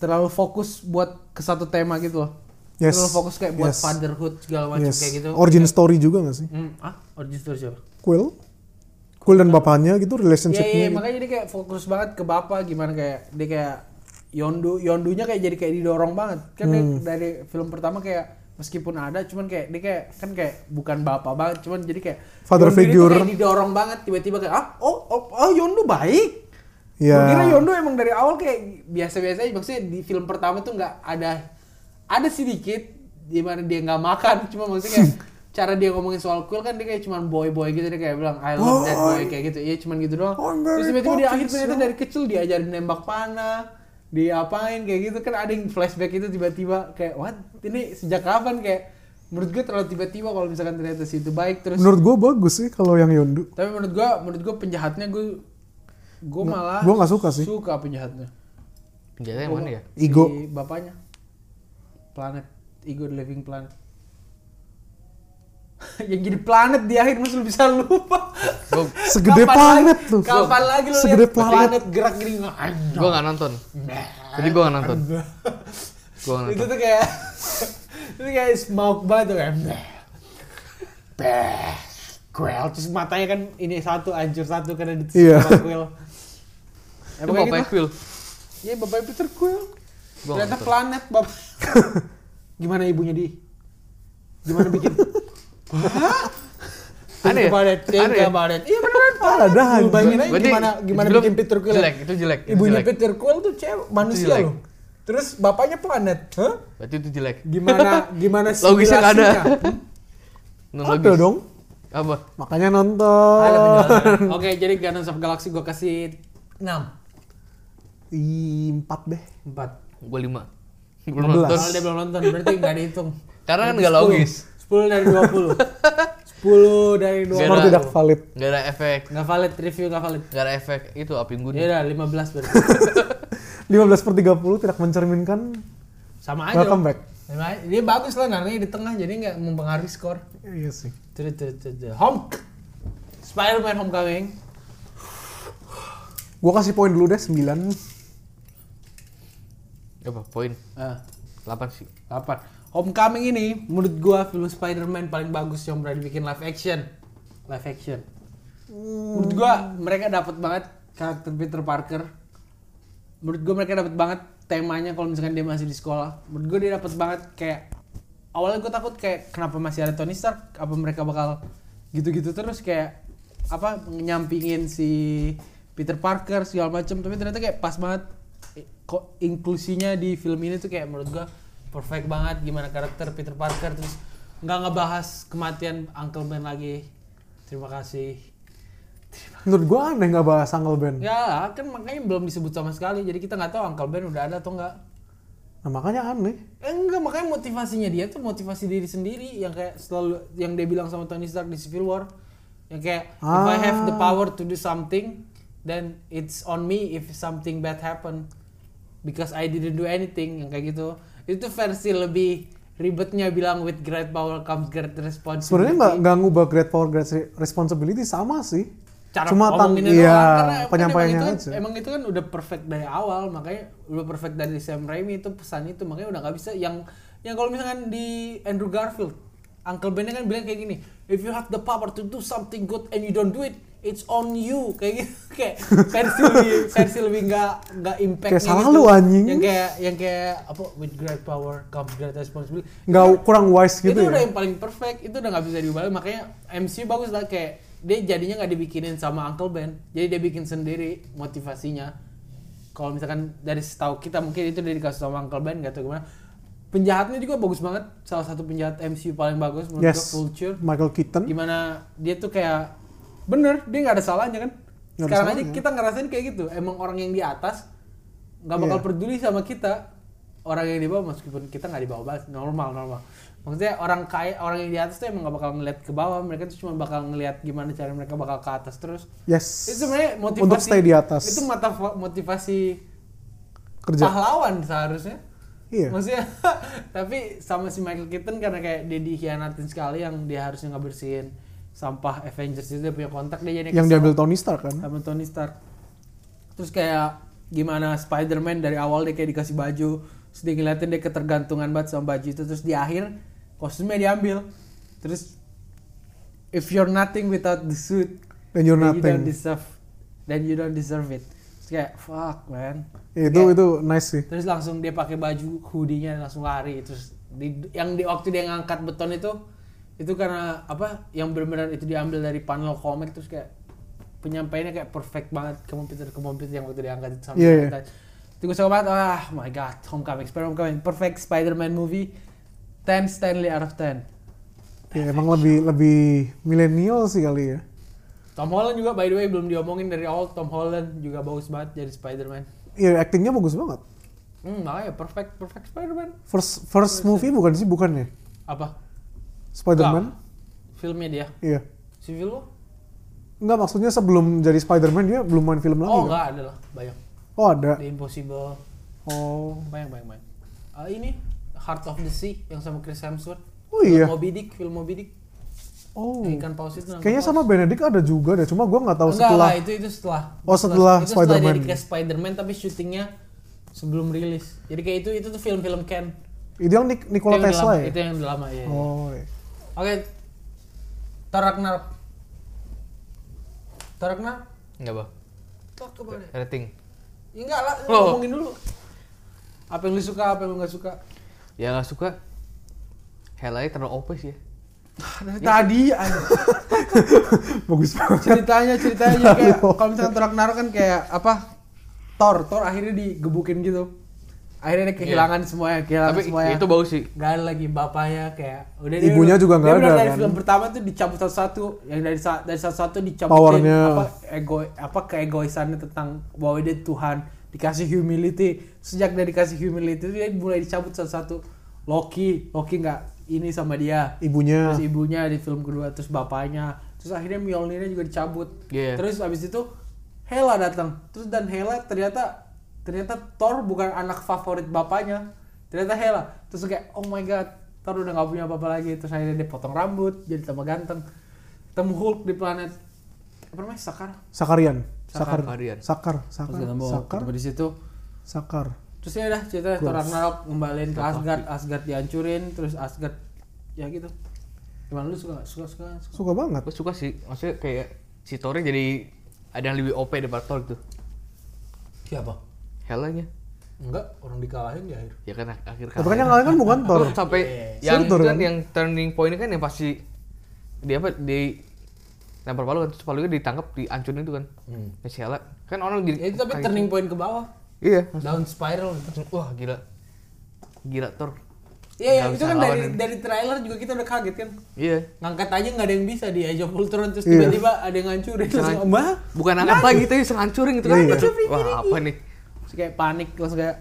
S6: terlalu fokus buat ke satu tema gitu loh.
S2: Yes.
S6: Terlalu fokus kayak buat
S2: Yes.
S6: fatherhood segala macam
S2: Yes.
S6: kayak gitu.
S2: Origin story juga nggak sih?
S1: Hmm, ah, origin story siapa?
S2: Quill. Quill dan bapaknya
S6: Iya,
S2: gitu
S6: iya,
S2: relationship-nya. gitu.
S6: makanya dia kayak fokus banget ke bapak gimana kayak dia kayak Yondu, Yondunya kayak jadi kayak didorong banget. Kan dia
S2: Hmm.
S6: dari film pertama kayak meskipun ada cuman kayak dia kayak kan kayak bukan bapak banget cuman jadi kayak
S2: Father
S6: Yondu ini tuh
S2: figure.
S6: kayak didorong banget tiba-tiba kayak ah oh oh, oh Yondu baik
S2: Iya.
S6: Gue kira Yondo emang dari awal kayak biasa-biasa aja. Maksudnya di film pertama tuh nggak ada ada sedikit di mana dia nggak makan. Cuma maksudnya kayak cara dia ngomongin soal kuil kan dia kayak cuman boy-boy gitu dia kayak bilang I love that boy kayak gitu. Iya cuman gitu doang.
S2: Oh, I'm
S6: Terus
S2: very ya.
S6: tiba-tiba dia akhir
S2: Poppins,
S6: ternyata
S2: yo.
S6: dari kecil diajarin nembak panah diapain kayak gitu kan ada yang flashback itu tiba-tiba kayak what ini sejak kapan kayak menurut gue terlalu tiba-tiba kalau misalkan ternyata si itu baik terus
S2: Menurut gue bagus sih kalau yang Yondu.
S6: tapi menurut gue menurut gue penjahatnya gue gue malah
S2: gua nggak suka sih.
S6: suka penjahatnya
S3: Penjara yang mana ya?
S2: Ego.
S6: si bapaknya. Planet Ego the Living Planet. yang jadi planet di akhir masa lu bisa lupa.
S3: Gua
S2: Segede
S6: Kapan
S2: planet
S6: lagi-
S2: tuh.
S6: Kapan lagi lu
S2: Segede
S6: lihat
S2: planet.
S6: gerak gini? Nah.
S3: gua nggak nonton. Jadi gua nggak nonton. Gua nggak
S6: itu
S3: nonton.
S6: tuh kayak itu kayak smoke banget tuh kayak. Beh. Quell terus matanya kan ini satu hancur satu karena di
S2: Iya.
S6: Quell. Ya
S3: Itu
S6: pokoknya
S3: Bapak
S6: gitu.
S3: Quill.
S6: Ya bapaknya Peter Quill.
S3: Gua
S6: Ternyata
S3: nonton.
S6: planet bapak. Gimana ibunya di? Gimana bikin?
S3: Aneh
S6: Think
S3: ya?
S6: about it, think
S3: Aneh ya?
S6: about it. Iya beneran planet.
S2: Ada
S6: Lu
S2: anjing.
S6: bayangin aja
S3: Berarti
S6: gimana gimana
S3: sebelum-
S6: bikin Peter Quill.
S3: Jelek, itu jelek. itu
S6: Ibunya
S3: jelek.
S6: Peter Quill tuh cewek manusia
S3: jelek.
S6: loh. Terus bapaknya planet. Hah?
S3: Berarti itu jelek.
S6: Gimana gimana
S3: Logisnya nggak ada.
S6: simulasinya?
S3: Non
S2: Ada
S3: logis.
S2: dong.
S3: Apa?
S2: Makanya nonton.
S1: penjelasan. Oke, jadi Guardians of Galaxy gue kasih 6.
S2: Ih, empat deh.
S1: 4.
S3: Gua 5. Belum
S2: 16.
S3: nonton.
S1: Kalau dia belum nonton berarti nggak dihitung.
S3: Karena kan nggak logis.
S1: 10 dari 20. 10 dari 20.
S2: Nomor
S3: Beda.
S2: tidak valid.
S3: Nggak ada efek.
S1: Nggak valid, review nggak valid.
S3: Nggak ada efek. Itu api unggun.
S1: Ya udah 15 berarti.
S2: 15 per 30 tidak mencerminkan
S1: Sama aja. dong.
S2: welcome back.
S1: Sama- Dia bagus lah narnya di tengah jadi nggak mempengaruhi skor.
S2: Iya sih.
S1: Tuh, tuh, tuh, tuh. Home. Spider-Man Homecoming.
S2: Gua kasih poin dulu deh 9.
S3: Apa? Poin.
S1: Ah,
S3: 8 sih.
S1: 8. Homecoming ini menurut gua film Spider-Man paling bagus yang pernah dibikin live action. Live action. Menurut gua mereka dapat banget karakter Peter Parker. Menurut gua mereka dapat banget temanya kalau misalkan dia masih di sekolah. Menurut gua dia dapat banget kayak awalnya gua takut kayak kenapa masih ada Tony Stark? Apa mereka bakal gitu-gitu terus kayak apa nyampingin si Peter Parker segala macam tapi ternyata kayak pas banget eh, kok inklusinya di film ini tuh kayak menurut gua perfect banget gimana karakter Peter Parker terus nggak ngebahas kematian Uncle Ben lagi terima kasih
S2: Menurut gua aneh nggak bahas Uncle Ben.
S1: Ya kan makanya belum disebut sama sekali. Jadi kita nggak tahu Uncle Ben udah ada atau nggak.
S2: Nah makanya aneh.
S1: Eh, enggak makanya motivasinya dia tuh motivasi diri sendiri yang kayak selalu yang dia bilang sama Tony Stark di Civil War. Yang kayak if I have
S2: Ah.
S1: the power to do something, then it's on me if something bad happen because I didn't do anything yang kayak gitu. Itu versi lebih ribetnya bilang with great power comes great responsibility.
S2: Sebenarnya nggak nggak ngubah great power great re- responsibility sama sih.
S1: cara
S2: Cuma tan
S1: ngomonginnya doang, karena
S2: iya
S1: kan
S2: penyampaiannya
S1: emang itu,
S2: aja.
S1: kan, emang itu kan udah perfect dari awal makanya udah perfect dari Sam Raimi itu pesan itu makanya udah nggak bisa yang yang kalau misalkan di Andrew Garfield Uncle Ben kan bilang kayak gini if you have the power to do something good and you don't do it it's on you kayak gitu kayak versi lebih versi lebih nggak nggak impact
S2: Kayak salah lu, anjing.
S1: yang kayak yang kayak apa with great power comes great responsibility
S2: Nggak kurang wise gitu
S1: itu udah
S2: ya.
S1: yang paling perfect itu udah nggak bisa diubah lagi. makanya MCU bagus lah kayak dia jadinya nggak dibikinin sama Uncle Ben jadi dia bikin sendiri motivasinya kalau misalkan dari setahu kita mungkin itu dia dikasih sama Uncle Ben nggak tahu gimana penjahatnya juga bagus banget salah satu penjahat MCU paling bagus menurut gue
S2: Yes.
S1: Vulture
S2: Michael Keaton.
S1: gimana dia tuh kayak bener dia nggak ada salahnya kan
S2: Nggak ada
S1: sekarang aja
S2: salahnya.
S1: kita ngerasain kayak gitu emang orang yang di atas nggak bakal
S2: Iya.
S1: peduli sama kita orang yang di bawah meskipun kita nggak di bawah banget normal normal maksudnya orang kaya orang yang di atas tuh emang nggak bakal ngeliat ke bawah mereka tuh cuma bakal ngeliat gimana cara mereka bakal ke atas terus
S2: Yes.
S1: itu sebenarnya motivasi
S2: Untuk stay di atas.
S1: itu mata motivasi
S2: kerja.
S1: pahlawan seharusnya
S2: Iya.
S1: Maksudnya, tapi sama si Michael Keaton karena kayak dia dikhianatin sekali yang dia harusnya nggak bersihin sampah Avengers itu dia punya kontak dia jadi kesel
S2: Yang diambil Tony Stark kan.
S1: sama Tony Stark. Terus kayak gimana Spider-Man dari awal dia kayak dikasih baju, terus dia ngeliatin dia ketergantungan banget sama baju itu terus di akhir kostumnya diambil. Terus if you're nothing without the suit,
S2: Dan you're
S1: then you
S2: nothing.
S1: don't deserve then you don't deserve it. Terus kayak fuck man.
S2: Itu
S1: Kayak-
S2: itu nice sih.
S1: terus langsung dia pakai baju hoodie-nya dan langsung lari terus di, yang di waktu dia ngangkat beton itu itu karena apa yang benar-benar itu diambil dari panel komik terus kayak penyampaiannya kayak perfect banget ke komputer ke komputer yang waktu diangkat itu sama
S2: Iya,
S1: kita. itu gue suka banget ah my god homecoming Spider- homecoming perfect Spider-Man movie 10 Stanley out of 10
S2: Ya emang lebih lebih milenial sih kali ya.
S1: Tom Holland juga by the way belum diomongin dari awal Tom Holland juga bagus banget jadi Spider-Man
S2: Iya actingnya bagus banget.
S1: hmm, makanya perfect perfect Spider-Man
S2: First first movie bukan sih bukan ya?
S1: apa
S2: Spider-Man.
S1: Enggak. filmnya dia
S2: Iya.
S1: si film lo?
S2: Enggak maksudnya sebelum jadi Spider-Man dia belum main film lagi.
S1: Oh
S2: kan?
S1: enggak ada lah, banyak.
S2: Oh ada.
S1: The Impossible,
S2: Oh.
S1: banyak banyak banyak. Ah, ini Heart of the Sea yang sama Chris Hemsworth.
S2: Oh iya.
S1: Moby Dick, film Moby Dick.
S2: Oh.
S1: Yang ikan paus itu. nangkap
S2: Kayaknya
S1: paus.
S2: sama Benedict ada juga deh, cuma gua nggak tahu
S1: Enggak
S2: setelah.
S1: lah, itu itu setelah.
S2: Oh, setelah
S1: Itu setelah
S2: Spider-Man.
S1: dia dikasih Spider-Man tapi syutingnya sebelum rilis. Jadi kayak itu itu tuh film-film Ken.
S2: Itu yang Nik- Nikola
S1: Itu yang
S2: Tesla
S1: lama-
S2: ya?
S1: Itu yang udah lama ya.
S2: Oh. iya.
S1: Oke. Thor Ragnarok. Thor Ragnarok.
S3: Enggak, Bang.
S1: Thor kemana?
S3: Rating.
S1: Ya, enggak lah,
S3: Oh.
S1: ngomongin dulu. Apa yang lu suka, apa yang lu nggak suka?
S3: Ya nggak suka. Helai terlalu OP sih ya.
S1: Dari tadi anjing.
S2: bagus banget.
S1: ceritanya ceritanya jadi kayak kalau misalkan Thor Ragnarok kan kayak apa Thor Thor akhirnya digebukin gitu akhirnya dia
S2: Iya.
S1: kehilangan semuanya kehilangan
S3: Tapi
S1: Nah, semuanya
S3: itu bagus sih.
S1: gak ada lagi bapaknya kayak udah
S2: Ibunya juga
S1: dia
S2: nggak
S1: udah
S2: ada,
S1: dari
S2: kan?
S1: film pertama tuh dicabut satu-satu yang dari sa- dari satu-satu dicabutin
S2: Powernya.
S1: apa ego apa keegoisannya tentang bahwa dia Tuhan dikasih humility sejak dari dikasih humility itu dia mulai dicabut satu-satu Loki Loki nggak ini sama dia
S2: Ibunya.
S1: terus ibunya di film kedua terus bapaknya terus akhirnya Mjolnirnya juga dicabut
S3: Iya.
S1: terus abis itu Hela datang terus dan Hela ternyata ternyata Thor bukan anak favorit bapaknya ternyata Hela terus kayak oh my god Thor udah gak punya apa-apa lagi terus akhirnya dia potong rambut jadi tambah ganteng ketemu Hulk di planet apa namanya Sakar
S2: Sakarian.
S3: Sakar.
S2: Sakar.
S3: Sakarian.
S2: Sakar.
S1: terus
S2: Sakar.
S1: ketemu
S2: Sakar.
S1: ketemu di situ
S2: Sakar.
S1: terus ya udah cerita Thor Ragnarok ngembaliin ke Asgard Asgard dihancurin terus Asgard ya gitu gimana lu suka suka suka, suka.
S2: Suka banget.
S3: Gue suka sih. Maksudnya kayak si Thornya jadi ada yang lebih OP daripada Thor gitu.
S1: siapa
S3: Helanya.
S1: Enggak, orang dikalahin di akhir.
S3: Ya kan ak- akhir
S2: Tapi kan yang lain kan bukan Thor.
S3: Terus sampai
S2: Iya.
S3: yang
S2: Suruh Thor
S3: itu kan
S2: kan?
S3: yang turning point kan yang pasti dia apa di lempar palu kan terus palunya ditangkap dihancurin itu kan. Hmm. Hela. Kan orang jadi
S1: Ya itu tapi
S3: kayak-
S1: turning point ke bawah.
S3: Iya.
S1: Down spiral.
S3: Langsung, Wah, gila. Gila Thor.
S1: Iya, ya,
S3: Nggak
S1: itu
S3: bisa
S1: kan dari
S3: ngelawan.
S1: dari trailer juga kita udah kaget kan.
S3: Iya.
S1: Ngangkat aja nggak ada yang bisa di Age of Ultron terus
S2: Iya.
S1: tiba-tiba ada yang ngancurin Nah, terus
S3: Jangan-
S1: mbah
S3: Bukan angkat lagi tapi sengancurin gitu kan.
S2: Nah, Iya, iya.
S3: Terus, Wah, apa nih?
S1: terus kayak panik terus kayak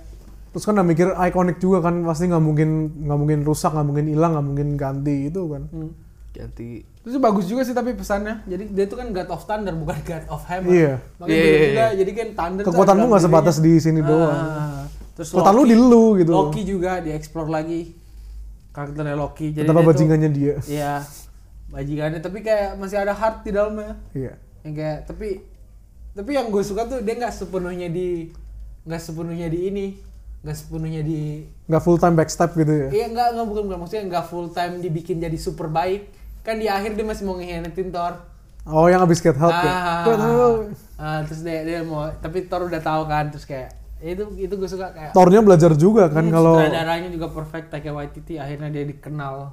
S2: Terus kan udah mikir ikonik juga kan pasti nggak mungkin nggak mungkin rusak nggak mungkin hilang nggak mungkin ganti gitu kan.
S3: ganti
S1: Terus Hmm. bagus juga sih tapi pesannya. Jadi dia itu kan God of Thunder bukan God of Hammer.
S2: Iya.
S1: Makanya
S3: Iya,
S1: beda
S3: iya,
S1: juga.
S3: iya.
S1: Jadi kan Thunder tuh
S2: Kekuatanmu
S1: ada
S2: nggak
S1: dalam
S2: sebatas di
S1: dirinya.
S2: sini doang.
S1: Ah, Terus
S2: Kekuatan lu di lu gitu.
S1: Loki juga dieksplor lagi. Karakternya Loki. Jadi
S2: Betapa
S1: dia tuh-
S2: bajingannya dia.
S1: Iya. Bajingannya tapi kayak masih ada heart di dalamnya.
S2: Iya.
S1: Yang kayak Ya tapi tapi yang gue suka tuh dia nggak sepenuhnya di nggak sepenuhnya di ini nggak sepenuhnya di
S2: Nggak full time backstep gitu ya.
S1: Iya enggak enggak bukan bukan maksudnya enggak full time dibikin jadi super baik. Kan di akhir dia masih mau ngehianatin Thor.
S2: Oh yang abis get help ya.
S1: Ah,
S2: Get help.
S1: ah, terus dia, dia mau tapi Thor udah tahu kan terus kayak ya itu itu gue suka kayak
S2: Thornya belajar juga kan
S1: hmm,
S2: kalau
S1: sutradaranya juga perfect Taika Waititi akhirnya dia dikenal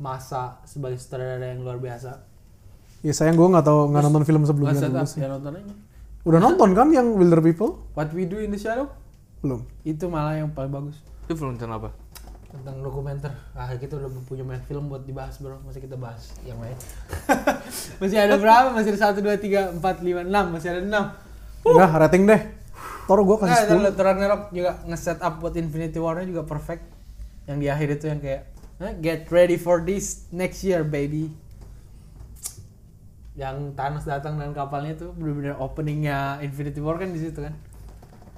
S1: masa sebagai sutradara yang luar biasa.
S2: ya sayang gue nggak tahu nggak nonton film sebelumnya
S1: Masa
S2: dulu
S1: tak
S2: sih.
S1: ya nonton aja.
S2: Udah nonton kan yang Wilder People?
S1: What We Do in the Shadow
S2: Belum.
S1: itu malah yang paling bagus
S3: itu film tentang apa
S1: tentang dokumenter ah kita udah punya main film buat dibahas bro masih kita bahas yang lain masih ada berapa masih ada satu dua tiga empat lima enam masih ada enam
S2: Udah
S1: Uh.
S2: rating deh. Thor gue
S1: nah,
S2: kasih 10.
S1: terus Ragnarok juga nge-set up buat Infinity War nya juga perfect yang di akhir itu yang kayak "Huh, get ready for this next year baby yang Thanos datang dan kapalnya itu bener-bener openingnya Infinity War kan di situ kan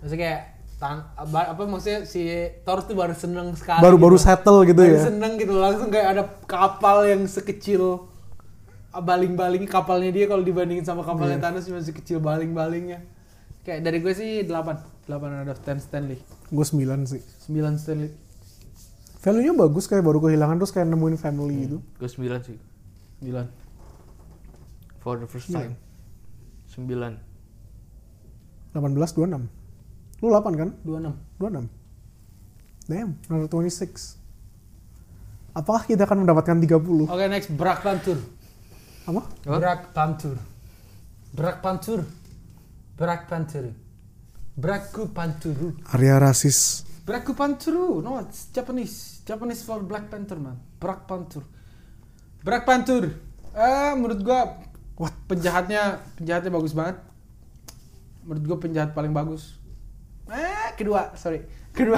S1: maksudnya kayak Tan- apa apa maksudnya si Thor tuh baru seneng sekali
S2: Baru-baru
S1: gitu.
S2: settle gitu
S1: Baru
S2: ya.
S1: seneng gitu langsung kayak ada kapal yang sekecil Ah, baling-baling kapalnya dia kalau dibandingin sama
S2: Iya.
S1: kapalnya Thanos cuma sekecil baling-balingnya. Kayak dari gue sih 8, 8 out of 10 Stanley.
S2: Gue 9 sih.
S1: 9 Stanley.
S2: Value-nya bagus kayak baru kehilangan terus kayak nemuin family
S1: Hmm.
S2: gitu.
S3: gue sembilan sih
S1: 9.
S3: for the first
S2: Iya.
S3: time sembilan
S2: 18 26. Lu 8 kan?
S1: 26.
S2: 26. Damn, another 26. Apakah kita akan mendapatkan 30?
S1: Oke, next Brak Pantur.
S2: Apa?
S3: Apa?
S1: Brak Pantur. Brak Pantur. Brak Pantur. Braku Panturu.
S2: Area rasis.
S1: Braku Panturu. No, it's Japanese. Japanese for Black Panther, man. Brak Pantur. Brak Pantur. Eh, menurut gua wah penjahatnya penjahatnya bagus banget. Menurut gua penjahat paling bagus. Eh, kedua, sorry. Kedua,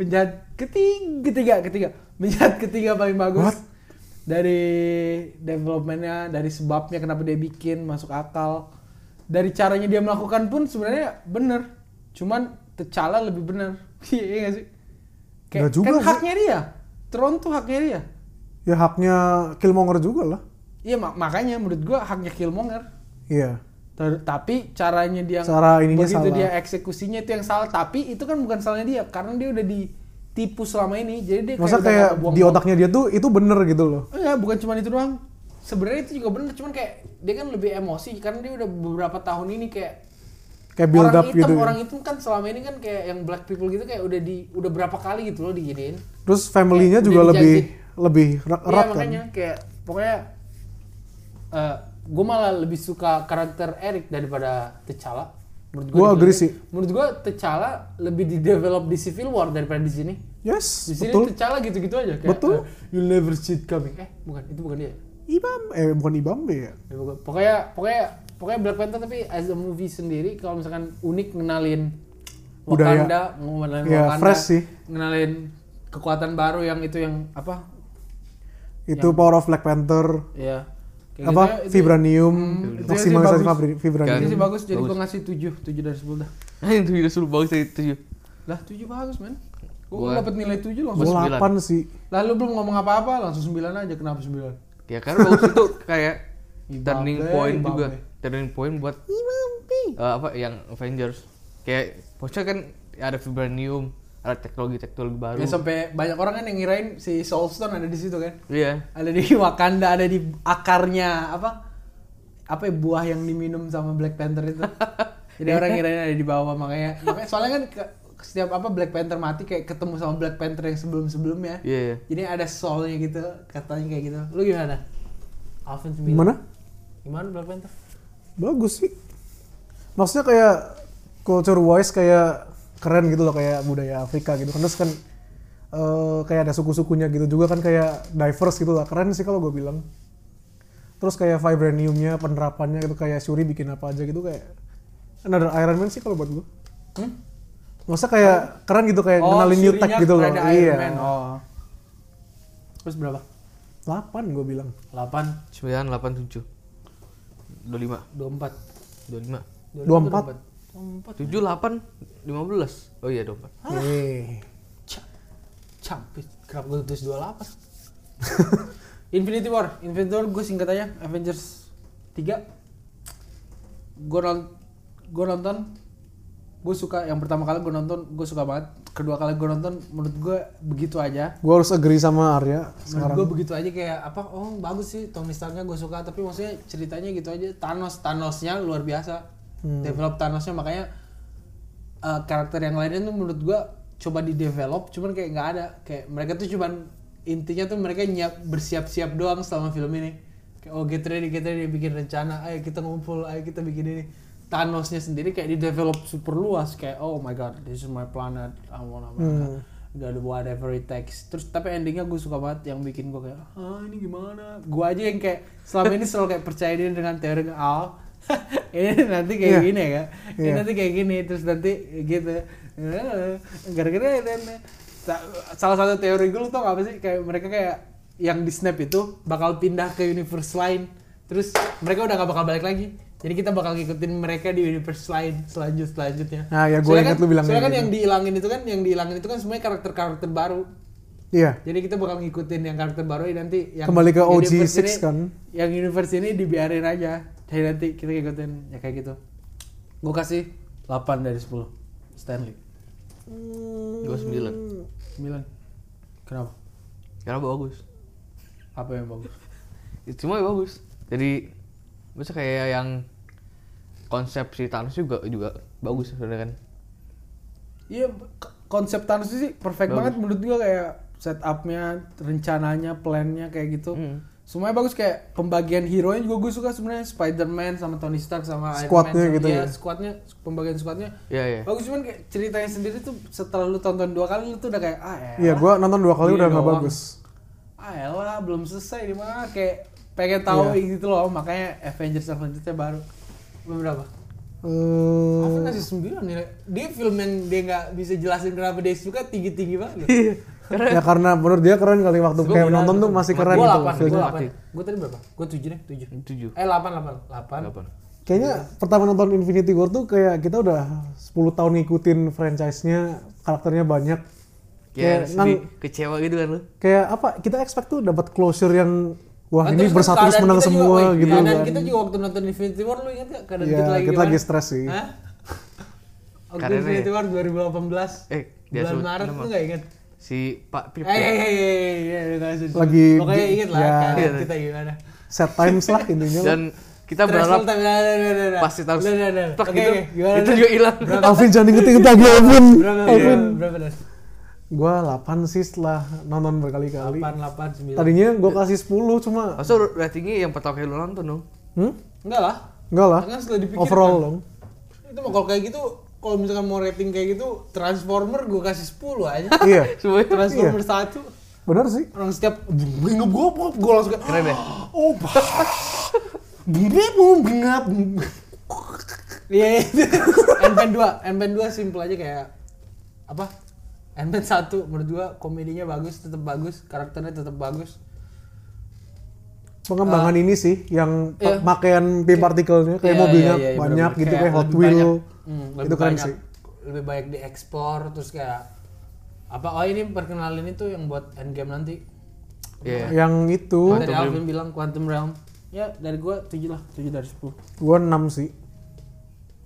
S1: penjahat ketiga, ketiga, ketiga. Penjahat ketiga paling bagus.
S2: What?
S1: Dari developmentnya, dari sebabnya kenapa dia bikin masuk akal. Dari caranya dia melakukan pun sebenarnya bener. Cuman T'Challa lebih bener. Iya iya nggak sih?
S2: Nggak juga
S1: kan
S2: sih.
S1: haknya dia. Tron tuh haknya dia.
S2: Ya haknya Killmonger juga lah.
S1: Iya mak- makanya menurut gua haknya Killmonger.
S2: Iya.
S1: Ter- tapi caranya dia
S2: Cara ininya
S1: begitu
S2: salah.
S1: dia eksekusinya itu yang salah. Tapi itu kan bukan salahnya dia karena dia udah ditipu selama ini. Jadi dia
S2: Masa
S1: udah
S2: kayak
S1: nggak buang
S2: di
S1: waktu.
S2: otaknya dia tuh itu bener gitu loh.
S1: Enggak, bukan cuma itu doang. Sebenarnya itu juga bener, cuman kayak dia kan lebih emosi karena dia udah beberapa tahun ini kayak
S2: Kayak build
S1: orang
S2: up
S1: hitam,
S2: gitu. ya.
S1: orang hitam kan selama ini kan kayak yang black people gitu kayak udah di udah berapa kali gitu loh diginiin.
S2: Terus family-nya
S1: Kayak
S2: juga
S1: udah
S2: lebih
S1: dijangkit.
S2: lebih re-
S1: Iya
S2: erat kan.
S1: makanya kayak pokoknya gue malah lebih suka karakter Eric daripada T'Challa. Menurut
S2: Gua
S1: di-
S2: agree sih.
S1: Menurut gue T'Challa lebih di develop di Civil War daripada di sini.
S2: Yes,
S1: Di sini
S2: betul.
S1: T'Challa gitu-gitu aja kayak
S2: Betul.
S1: you never see it coming. Eh bukan itu bukan dia.
S2: Ibam eh bukan Ibambe ya.
S1: Ya, pokok- Pokoknya pokoknya pokoknya Black Panther tapi as a movie sendiri kalau misalkan unik ngenalin
S2: Budaya.
S1: Wakanda, ngenalin
S2: Iya,
S1: Wakanda,
S2: fresh sih.
S1: ngenalin kekuatan baru yang itu yang apa?
S2: Itu Power of Black Panther.
S1: Ya. kayak
S2: apa?
S1: gitu ya, itu-
S2: vibranium,
S1: itu-
S2: maksimalisasi
S1: itu bagus. Kan.
S2: vibra- vibranium.
S1: Itu Iya sih bagus, jadi
S3: Kan Bagus.
S1: gue ngasih 7, 7 dari 10 dah.
S3: itu udah suruh bagus dari tujuh
S1: Lah 7 bagus, men. Gue
S3: Gua-
S1: dapet nilai 7 langsung.
S2: Gue
S3: Gua
S2: 8 sih.
S1: Lah lu belum ngomong apa-apa, langsung 9 aja. Kenapa 9?
S3: ya karena bagus itu kayak
S1: Ibabe,
S3: turning point
S1: Ibabe.
S3: juga turning point buat eh, apa yang Avengers kayak bocah kan ada vibranium ada teknologi teknologi baru
S1: Ya sampai banyak orang kan yang ngirain si Soulstone ada di situ kan.
S3: iya
S1: Ada di Wakanda, ada di akarnya apa? Apa ya, buah yang diminum sama Black Panther itu. Jadi orang ngirain ada di bawah makanya. Makanya soalnya kan ke- setiap apa Black Panther mati kayak ketemu sama Black Panther yang sebelum-sebelumnya.
S3: iya iya.
S1: Jadi ada soulnya gitu, katanya kayak gitu. Lu gimana? Alvin 9.
S2: Gimana?
S1: Gimana Black Panther?
S2: Bagus sih. Maksudnya kayak culture wise kayak keren gitu loh kayak budaya Afrika gitu. Kan Terus kan eh, kayak ada suku-sukunya gitu juga kan kayak diverse gitu lah. Keren sih kalau gue bilang. Terus kayak vibraniumnya, penerapannya gitu kayak Shuri bikin apa aja gitu kayak another Iron Man sih kalau buat gue.
S1: Hmm?
S2: Maksudnya kayak keren gitu kayak kenalin new
S1: Oh, Shurinya
S2: tech gitu loh.
S1: kepada Iron
S2: Iya.
S1: Man. Oh. Terus berapa?
S2: 8 gue bilang.
S1: 8
S3: 9, 8, 7 25
S1: 24 24
S3: 25
S2: 24.
S3: 7, 8, 15 Oh iya 24
S2: Yeay.
S1: Campit Kenapa gue tulis 28 Infinity War Infinity War gue singkat aja Avengers 3 Gue non Gue nonton Gue suka Yang pertama kali gue nonton Gue suka banget Kedua kali gue nonton Menurut gue begitu aja
S2: Gue harus agree sama Arya
S1: Menurut
S2: sekarang.
S1: gue begitu aja kayak apa oh bagus sih Tony Starknya gue suka tapi maksudnya ceritanya gitu aja Thanos Thanosnya luar biasa develop Thanosnya makanya eh, karakter yang lainnya tuh menurut gue coba di develop cuman kayak nggak ada kayak mereka tuh cuman intinya tuh mereka nyiap bersiap-siap doang selama film ini kayak oh get ready get ready bikin rencana ayo kita ngumpul ayo kita bikin ini Thanosnya sendiri kayak di develop super luas kayak oh my god this is my planet I wanna
S2: Hmm.
S1: God whatever it takes terus tapi endingnya gue suka banget yang bikin gue kayak ah ini gimana gue aja yang kayak selama ini selalu kayak percaya diri dengan teori al ini nanti kayak
S2: Iya.
S1: gini ya Kak? ini
S2: Iya.
S1: nanti kayak gini terus nanti gitu gara-gara dan sa- salah satu teori gue lu tau gak apa sih kayak mereka kayak yang di snap itu bakal pindah ke universe lain terus mereka udah gak bakal balik lagi jadi kita bakal ngikutin mereka di universe lain selanjut selanjutnya
S2: Nah, ya, gue
S1: Soalnya
S2: ingat
S1: kan-
S2: lu bilang
S1: soalnya
S2: kayak
S1: kan
S2: gitu.
S1: yang dihilangin itu kan yang dihilangin itu kan semuanya karakter-karakter baru
S2: Iya.
S1: jadi kita bakal ngikutin yang karakter baru ini nanti yang
S2: Kembali ke
S1: universe
S2: OG6
S1: ini-
S2: kan?
S1: yang universe ini dibiarin aja jadi nanti kita ngikutin ya kayak gitu gue kasih 8 dari 10 Stanley
S3: Gue 9
S1: 9 kenapa?
S3: Karena bagus
S1: apa yang bagus?
S3: Ya, Cuma ya bagus Jadi Bisa kayak yang Konsep si Thanos juga juga bagus sebenarnya kan
S1: iya k- konsep Thanos sih perfect
S3: Bagus.
S1: banget menurut gue kayak setupnya rencananya plannya kayak gitu
S3: Hmm.
S1: semuanya bagus kayak pembagian hero nya juga gue suka sebenarnya Spider-Man sama Tony Stark sama
S2: Squadnya
S1: Iron Man sama-
S2: gitu
S1: iya,
S2: ya?
S1: squadnya pembagian squadnya
S3: Iya iya
S1: bagus cuman kayak ceritanya sendiri tuh setelah lu tonton dua kali lu tuh udah kayak ah elah,
S2: Iya, gue nonton dua kali
S1: Ini
S2: udah nggak
S1: doang.
S2: bagus.
S1: ah elah belum selesai di mana kayak pengen tahu
S2: Iya.
S1: gitu loh makanya Avengers selanjutnya baru Lu berapa?
S2: Eh,
S1: Aku ngasih 9 nilai. ya? Dia film yang dia nggak bisa jelasin kenapa dia suka tinggi-tinggi banget.
S2: ya karena menurut dia keren kali waktu
S3: Gua
S2: kayak
S3: bilang,
S2: nonton tuh masih
S3: gua
S2: keren
S1: gue
S2: gitu
S1: 8, gue
S2: feelnya.
S1: 8. Gue tadi berapa? Gue 7 deh, 7.
S3: 7
S1: Eh 8, 8. 8.
S3: 8
S1: Iya.
S2: Kayaknya pertama nonton Infinity War tuh kayak kita udah 10 tahun ngikutin franchise-nya, karakternya banyak.
S3: Kayak
S2: Kayak
S3: sedih,
S2: nang-
S3: kecewa gitu kan lu
S2: Kayak apa? Kita expect tuh dapat closure yang wah
S1: Nah, terus
S2: ini
S1: kan
S2: bersatu terus
S1: keadaan
S2: menang
S1: kita juga,
S2: semua
S1: woy,
S2: gitu
S1: Keadaan
S2: kan.
S1: kita juga waktu nonton Infinity War lu ingat gak keadaan
S2: Iya,
S1: kita lagi
S2: kita
S1: gimana?
S2: lagi stres sih.
S1: Hah? Waktu
S3: Karena
S1: Infinity
S3: ya.
S1: War 2018.
S3: Eh, dia
S1: bulan
S3: sebut
S1: Maret
S3: nama. Iya.
S1: lu gak ingat?
S3: Si Pak Pip
S1: Eh,
S3: ya.
S1: eh, eh, eh, eh, eh, nggak usah.
S2: Lagi-
S1: pokoknya inget lah
S2: ya.
S1: keadaan
S3: Iya.
S1: kita gimana.
S2: Set times lah intinya. lah.
S3: Dan kita
S1: Stressful
S3: berharap
S1: tapi- nah, nah, nah, nah, nah.
S3: pasti tahu
S1: Nah, nah, nah.
S3: tak
S1: Oke,
S3: gitu
S1: oke, gimana,
S3: itu
S1: nah?
S3: juga hilang
S2: Alvin jangan inget-inget lagi
S1: Iya.
S2: Alvin.
S1: Berapa?
S2: Alvin.
S1: Berapa? Nas?
S2: Gua 8 sih setelah nonton berkali-kali.
S1: 8, 8, 9.
S2: Tadinya gua kasih 10 cuma
S3: masa ratingnya yang pertama kali lu nonton dong
S2: hmm?
S1: Enggak lah.
S2: Enggak lah.
S1: Kan setelah dipikir
S2: Overall dong.
S1: Itu mah kalau kayak gitu, kalau misalkan mau rating kayak gitu, Transformer gue kasih 10 aja.
S2: Iya.
S3: semuanya
S1: Transformer 1.
S2: Benar sih.
S1: Orang setiap bengap gue, gue langsung kayak,
S3: keren ya
S1: oh bah. Bengap, bengap. Iya, itu. Ant-Man 2. Ant-Man 2 simple aja kayak, apa? Ant-Man 1, menurut gue komedinya bagus, tetap bagus, karakternya tetap bagus.
S2: pengembangan ini sih
S1: Ah.
S2: yang
S1: Iya.
S2: pemakaian pim partikelnya kayak
S1: Iya, iya,
S2: mobilnya
S1: iya,
S2: banyak
S1: bener-bener.
S2: gitu kayak Hot
S1: lebih
S2: Wheel
S1: banyak. Hmm, lebih
S2: itu keren
S1: banyak-
S2: sih
S1: lebih banyak diekspor terus kayak apa oh ini perkenalin itu yang buat endgame nanti
S3: iya
S2: yang itu
S1: dari
S3: Quantum
S1: Alvin bilang quantum realm ya dari gua 7 lah 7 dari 10
S2: gua 6 sih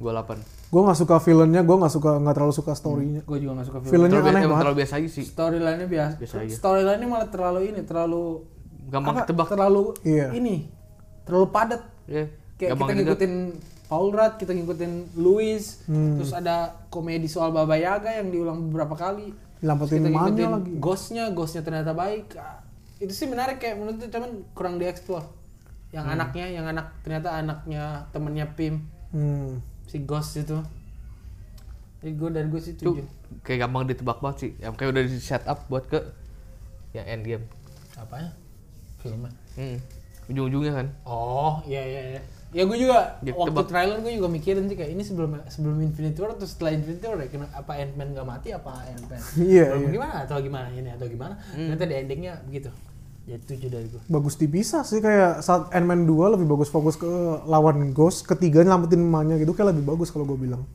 S3: gua 8
S2: gua nggak suka villainnya gua nggak suka nggak terlalu suka storynya
S1: gua juga gak suka film
S2: villainnya
S3: terlalu, biasa,
S2: aneh
S3: emang
S2: banget
S3: terlalu biasa aja sih
S1: storyline-nya biasa,
S3: Biasa aja.
S1: storyline-nya malah terlalu ini terlalu apa,
S3: gampang ketebak
S1: terlalu
S2: Iya.
S1: ini terlalu padat
S3: Iya.
S1: kayak
S3: gampang
S1: kita
S3: ketebak.
S1: ngikutin Paul Rudd, kita ngikutin Louis,
S2: Hmm.
S1: terus ada komedi soal Baba Yaga yang diulang beberapa kali.
S2: Dilampetin
S1: Terus kita
S2: manja
S1: ngikutin
S2: lagi.
S1: Ghostnya, ghostnya ternyata baik. Ah, Itu sih menarik kayak menurut gue, cuman kurang dieksplor. Yang
S3: Hmm.
S1: anaknya, yang anak ternyata anaknya temennya Pim,
S2: hmm.
S1: si Ghost itu. Jadi gue dari gue sih
S3: Itu
S1: tujuh.
S3: kayak gampang ditebak banget sih yang kayak udah di set up buat ke yang end game
S1: Apanya? Filmnya.
S3: hmm. ujung-ujungnya kan
S1: Oh iya iya iya. Ya gue juga
S3: Dia
S1: waktu
S3: tebak.
S1: trailer gue juga mikirin sih kayak ini sebelum sebelum Infinity War atau setelah Infinity War ya kena, apa Ant-Man gak mati apa Ant-Man
S2: Iya,
S1: Belum
S2: iya.
S3: Hmm.
S1: gimana atau gimana ini atau gimana ternyata di endingnya begitu.
S7: ya tujuh dari gue
S2: bagus dipisah sih kayak saat Ant-Man 2 lebih bagus fokus ke lawan Ghost ketiga nyelamatin emaknya gitu kayak lebih bagus kalau gue bilang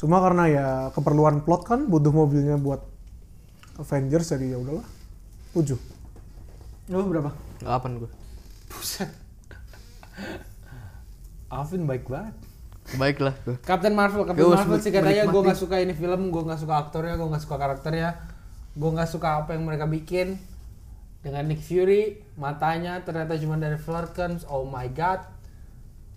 S2: cuma karena ya keperluan plot kan butuh mobilnya buat Avengers jadi ya udahlah tujuh
S1: Lu Oh, berapa?
S3: Delapan gue.
S1: Buset. Alvin baik banget.
S3: Baiklah gue.
S1: Captain Marvel, Captain
S3: Gua
S1: Marvel sih
S3: menikmati.
S1: katanya gue nggak suka ini film, gue nggak suka aktornya, gue nggak suka karakternya, gue nggak suka apa yang mereka bikin dengan Nick Fury, matanya ternyata cuma dari Flurkens, oh my god.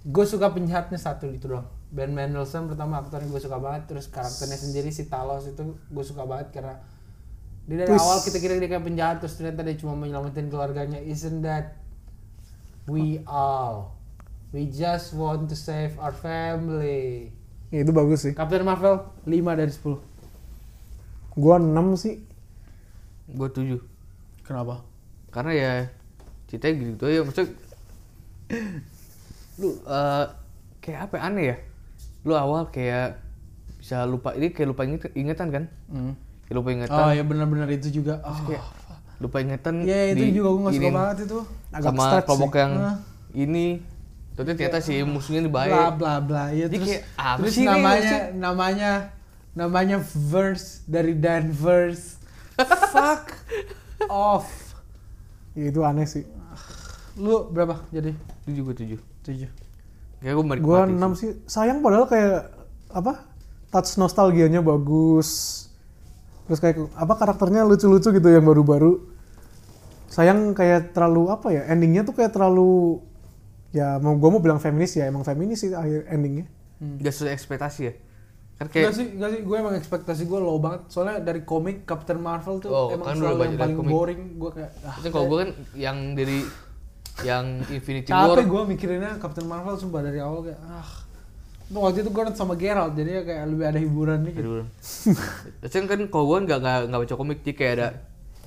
S1: Gue suka penjahatnya satu itu doang. Ben Mendelsohn pertama aktornya gue suka banget, terus karakternya sendiri si Talos itu gue suka banget karena dia dari
S2: Twist.
S1: awal kita kira dia kayak penjahat, terus ternyata dia cuma menyelamatin keluarganya. Isn't that we all? We just want to save our family.
S2: ya itu bagus sih
S1: Captain Marvel 5 dari 10
S2: gue 6 sih
S3: Gue tujuh.
S7: kenapa
S3: Karena ya ceritanya gitu ya maksudnya lu eh, kayak apa ya, aneh ya? Lu awal kayak bisa lupa ini kayak lupa inget, ingatan kan? Kayak lupa ingatan.
S1: Oh Hmm. ya benar-benar itu juga Ah.
S3: Lupa ingatan.
S1: Iya itu
S3: di-
S1: juga gue gak suka
S3: ini-
S1: banget itu
S2: Agak
S3: sama
S2: stretch
S3: kelompok
S2: sih.
S3: yang
S1: Ah.
S3: ini. Tapi ternyata si musuhnya ini baik.
S1: Bla bla bla ya,
S3: Jadi
S1: Terus,
S3: kayak apa
S1: terus
S3: sih ini
S1: namanya,
S3: maksud-
S1: namanya Namanya Verse dari Danvers Fuck off
S2: ya itu aneh sih
S1: Lu berapa jadi?
S3: Tujuh gue tujuh.
S1: 7
S3: Kayak gue menikmati.
S2: gue
S3: sih.
S2: 6 sih sayang padahal kayak apa touch nostalgianya bagus terus kayak apa karakternya lucu-lucu gitu yang baru-baru sayang kayak terlalu apa ya endingnya tuh kayak terlalu ya mau gue mau bilang feminis ya emang feminis sih akhir endingnya
S3: Gak sesuai ekspektasi ya. Kan
S1: Gak
S3: kayak
S1: Hmm. sih, gak sih, gue emang ekspektasi gue low banget Soalnya dari komik Captain Marvel tuh
S3: Oh,
S1: emang
S3: kan lu
S1: selalu
S3: baca
S1: yang
S3: dari
S1: paling
S3: komik.
S1: boring Gue kayak ah,
S3: Maksudnya kalau gue kan yang dari yang Infinity War
S1: Capek gue mikirinnya Captain Marvel sumpah dari awal kayak ah. Untung waktu itu gue nonton sama Geralt jadi ya kayak lebih ada hiburan dikit.
S3: Aduh. Maksudnya kan kalau gue nggak nggak nggak baca komik sih kayak ada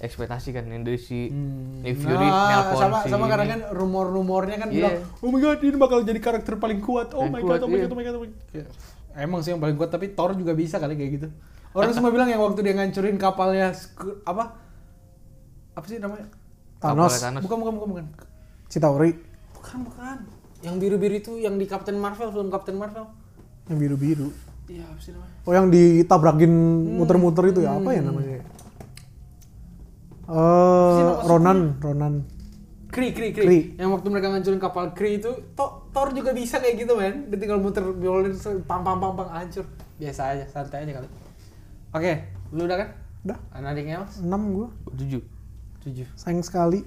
S3: ekspektasi kan yang dari si Nick Fury
S1: Nah,
S3: nelpon
S1: sama
S3: si
S1: sama karena
S3: ini.
S1: kan rumor-rumornya kan bilang,
S3: Iya.
S1: "Oh my god, ini bakal jadi karakter paling kuat." Oh
S3: Paling
S1: my
S3: kuat,
S1: god, oh my
S3: iya.
S1: god, oh my god, oh my god. Kayak, Emang sih yang paling kuat, tapi Thor juga bisa kali kayak gitu. Orang semua bilang yang waktu dia ngancurin kapalnya Sku- apa? Apa sih namanya?
S2: Thanos,
S3: Kapalnya Thanos.
S1: Bukan, bukan, bukan, bukan.
S2: Citauri
S1: Bukan, bukan. Yang biru-biru itu yang di Captain Marvel, film Captain Marvel.
S2: yang biru-biru
S1: Iya, apa sih namanya?
S2: oh yang ditabrakin
S3: Hmm.
S2: muter-muter itu ya apa ya namanya eh Ronan Ronan
S1: Kree, Kree,
S2: Kree.
S1: Kree. Yang waktu mereka ngancurin kapal Kree itu, To- Thor juga bisa kayak gitu, men. Dia tinggal muter biolir, pam pam pam pam hancur. Biasa aja, santai aja kali. Oke, lu udah kan?
S2: Udah.
S1: Anadiknya mas?
S2: 6 gue
S3: Gua Tujuh.
S1: 7.
S2: sayang sekali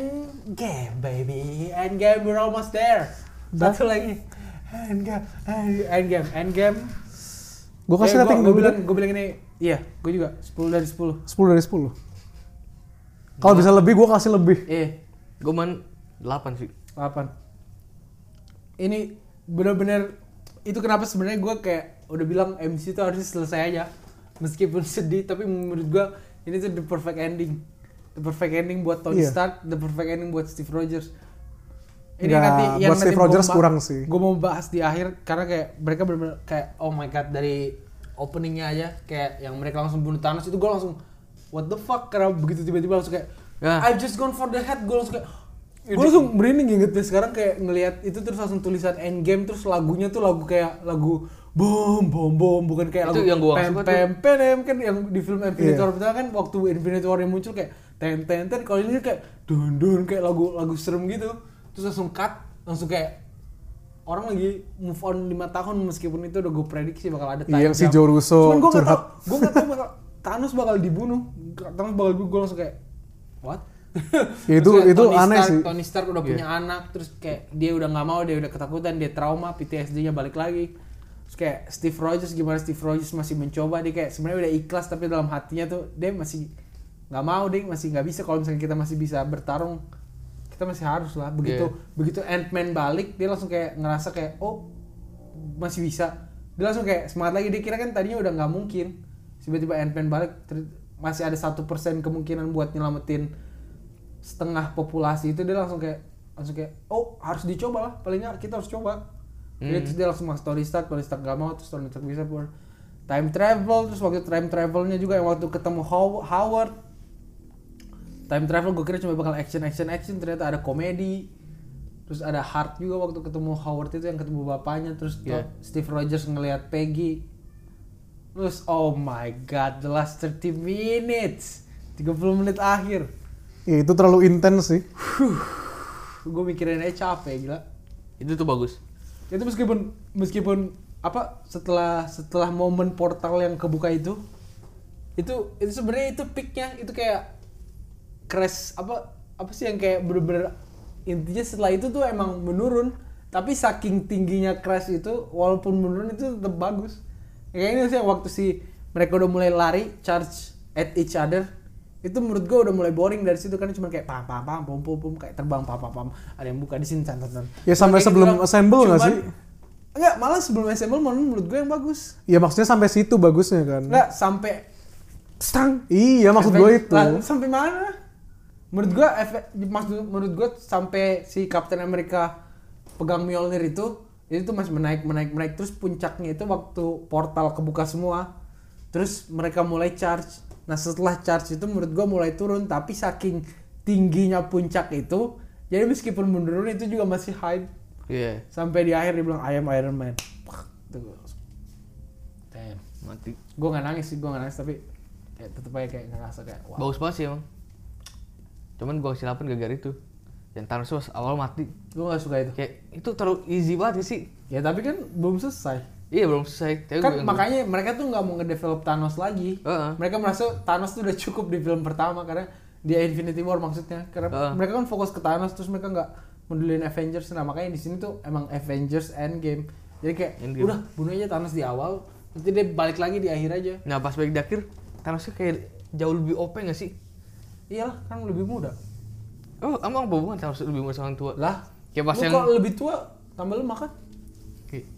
S1: Endgame, baby. Endgame, we're almost there.
S2: Dah.
S1: Satu lagi. Endgame, end- Endgame, Endgame.
S2: gue kasih rating
S1: gue
S2: dulu
S1: Eh, bilang, gue bilang ini, iya, gue juga. 10 dari 10.
S2: 10 dari 10. Kalau bisa lebih gue kasih lebih.
S1: Eh,
S3: Gue man delapan sih.
S1: 8 ini benar-benar itu kenapa sebenarnya gue kayak udah bilang MC itu harus selesai aja meskipun sedih tapi menurut gue ini tuh the perfect ending the perfect ending buat Tony
S2: Iya.
S1: Stark the perfect ending buat Steve Rogers
S2: Nggak, buat Steve Rogers kurang sih.
S1: gue mau bahas di akhir karena kayak mereka benar-benar kayak oh my god dari openingnya aja kayak yang mereka langsung bunuh Thanos itu gue langsung what the fuck karena begitu tiba-tiba langsung kayak
S3: Ya.
S1: I just gone for the head gue langsung kayak gue langsung merinding ingetnya sekarang kayak ngelihat itu terus langsung tulisan Endgame terus lagunya tuh lagu kayak lagu bom bom bom bukan kayak lagu
S3: Itu yang gua
S1: pem
S3: suka tuh.
S1: pem pem, pem, kan yang di film Infinity
S2: Iya.
S1: War pertama kan waktu Infinity War yang muncul kayak ten ten ten kalau ini kayak dun dun kayak lagu lagu serem gitu terus langsung cut langsung kayak orang lagi move on 5 tahun meskipun itu udah gue prediksi bakal ada
S2: Iya, yang si
S1: jump.
S2: Joe Russo
S1: Cuman gue gak
S2: curhat.
S1: tau, gue gak tau bakal Thanos bakal dibunuh. Thanos bakal dibunuh, gue langsung kayak what?
S2: Ya, itu-
S1: Terus kayak
S2: itu
S1: Tony
S2: aneh
S1: Stark-
S2: sih.
S1: Tony Stark udah punya anak, terus kayak dia udah nggak mau, dia udah ketakutan, dia trauma, PTSD-nya balik lagi. Terus kayak Steve Rogers gimana Steve Rogers masih mencoba, dia kayak sebenarnya udah ikhlas tapi dalam hatinya tuh dia masih nggak mau, dia masih nggak bisa kalau misalnya kita masih bisa bertarung kita masih harus lah begitu begitu Ant-Man balik dia langsung kayak ngerasa kayak oh masih bisa dia langsung kayak semangat lagi dia kira kan tadinya udah nggak mungkin tiba-tiba Ant-Man balik ter- masih ada satu persen kemungkinan buat nyelamatin setengah populasi itu dia langsung kayak langsung kayak oh harus dicoba lah paling nggak kita harus coba Jadi terus dia langsung masuk Tony Stark Tony Stark nggak mau terus Tony Stark bisa pun time travel terus waktu time travelnya juga yang waktu ketemu How- Howard time travel gue kira cuma bakal action action action ternyata ada komedi terus ada Hart juga waktu ketemu Howard itu yang ketemu bapaknya terus tuh
S3: Iya.
S1: Steve Rogers ngelihat Peggy terus oh my god the last 30 minutes 30 menit akhir
S2: Ya itu terlalu intens sih.
S1: gue mikirin aja capek gila
S3: itu tuh bagus
S1: itu meskipun meskipun apa setelah setelah momen portal yang kebuka itu itu itu sebenarnya itu peaknya itu kayak crash apa apa sih yang kayak bener-bener intinya setelah itu tuh emang menurun tapi saking tingginya crash itu walaupun menurun itu tetap bagus Ya, kayaknya sih waktu si mereka udah mulai lari charge at each other itu menurut gue udah mulai boring dari situ kan cuma kayak pam pam pam pom pom pom kayak terbang pam pam pam ada yang buka di sini tan tan tan.
S2: Ya,
S1: Cuma kayak
S2: sampai
S1: gitu
S2: sebelum
S1: doang.
S2: assemble nggak
S1: Cuman-
S2: sih?
S1: Enggak, malah sebelum assemble menurut gue yang bagus.
S2: Ya maksudnya sampai situ bagusnya kan.
S1: Enggak sampai
S2: Stang. Iya maksud
S1: Efek-
S2: gue itu.
S1: Lah, sampai mana? Menurut gua efek maksud menurut gua sampai si Captain America pegang Mjolnir itu itu tuh masih menaik menaik menaik terus puncaknya itu waktu portal kebuka semua. Terus mereka mulai charge. Nah, setelah charge itu menurut gua mulai turun tapi saking tingginya puncak itu jadi meskipun menurun itu juga masih hype
S3: iya
S1: sampai di akhir dibilang I am Iron Man. Pak, Itu gua langsung, Damn.
S3: mati
S1: Gua nggak nangis sih, gua nggak nangis tapi kayak tetep aja kayak ngerasa kayak wah.
S3: bagus banget sih emang cuman gua kesilapan gara-gara itu yang Thanos was awal mati
S1: Gue gak suka itu.
S3: kayak itu terlalu easy banget gak sih
S1: Ya tapi kan belum selesai.
S3: iya belum selesai Tapi
S1: kan
S3: gua-
S1: makanya mereka tuh nggak mau ngedevelop Thanos lagi.
S3: Heeh.
S1: Mereka merasa Thanos tuh udah cukup di film pertama karena dia Infinity War maksudnya. Karena
S3: Heeh.
S1: mereka kan fokus ke Thanos terus mereka nggak mendulin Avengers. Nah makanya di sini tuh emang Avengers Endgame. Jadi kayak
S3: Endgame.
S1: udah bunuh aja Thanos di awal. Nanti dia balik lagi di akhir aja.
S3: nah pas balik di akhir Thanosnya kayak jauh lebih OP gak sih
S1: Iyalah kan lebih muda.
S3: oh emang apa hubungan Thanos lebih muda sama orang tua
S1: Lah.
S3: kayak pas
S1: lu
S3: yang
S1: kok lebih tua tambah lemah kan?
S3: Kayak-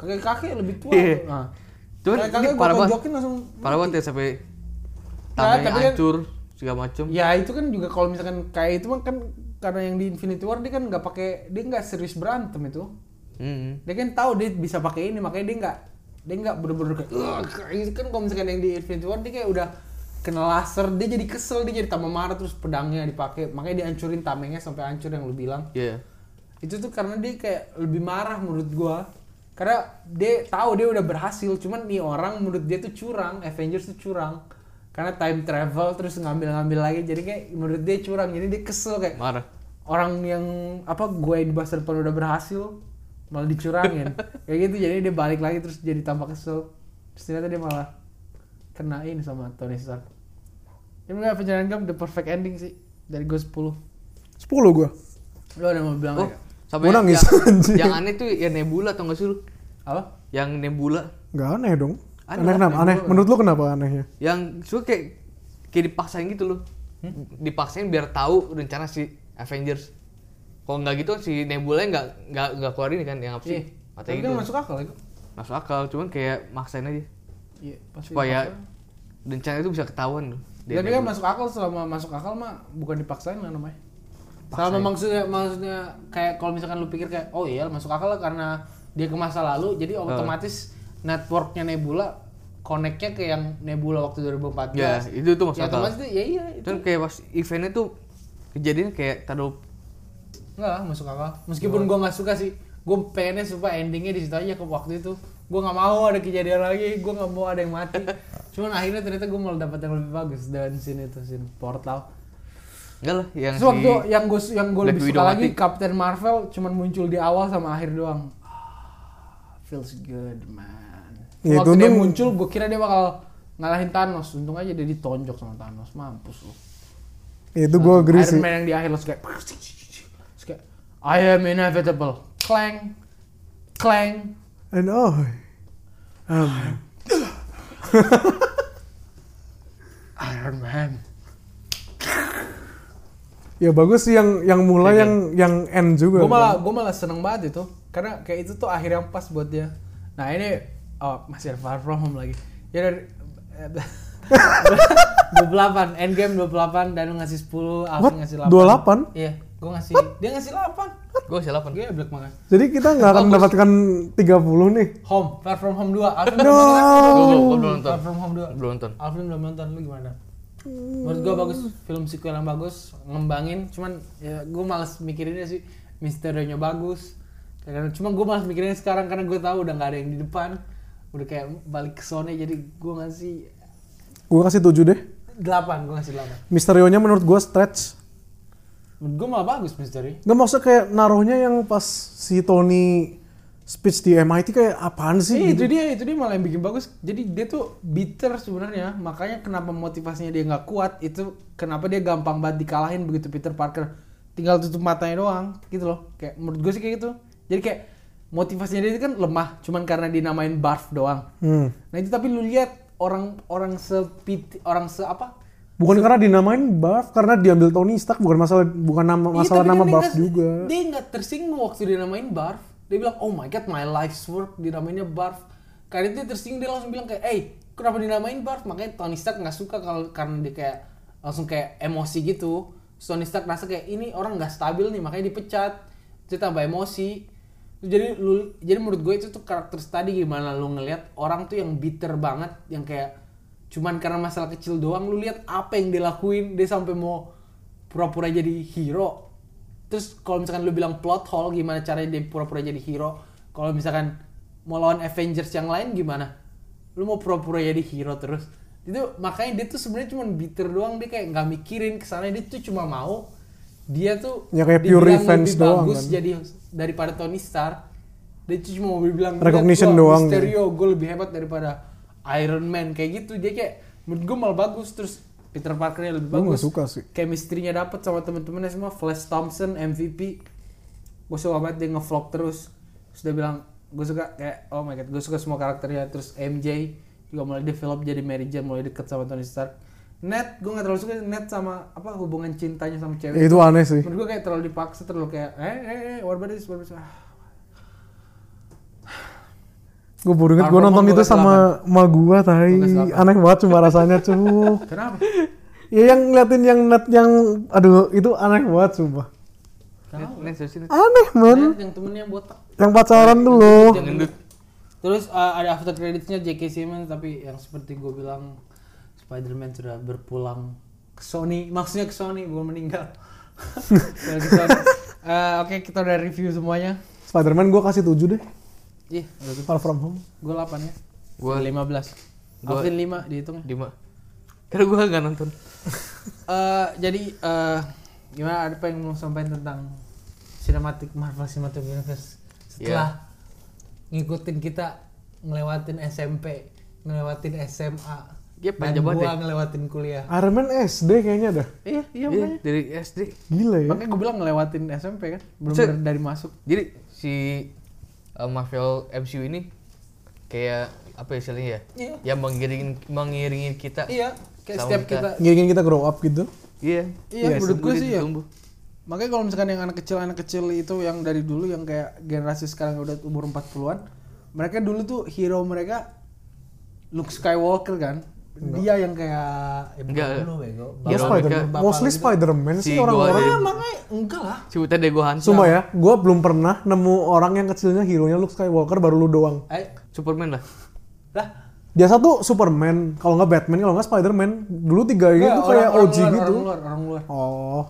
S1: Kakek-kakek lebih tua.
S3: Iya.
S1: Nah.
S3: Cuman
S1: kakek
S3: ini
S1: gua
S3: parah banget.
S1: tonjokin langsung
S3: parah banget ya sampai
S1: Nah,
S3: tangannya
S1: tapi kan-
S3: hancur segala macem
S1: Ya itu kan juga kalau misalkan kayak itu mah kan karena yang di Infinity War dia kan nggak pakai dia nggak serius berantem itu.
S3: Mm-mm.
S1: Dia kan tahu dia bisa pakai ini makanya dia nggak dia nggak bener-bener kayak "Ugh," kayak gitu kan kalau misalkan yang di Infinity War dia kayak udah kena laser dia jadi kesel dia jadi tambah marah terus pedangnya dipakai makanya dihancurin tamengnya sampai hancur yang lu bilang
S3: Iya.
S1: itu tuh karena dia kayak lebih marah menurut gua karena dia tahu dia udah berhasil cuman nih orang menurut dia tuh curang Avengers tuh curang karena time travel terus ngambil-ngambil lagi jadi kayak menurut dia curang jadi dia kesel kayak
S3: marah
S1: orang yang apa gue di masa depan udah berhasil malah dicurangin kayak gitu jadi dia balik lagi terus jadi tambah kesel terus ternyata dia malah kenain sama Tony Stark ini menurut Avengers Endgame the perfect ending sih dari gue 10
S2: Sepuluh gue.
S1: lo ada mau bilang
S3: oh
S1: nggak?
S3: sampai
S2: Gua
S3: yang,
S2: nangis, anjing.
S3: yang, yang aneh tuh ya Nebula tau gak sih lu
S1: apa
S3: yang Nebula
S2: Gak aneh dong.
S3: Aneh
S2: Aneh, kenapa? Aneh. Menurut lo kenapa anehnya?
S3: yang suka kayak kayak dipaksain gitu loh
S1: Hmm?
S3: dipaksain biar tahu rencana si Avengers kalau nggak gitu si Nebula nggak nggak nggak keluar ini kan yang apa
S1: Iya.
S3: sih
S1: Tapi
S3: matanya
S1: kan
S3: gitu
S1: masuk akal itu.
S3: masuk akal cuman kayak maksain aja
S1: Iya, pasti.
S3: supaya rencana itu bisa ketahuan loh
S1: Tapi
S3: dari
S1: kan
S3: Nebula.
S1: masuk akal selama masuk akal mah bukan dipaksain lah namanya.
S3: Paksain.
S1: Selama maksudnya maksudnya kayak kalau misalkan lu pikir kayak oh iya masuk akal lah karena dia ke masa lalu jadi otomatis networknya Nebula connectnya ke yang Nebula waktu 2014.
S3: ya itu tuh
S1: ya,
S3: masuk akal
S1: otomatis dia- ya iya itu
S3: cuman kayak pas eventnya tuh kejadiannya kayak taruh
S1: enggak lah masuk akal. Meskipun gua nggak suka sih, gua pengennya supaya endingnya di situ aja ke waktu itu. Gua nggak mau ada kejadian lagi, gua nggak mau ada yang mati. Cuman akhirnya ternyata gua malah dapat yang lebih bagus dan scene itu scene portal.
S3: enggak lah yang
S1: Terus
S3: si
S1: waktu yang gue yang gue
S3: Black
S1: lebih
S3: Widow
S1: suka lagi
S3: mati.
S1: Captain Marvel cuman muncul di awal sama akhir doang. Ah, Feels good man.
S2: Ya,
S1: waktu
S2: itu
S1: dia
S2: untung-
S1: muncul gue kira dia bakal ngalahin Thanos. Untung aja dia ditonjok sama Thanos. Mampus lu.
S2: Ya, itu gue
S1: Ah,
S2: agree
S1: Iron
S2: sih.
S1: Man yang di akhir lo kayak terus kayak I am inevitable. Clang. Clang.
S2: And oh. Um,
S1: Iron Man.
S2: ya bagus sih yang yang mulai yang yang end juga.
S1: Gue
S2: kan.
S1: Iya, malah gue malah seneng banget itu karena kayak itu tuh akhir yang pas buat dia. Nah ini oh, masih ada far from home lagi. Ya dari eh, 28 endgame 28 dan ngasih 10 Alvin
S2: What?
S1: ngasih
S2: 28?
S1: 8. Iya, gue ngasih dia ngasih 8.
S3: gue silapan
S1: Gue black makan.
S2: Jadi kita nggak akan
S3: Bagus.
S2: mendapatkan 30 nih.
S1: Home, far from home 2. Alvin
S2: No.
S3: gue belum
S1: belum
S3: gua
S1: nonton.
S3: belum nonton
S1: Far from home 2.
S3: belum nonton
S1: Alvin belum nonton lu gimana? menurut gua bagus film sequel yang bagus ngembangin cuman ya gua males mikirinnya sih misterionya bagus karena cuma gua males mikirinnya sekarang karena gua tahu udah nggak ada yang di depan udah kayak balik ke Sony jadi gua ngasih
S2: Gue kasih 7 deh.
S1: 8 gua ngasih 8
S2: Misterionya menurut gue stretch.
S1: menurut gua malah bagus misteri
S2: Nggak maksudnya kayak naruhnya yang pas si Tony speech di MIT kayak apaan sih?
S1: Iya
S2: gitu.
S1: itu dia, itu dia malah yang bikin bagus. Jadi dia tuh bitter sebenarnya, makanya kenapa motivasinya dia nggak kuat itu kenapa dia gampang banget dikalahin begitu Peter Parker tinggal tutup matanya doang gitu loh. Kayak menurut gue sih kayak gitu. Jadi kayak motivasinya dia itu kan lemah, cuman karena dinamain barf doang.
S2: Hmm.
S1: Nah itu tapi lu lihat orang orang sepit orang se apa?
S2: Bukan karena dinamain buff, karena diambil Tony Stark bukan masalah bukan nama
S1: Iya, tapi
S2: masalah
S1: kan
S2: nama
S1: dia
S2: buff
S1: nggak-
S2: juga.
S1: Dia nggak tersinggung waktu dinamain barf. Dia bilang, oh my god, my life's work dinamainnya barf. Karena itu dia tersinggung dia langsung bilang kayak, eh kenapa dinamain barf? Makanya Tony Stark nggak suka kalau karena dia kayak langsung kayak emosi gitu. Terus Tony Stark nasa kayak ini orang nggak stabil nih, makanya dipecat. Dia tambah emosi. Terus Jadi lu, jadi menurut gue itu tuh karakter study gimana lu ngelihat orang tuh yang bitter banget, yang kayak cuman karena masalah kecil doang lu lihat apa yang dilakuin dia sampai mau pura-pura jadi hero terus kalau misalkan lu bilang plot hole gimana caranya dia pura-pura jadi hero kalau misalkan mau lawan Avengers yang lain gimana lu mau pura-pura jadi hero terus itu makanya dia tuh sebenarnya cuma bitter doang dia kayak nggak mikirin kesana dia tuh cuma mau dia tuh
S2: Ya, kayak pure
S1: dibilang
S2: revenge
S1: lebih
S2: doang
S1: bagus
S2: kan.
S1: jadi daripada Tony Stark dia tuh cuma mau bilang "Lihat
S2: Recognition
S1: gua,
S2: doang
S1: Mysterio
S2: gitu.
S1: Yo, gue lebih hebat daripada Iron Man kayak gitu. Dia kayak menurut gue malah bagus terus Peter Parkernya lebih
S2: Gue
S1: bagus.
S2: nggak suka sih.
S1: Chemistry-nya dapet sama temen-temennya semua. Flash Thompson MVP. Gue suka banget dia ngevlog terus. Terus dia bilang gue suka kayak oh my god gue suka semua karakternya terus MJ juga mulai develop jadi Mary Jane mulai deket sama Tony Stark. Ned gue gak terlalu suka Ned sama apa hubungan cintanya sama cewek.
S2: Ya, itu aneh sih.
S1: Menurut gue kayak terlalu dipaksa, terlalu kayak eh eh eh what about this, what about this? Ah,
S2: Gue baru inget gue
S1: Arnold
S2: nonton
S1: Mong
S2: itu
S1: gua
S2: sama ma gue tai.
S1: Gua kasih delapan.
S2: Aneh banget cuma rasanya cuy.
S1: Ah, Kenapa?
S2: ya yang ngeliatin yang net yang aduh itu aneh banget sumpah.
S3: Net, net, net.
S2: Aneh men.
S1: Ned yang temennya botak.
S2: Yang pacaran dulu.
S1: Yang gendut. Terus uh, ada after creditsnya J.K. Simmons tapi yang seperti gue bilang Spider-Man sudah berpulang ke Sony, maksudnya ke Sony bukan meninggal. Sudah ke Sony. Eh, Oke kita udah review semuanya.
S2: Spider-Man gue kasih 7 deh.
S1: Ih,
S2: Far From Home.
S1: gue 8 ya. Gue
S3: Gua-
S1: 15.
S3: gua-
S1: Alvin 5 dihitung. ya.
S3: Dima. Karena gue gak nonton.
S1: Eh, jadi eh, gimana ada apa yang mau sampaikan tentang sinematik Marvel Cinematic Universe setelah ngikutin kita ngelewatin SMP, ngelewatin SMA,
S3: Iya,
S1: dan
S3: panjang
S1: gua
S3: banget ya.
S1: ngelewatin kuliah.
S2: Iron Man SD kayaknya dah.
S1: Iya, iya
S3: Iya,
S1: makanya.
S3: dari SD.
S2: Gila ya.
S1: Makanya gue bilang ngelewatin SMP kan, belum
S3: Cek.
S1: bener dari masuk.
S3: Jadi si uh, Marvel MCU ini kayak apa ya istilahnya ya?
S1: Iya.
S3: Yang mengiringi mengiringi kita.
S1: Iya, kayak
S3: Sama
S1: setiap
S3: kita.
S1: kita.
S2: Ngirikin kita grow up gitu.
S3: Iya.
S1: Iya, menurut gue sih ya.
S3: Tumbuh.
S1: Makanya kalau misalkan yang anak kecil anak kecil itu yang dari dulu yang kayak generasi sekarang yang udah umur 40-an, mereka dulu tuh hero mereka Luke Skywalker kan. Dia yang kayak ya, bukan
S3: Enggak.
S1: dulu bego.
S2: Ya,
S3: Hero
S2: Spider
S3: mereka-
S2: Mostly Spider-Man
S3: Si
S2: sih
S3: gua
S2: orang-orang.
S3: dari-
S1: Ah, gitu. makanya enggak lah.
S3: Sebutnya Dego Hansa.
S2: Sumpah ya, gue belum pernah nemu orang yang kecilnya hero-nya Luke Skywalker baru lu doang.
S1: Eh,
S3: Superman lah.
S1: lah.
S2: Biasa tuh Superman, kalau nggak Batman, kalau nggak Spider-Man. Dulu tiga ini
S1: Enggak,
S2: tuh kayak
S1: orang
S2: OG
S1: luar,
S2: gitu.
S1: Orang luar, orang luar.
S2: Oh,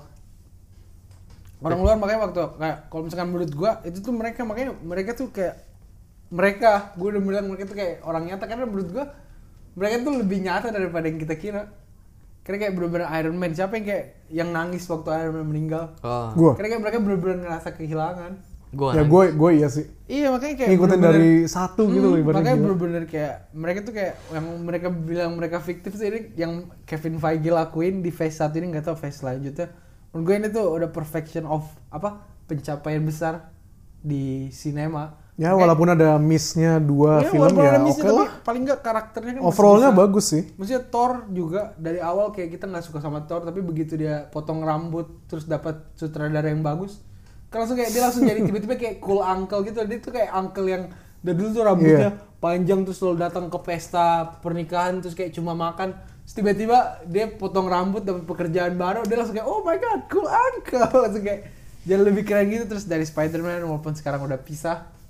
S1: orang luar makanya waktu kayak kalau misalkan menurut gua itu tuh mereka makanya mereka tuh kayak mereka gua udah bilang mereka tuh kayak orang nyata karena menurut gua mereka tuh lebih nyata daripada yang kita kira karena kayak bener-bener Iron Man siapa yang kayak yang nangis waktu Iron Man meninggal
S3: Oh.
S2: gue.
S1: karena kayak mereka bener-bener ngerasa kehilangan
S3: Gue
S2: Ya gue gue iya sih.
S1: iya makanya kayak
S2: Ngikutin
S1: bener-bener-
S2: dari satu gitu loh
S1: Hmm,
S2: ibaratnya.
S1: makanya
S2: gila.
S1: bener-bener kayak mereka tuh kayak yang mereka bilang mereka fiktif tuh ini yang Kevin Feige lakuin di phase satu ini nggak tahu phase selanjutnya menurut gue ini tuh udah perfection of apa pencapaian besar di sinema
S2: Ya walaupun ada miss-nya dua
S1: Ya,
S2: film
S1: Eh. walaupun
S2: ya
S1: ada
S2: oke
S1: missnya, tapi
S2: lah.
S1: paling nggak karakternya kan masih
S2: Overallnya
S1: bisa.
S2: bagus sih.
S1: Maksudnya Thor juga dari awal kayak kita nggak suka sama Thor tapi begitu dia potong rambut terus dapat sutradara yang bagus, kan langsung kayak dia langsung jadi tiba-tiba kayak cool uncle gitu. Dia tuh kayak uncle yang dari dulu tuh rambutnya panjang terus selalu datang ke pesta pernikahan terus kayak cuma makan. Terus tiba-tiba dia potong rambut dapat pekerjaan baru dia langsung kayak oh my god cool uncle langsung kayak jadi lebih keren gitu terus dari Spider-Man walaupun sekarang udah pisah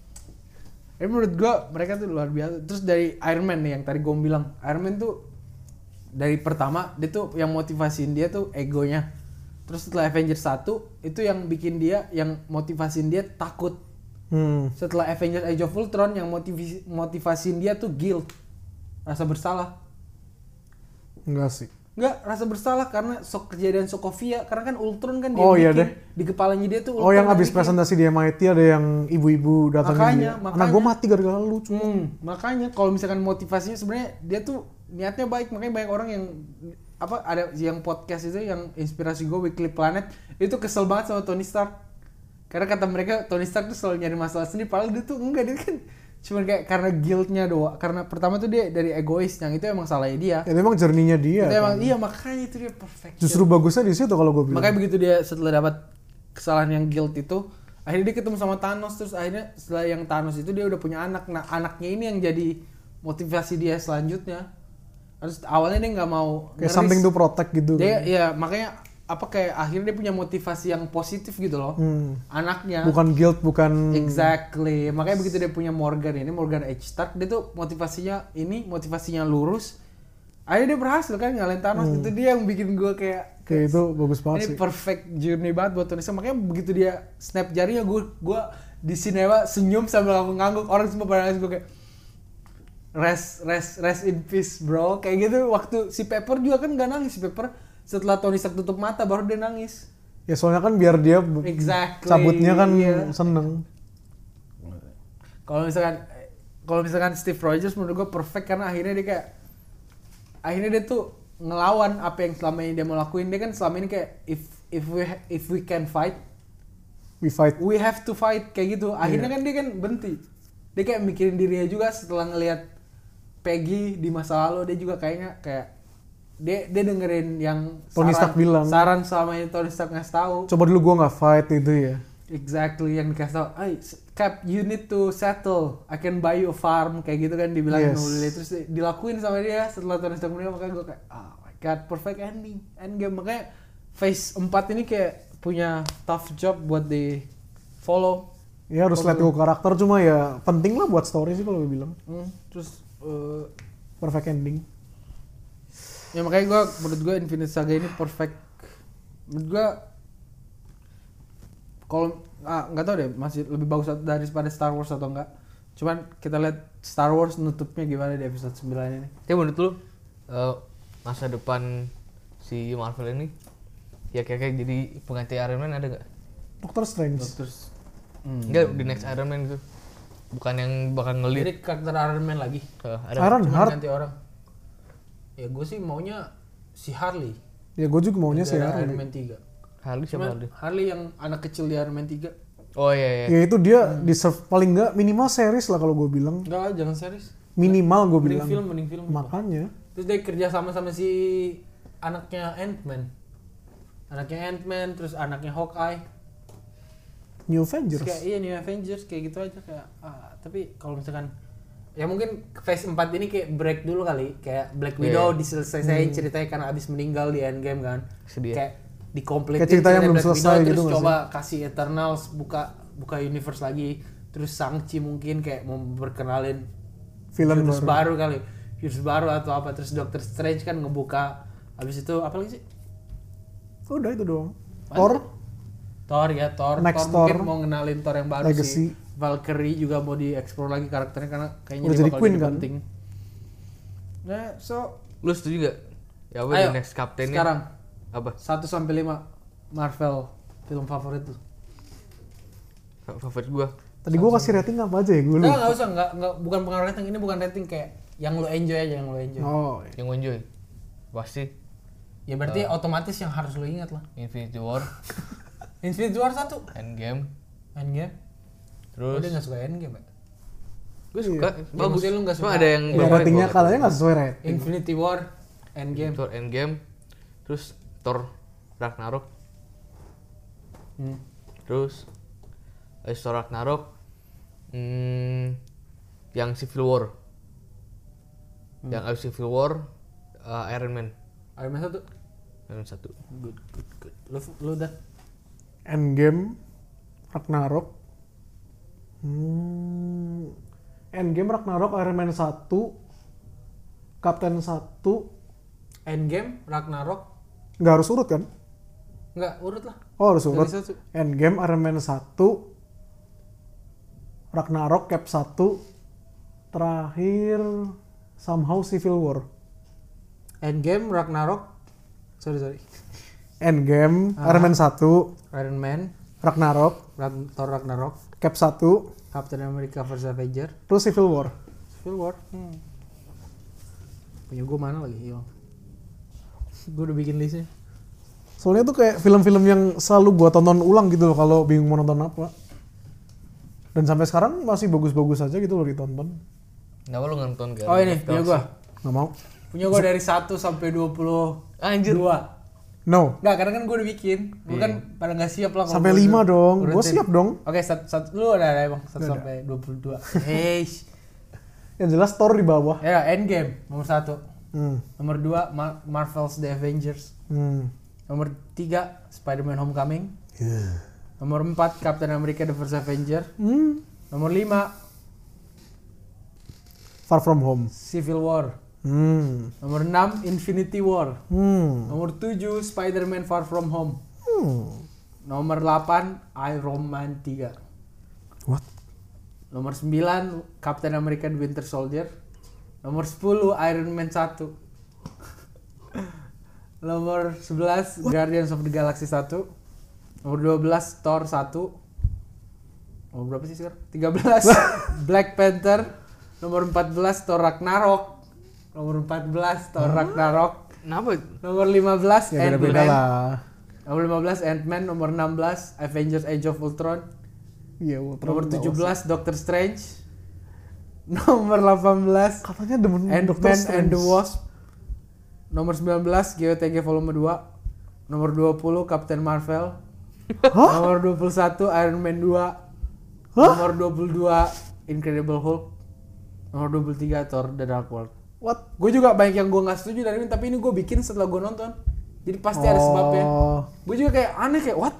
S1: tapi menurut gua mereka tuh luar biasa. Terus dari Iron Man nih yang tadi gua bilang, Iron Man tuh dari pertama dia tuh yang motivasiin dia tuh egonya terus setelah Avengers 1 itu yang bikin dia yang motivasiin dia takut
S2: Hmm.
S1: setelah Avengers Age of Ultron yang motivasi motivasiin dia tuh guilt rasa bersalah
S2: Enggak sih.
S1: Enggak, rasa bersalah karena sok kejadian Sokovia karena kan Ultron kan dia
S2: Oh, iya
S1: bikin.
S2: deh.
S1: di kepalanya dia tuh
S2: Oh,
S1: Ultron gitu.
S2: yang abis
S1: bikin.
S2: presentasi dia MIT ada yang ibu-ibu datang
S1: Makanya,
S2: dia. Anak
S1: makanya.
S2: gue mati gara-gara lu. cu.
S1: Hmm, makanya kalau misalkan motivasinya sebenarnya dia tuh niatnya baik makanya banyak orang yang apa ada yang podcast itu yang inspirasi gue Weekly Planet itu kesel banget sama Tony Stark karena kata mereka Tony Stark tuh selalu nyari masalah sendiri padahal dia tuh enggak dia kan cuman kayak karena guiltnya doang karena pertama tuh dia dari egois yang itu emang salahnya dia
S2: Ya, memang jerninya dia.
S1: itu emang
S2: kan.
S1: iya makanya itu dia perfect
S2: Justru bagusnya di situ kalau gue bilang.
S1: Iya. Makanya begitu dia setelah dapat kesalahan yang guilt itu, akhirnya dia ketemu sama Thanos terus akhirnya setelah yang Thanos itu dia udah punya anak. Nah, anaknya ini yang jadi motivasi dia selanjutnya. Terus awalnya dia nggak mau
S2: kayak
S1: ngeris.
S2: something to protect gitu.
S1: Dia
S2: kan.
S1: ya makanya apa kayak akhirnya dia punya motivasi yang positif gitu loh.
S2: Hmm.
S1: Anaknya.
S2: Bukan guilt, bukan
S1: ya. Exactly. Makanya begitu dia punya Morgan ini, Morgan H. Stark, dia tuh motivasinya ini, motivasinya lurus. Akhirnya dia berhasil kan ngalahin Thanos. Itu dia yang bikin gue kayak
S2: Hmm. kayak itu bagus banget
S1: ini
S2: sih.
S1: perfect journey banget buat Tony Stark. Makanya begitu dia snap jarinya gue gue di sinewa senyum sambil ngangguk orang semua pada nangis gue kayak rest rest rest in peace bro kayak gitu waktu si Pepper juga kan gak nangis si Pepper setelah Tony Stark tutup mata baru dia nangis
S2: Ya soalnya kan biar dia b-
S1: Exactly,
S2: cabutnya kan
S1: iya.
S2: seneng.
S1: kalau misalkan kalau misalkan Steve Rogers menurut gue perfect karena akhirnya dia kayak akhirnya dia tuh ngelawan apa yang selama ini dia mau lakuin dia kan selama ini kayak if if we if we can fight
S2: We fight.
S1: we have to fight kayak gitu
S2: Iya.
S1: akhirnya kan dia kan berhenti dia kayak mikirin dirinya juga setelah ngelihat Peggy di masa lalu dia juga kayaknya kayak dia dia dengerin yang
S2: Tony Stark bilang.
S1: saran selama ini Tony Stark ngasih tahu
S2: Coba dulu gue nggak fight itu ya.
S1: exactly yang dikasih tahu "Ay, Cap you need to settle I can buy you a farm kayak gitu kan dibilangin
S2: Yes.
S1: sama dia. terus di- dilakuin sama dia setelah Tony Stark meninggal makanya gue kayak oh my god perfect ending endgame makanya phase 4 ini kayak punya tough job buat di follow
S2: Ya harus let go karakter cuma ya penting lah buat story sih kalau gue bilang.
S1: Hmm, terus eh,
S2: Perfect ending.
S1: ya makanya gua menurut gua Infinite Saga ini perfect. Menurut gua kalau ah, nggak tahu deh masih lebih bagus daripada Star Wars atau enggak. Cuman kita lihat Star Wars nutupnya gimana di episode 9 ini.
S3: Tapi Ya, menurut lu eh, masa depan si Marvel ini ya kayak kayak jadi pengganti Iron Man ada nggak?
S2: Doctor Strange.
S1: Terus
S3: Enggak di next Iron Man gitu. Bukan yang bakal ngelir.
S1: lirik karakter Iron Man lagi.
S3: Eh, ada
S2: Iron
S1: Cuman
S2: Heart.
S1: ganti orang. Ya gue sih maunya si Harley.
S2: Ya gue juga maunya sih
S1: dari
S2: ya.
S1: Iron Man 3.
S3: Harley siapa
S1: Cuman
S3: Harley?
S1: Harley yang anak kecil di Iron Man 3.
S3: Oh iya iya.
S2: Ya itu dia
S1: Hmm.
S2: deserve paling nggak minimal series lah kalau gue bilang.
S1: Enggak lah, jangan serius.
S2: Minimal gue
S1: Mending
S2: bilang.
S1: film, mending film.
S2: Makanya.
S1: Terus dia kerja sama sama si anaknya Ant-Man. Anaknya Ant-Man, terus anaknya Hawkeye.
S2: New
S1: Terus
S2: Avengers.
S1: kayak iya New Avengers kayak gitu aja kayak ah, tapi kalau misalkan ya mungkin phase 4 ini kayak break dulu kali kayak Black
S3: Iya.
S1: Widow diselesaikan
S2: Hmm.
S1: ceritanya karena abis meninggal di Endgame kan
S3: Sedih ya.
S1: kayak dikompletin
S2: Kayak cerita yang belum
S1: Black Widow,
S2: selesai gitu
S1: terus
S2: nggak
S1: coba kasih Eternals buka buka universe lagi terus Shang-Chi mungkin kayak mau berkenalin
S2: Film
S1: virus baru.
S2: baru.
S1: kali virus baru atau apa terus Doctor Strange kan ngebuka habis itu apa lagi sih
S2: Udah itu doang.
S1: Mantap.
S2: Thor.
S1: Thor ya Thor
S2: Next
S1: Thor mungkin
S2: Thor.
S1: mau ngenalin Thor yang baru
S2: Legacy.
S1: sih Valkyrie juga mau dieksplor lagi karakternya karena kayaknya
S2: Udah
S1: dia
S2: jadi
S1: bakal
S2: Queen kan?
S1: penting nah so
S3: Lu setuju nggak? Ya apa
S1: Ayo,
S3: di next Captain
S1: sekarang
S3: apa?
S1: 1 sampai 5 Marvel film favorit tuh
S3: Favorit gua.
S2: Tadi gue kasih rating apa aja ya gue
S1: Enggak,
S2: lupa.
S1: enggak usah, enggak, enggak, bukan pengaruh rating, ini bukan rating kayak yang lo enjoy aja, yang lo enjoy.
S2: Oh,
S3: Yang gua enjoy. Pasti
S1: Ya berarti otomatis yang harus lo ingat lah.
S3: Infinity War,
S1: Infinity War 1,
S3: Endgame,
S1: Endgame. Terus? Udah
S3: terus
S1: gak suka Endgame ya?
S3: gue suka bagus
S1: maksudnya lu nggak
S3: Cuma
S1: suka.
S3: ada yang
S2: ya, ratingnya kalanya nggak sesuai rating.
S1: Infinity War, Endgame.
S3: Thor Endgame terus Thor Ragnarok
S1: Hmm.
S3: terus eh, Thor Ragnarok hmm, yang Civil War yang abis Civil War eh, Iron Man
S1: Iron Man 1.
S3: Iron Man satu
S1: Good, good, good. Lu, lu udah.
S2: Endgame, Ragnarok. Hmm. Endgame, Ragnarok, Iron Man 1, Captain 1,
S1: Endgame, Ragnarok,
S2: Nggak harus urut kan?
S1: nggak urut lah.
S2: Oh harus urut.
S1: Dari satu.
S2: Endgame, Iron Man 1, Ragnarok, Cap 1, terakhir somehow Civil War.
S1: Endgame, Ragnarok, sorry sorry,
S2: Endgame, Iron Man 1,
S1: Iron Man,
S2: Ragnarok,
S1: Ragn- Thor Ragnarok,
S2: Cap 1,
S1: Captain America vs Avenger,
S2: terus Civil War.
S1: Civil War. Hmm. Punya gue mana lagi hilang? gue udah bikin listnya.
S2: Soalnya tuh kayak film-film yang selalu gua tonton ulang gitu loh kalau bingung mau nonton apa. Dan sampai sekarang masih bagus-bagus aja gitu loh ditonton.
S3: Kenapa lu nonton
S1: Oh ini punya gue.
S2: Nggak mau.
S1: Punya gue dari 1 sampai 22.
S3: Anjir.
S2: No.
S1: Enggak, karena kan gue udah bikin. Gue kan pada nggak siap lah. kalau
S2: Sampai
S1: gua
S2: lima
S1: udah-
S2: dong. Gua
S1: urutin.
S2: siap dong.
S1: Oke, satu, satu, lu ada ada emang 1 sampai 22. Hei.
S2: Yang jelas Thor di bawah.
S1: Ya, Endgame nomor 1.
S2: Hmm.
S1: Nomor 2 Mar- Marvel's The Avengers.
S2: Hmm.
S1: Nomor 3 Spider-Man Homecoming. Nomor 4 Captain America The First Avenger.
S2: Hmm.
S1: Nomor 5
S2: Far From Home.
S1: Civil War.
S2: Hmm.
S1: Nomor 6 Infinity War.
S2: Hmm.
S1: Nomor 7 Spider-Man Far From Home.
S2: Hmm.
S1: Nomor 8 Iron Man 3.
S2: What?
S1: Nomor 9 Captain America The Winter Soldier. Nomor 10 Iron Man 1. Nomor 11 Guardians of the Galaxy 1. Nomor 12 Thor 1. Nomor berapa sih sekarang? 13 Black Panther. Nomor 14 Thor Ragnarok. Nomor 14 Thor Ragnarok.
S3: Kenapa?
S1: Nomor 15
S2: Ya beda-beda
S1: Ant-Man.
S2: lah.
S1: Nomor 15 Ant-Man, nomor 16 Avengers Age of Ultron.
S2: Iya, Ultron
S1: Nomor
S2: di bawah.
S1: 17 Doctor Strange. Nomor 18
S2: Katanya demen Doctor
S1: Ant-Man and
S2: Strange.
S1: the Wasp. Nomor 19 GOTG Volume 2. Nomor 20 Captain Marvel.
S2: Hah?
S1: Nomor 21 Iron Man 2.
S2: Hah?
S1: Nomor 22 Incredible Hulk. Nomor 23 Thor The Dark World.
S2: What?
S1: Gue juga banyak yang gue nggak setuju dari ini, tapi ini gue bikin setelah gue nonton. Jadi pasti ada sebabnya.
S2: Oh.
S1: Gue juga kayak aneh kayak what?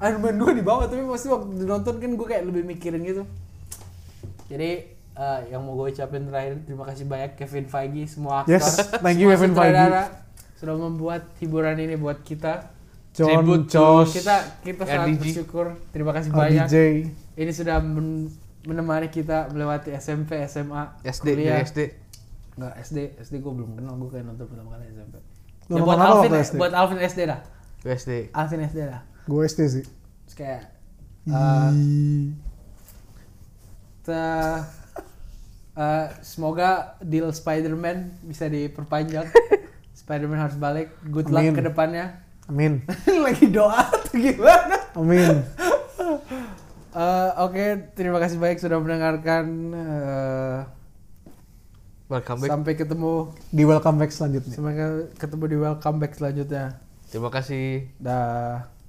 S1: Iron Man 2 di bawah tapi pasti waktu nonton kan gue kayak lebih mikirin gitu. Jadi eh, yang mau gue ucapin terakhir terima kasih banyak Kevin Feige semua aktor.
S2: Yes, thank you
S1: semua
S2: Kevin
S1: sutradara
S2: Feige.
S1: sudah membuat hiburan ini buat kita.
S2: John,
S3: Tribute to-
S2: Josh,
S1: Kita kita sangat
S3: RDG.
S1: bersyukur. Terima kasih banyak.
S2: RDJ.
S1: Ini sudah men- menemani kita melewati SMP, SMA,
S3: SD
S1: kuliah.
S3: dari SD.
S1: Enggak, SD, SD gue belum kenal, gue kayak nonton pertama kali SMP.
S2: Lu
S1: Ya,
S2: nonton
S1: buat
S2: apa
S1: Alvin,
S2: waktu SD?
S1: buat Alvin SD dah.
S3: Gue SD.
S1: Alvin SD dah.
S2: Gue SD sih.
S1: Terus kayak eh, te- eh, semoga deal Spider-Man bisa diperpanjang. Spider-Man harus balik. Good luck
S2: Amin.
S1: ke depannya.
S2: Amin.
S1: Lagi doa atau gimana?
S2: Amin.
S1: Eh, Oke, terima kasih banyak sudah mendengarkan. eh,
S3: Welcome back.
S1: sampai ketemu,
S2: Di welcome back selanjutnya.
S1: sampai ketemu di welcome back selanjutnya.
S3: Terima kasih.
S1: Dah.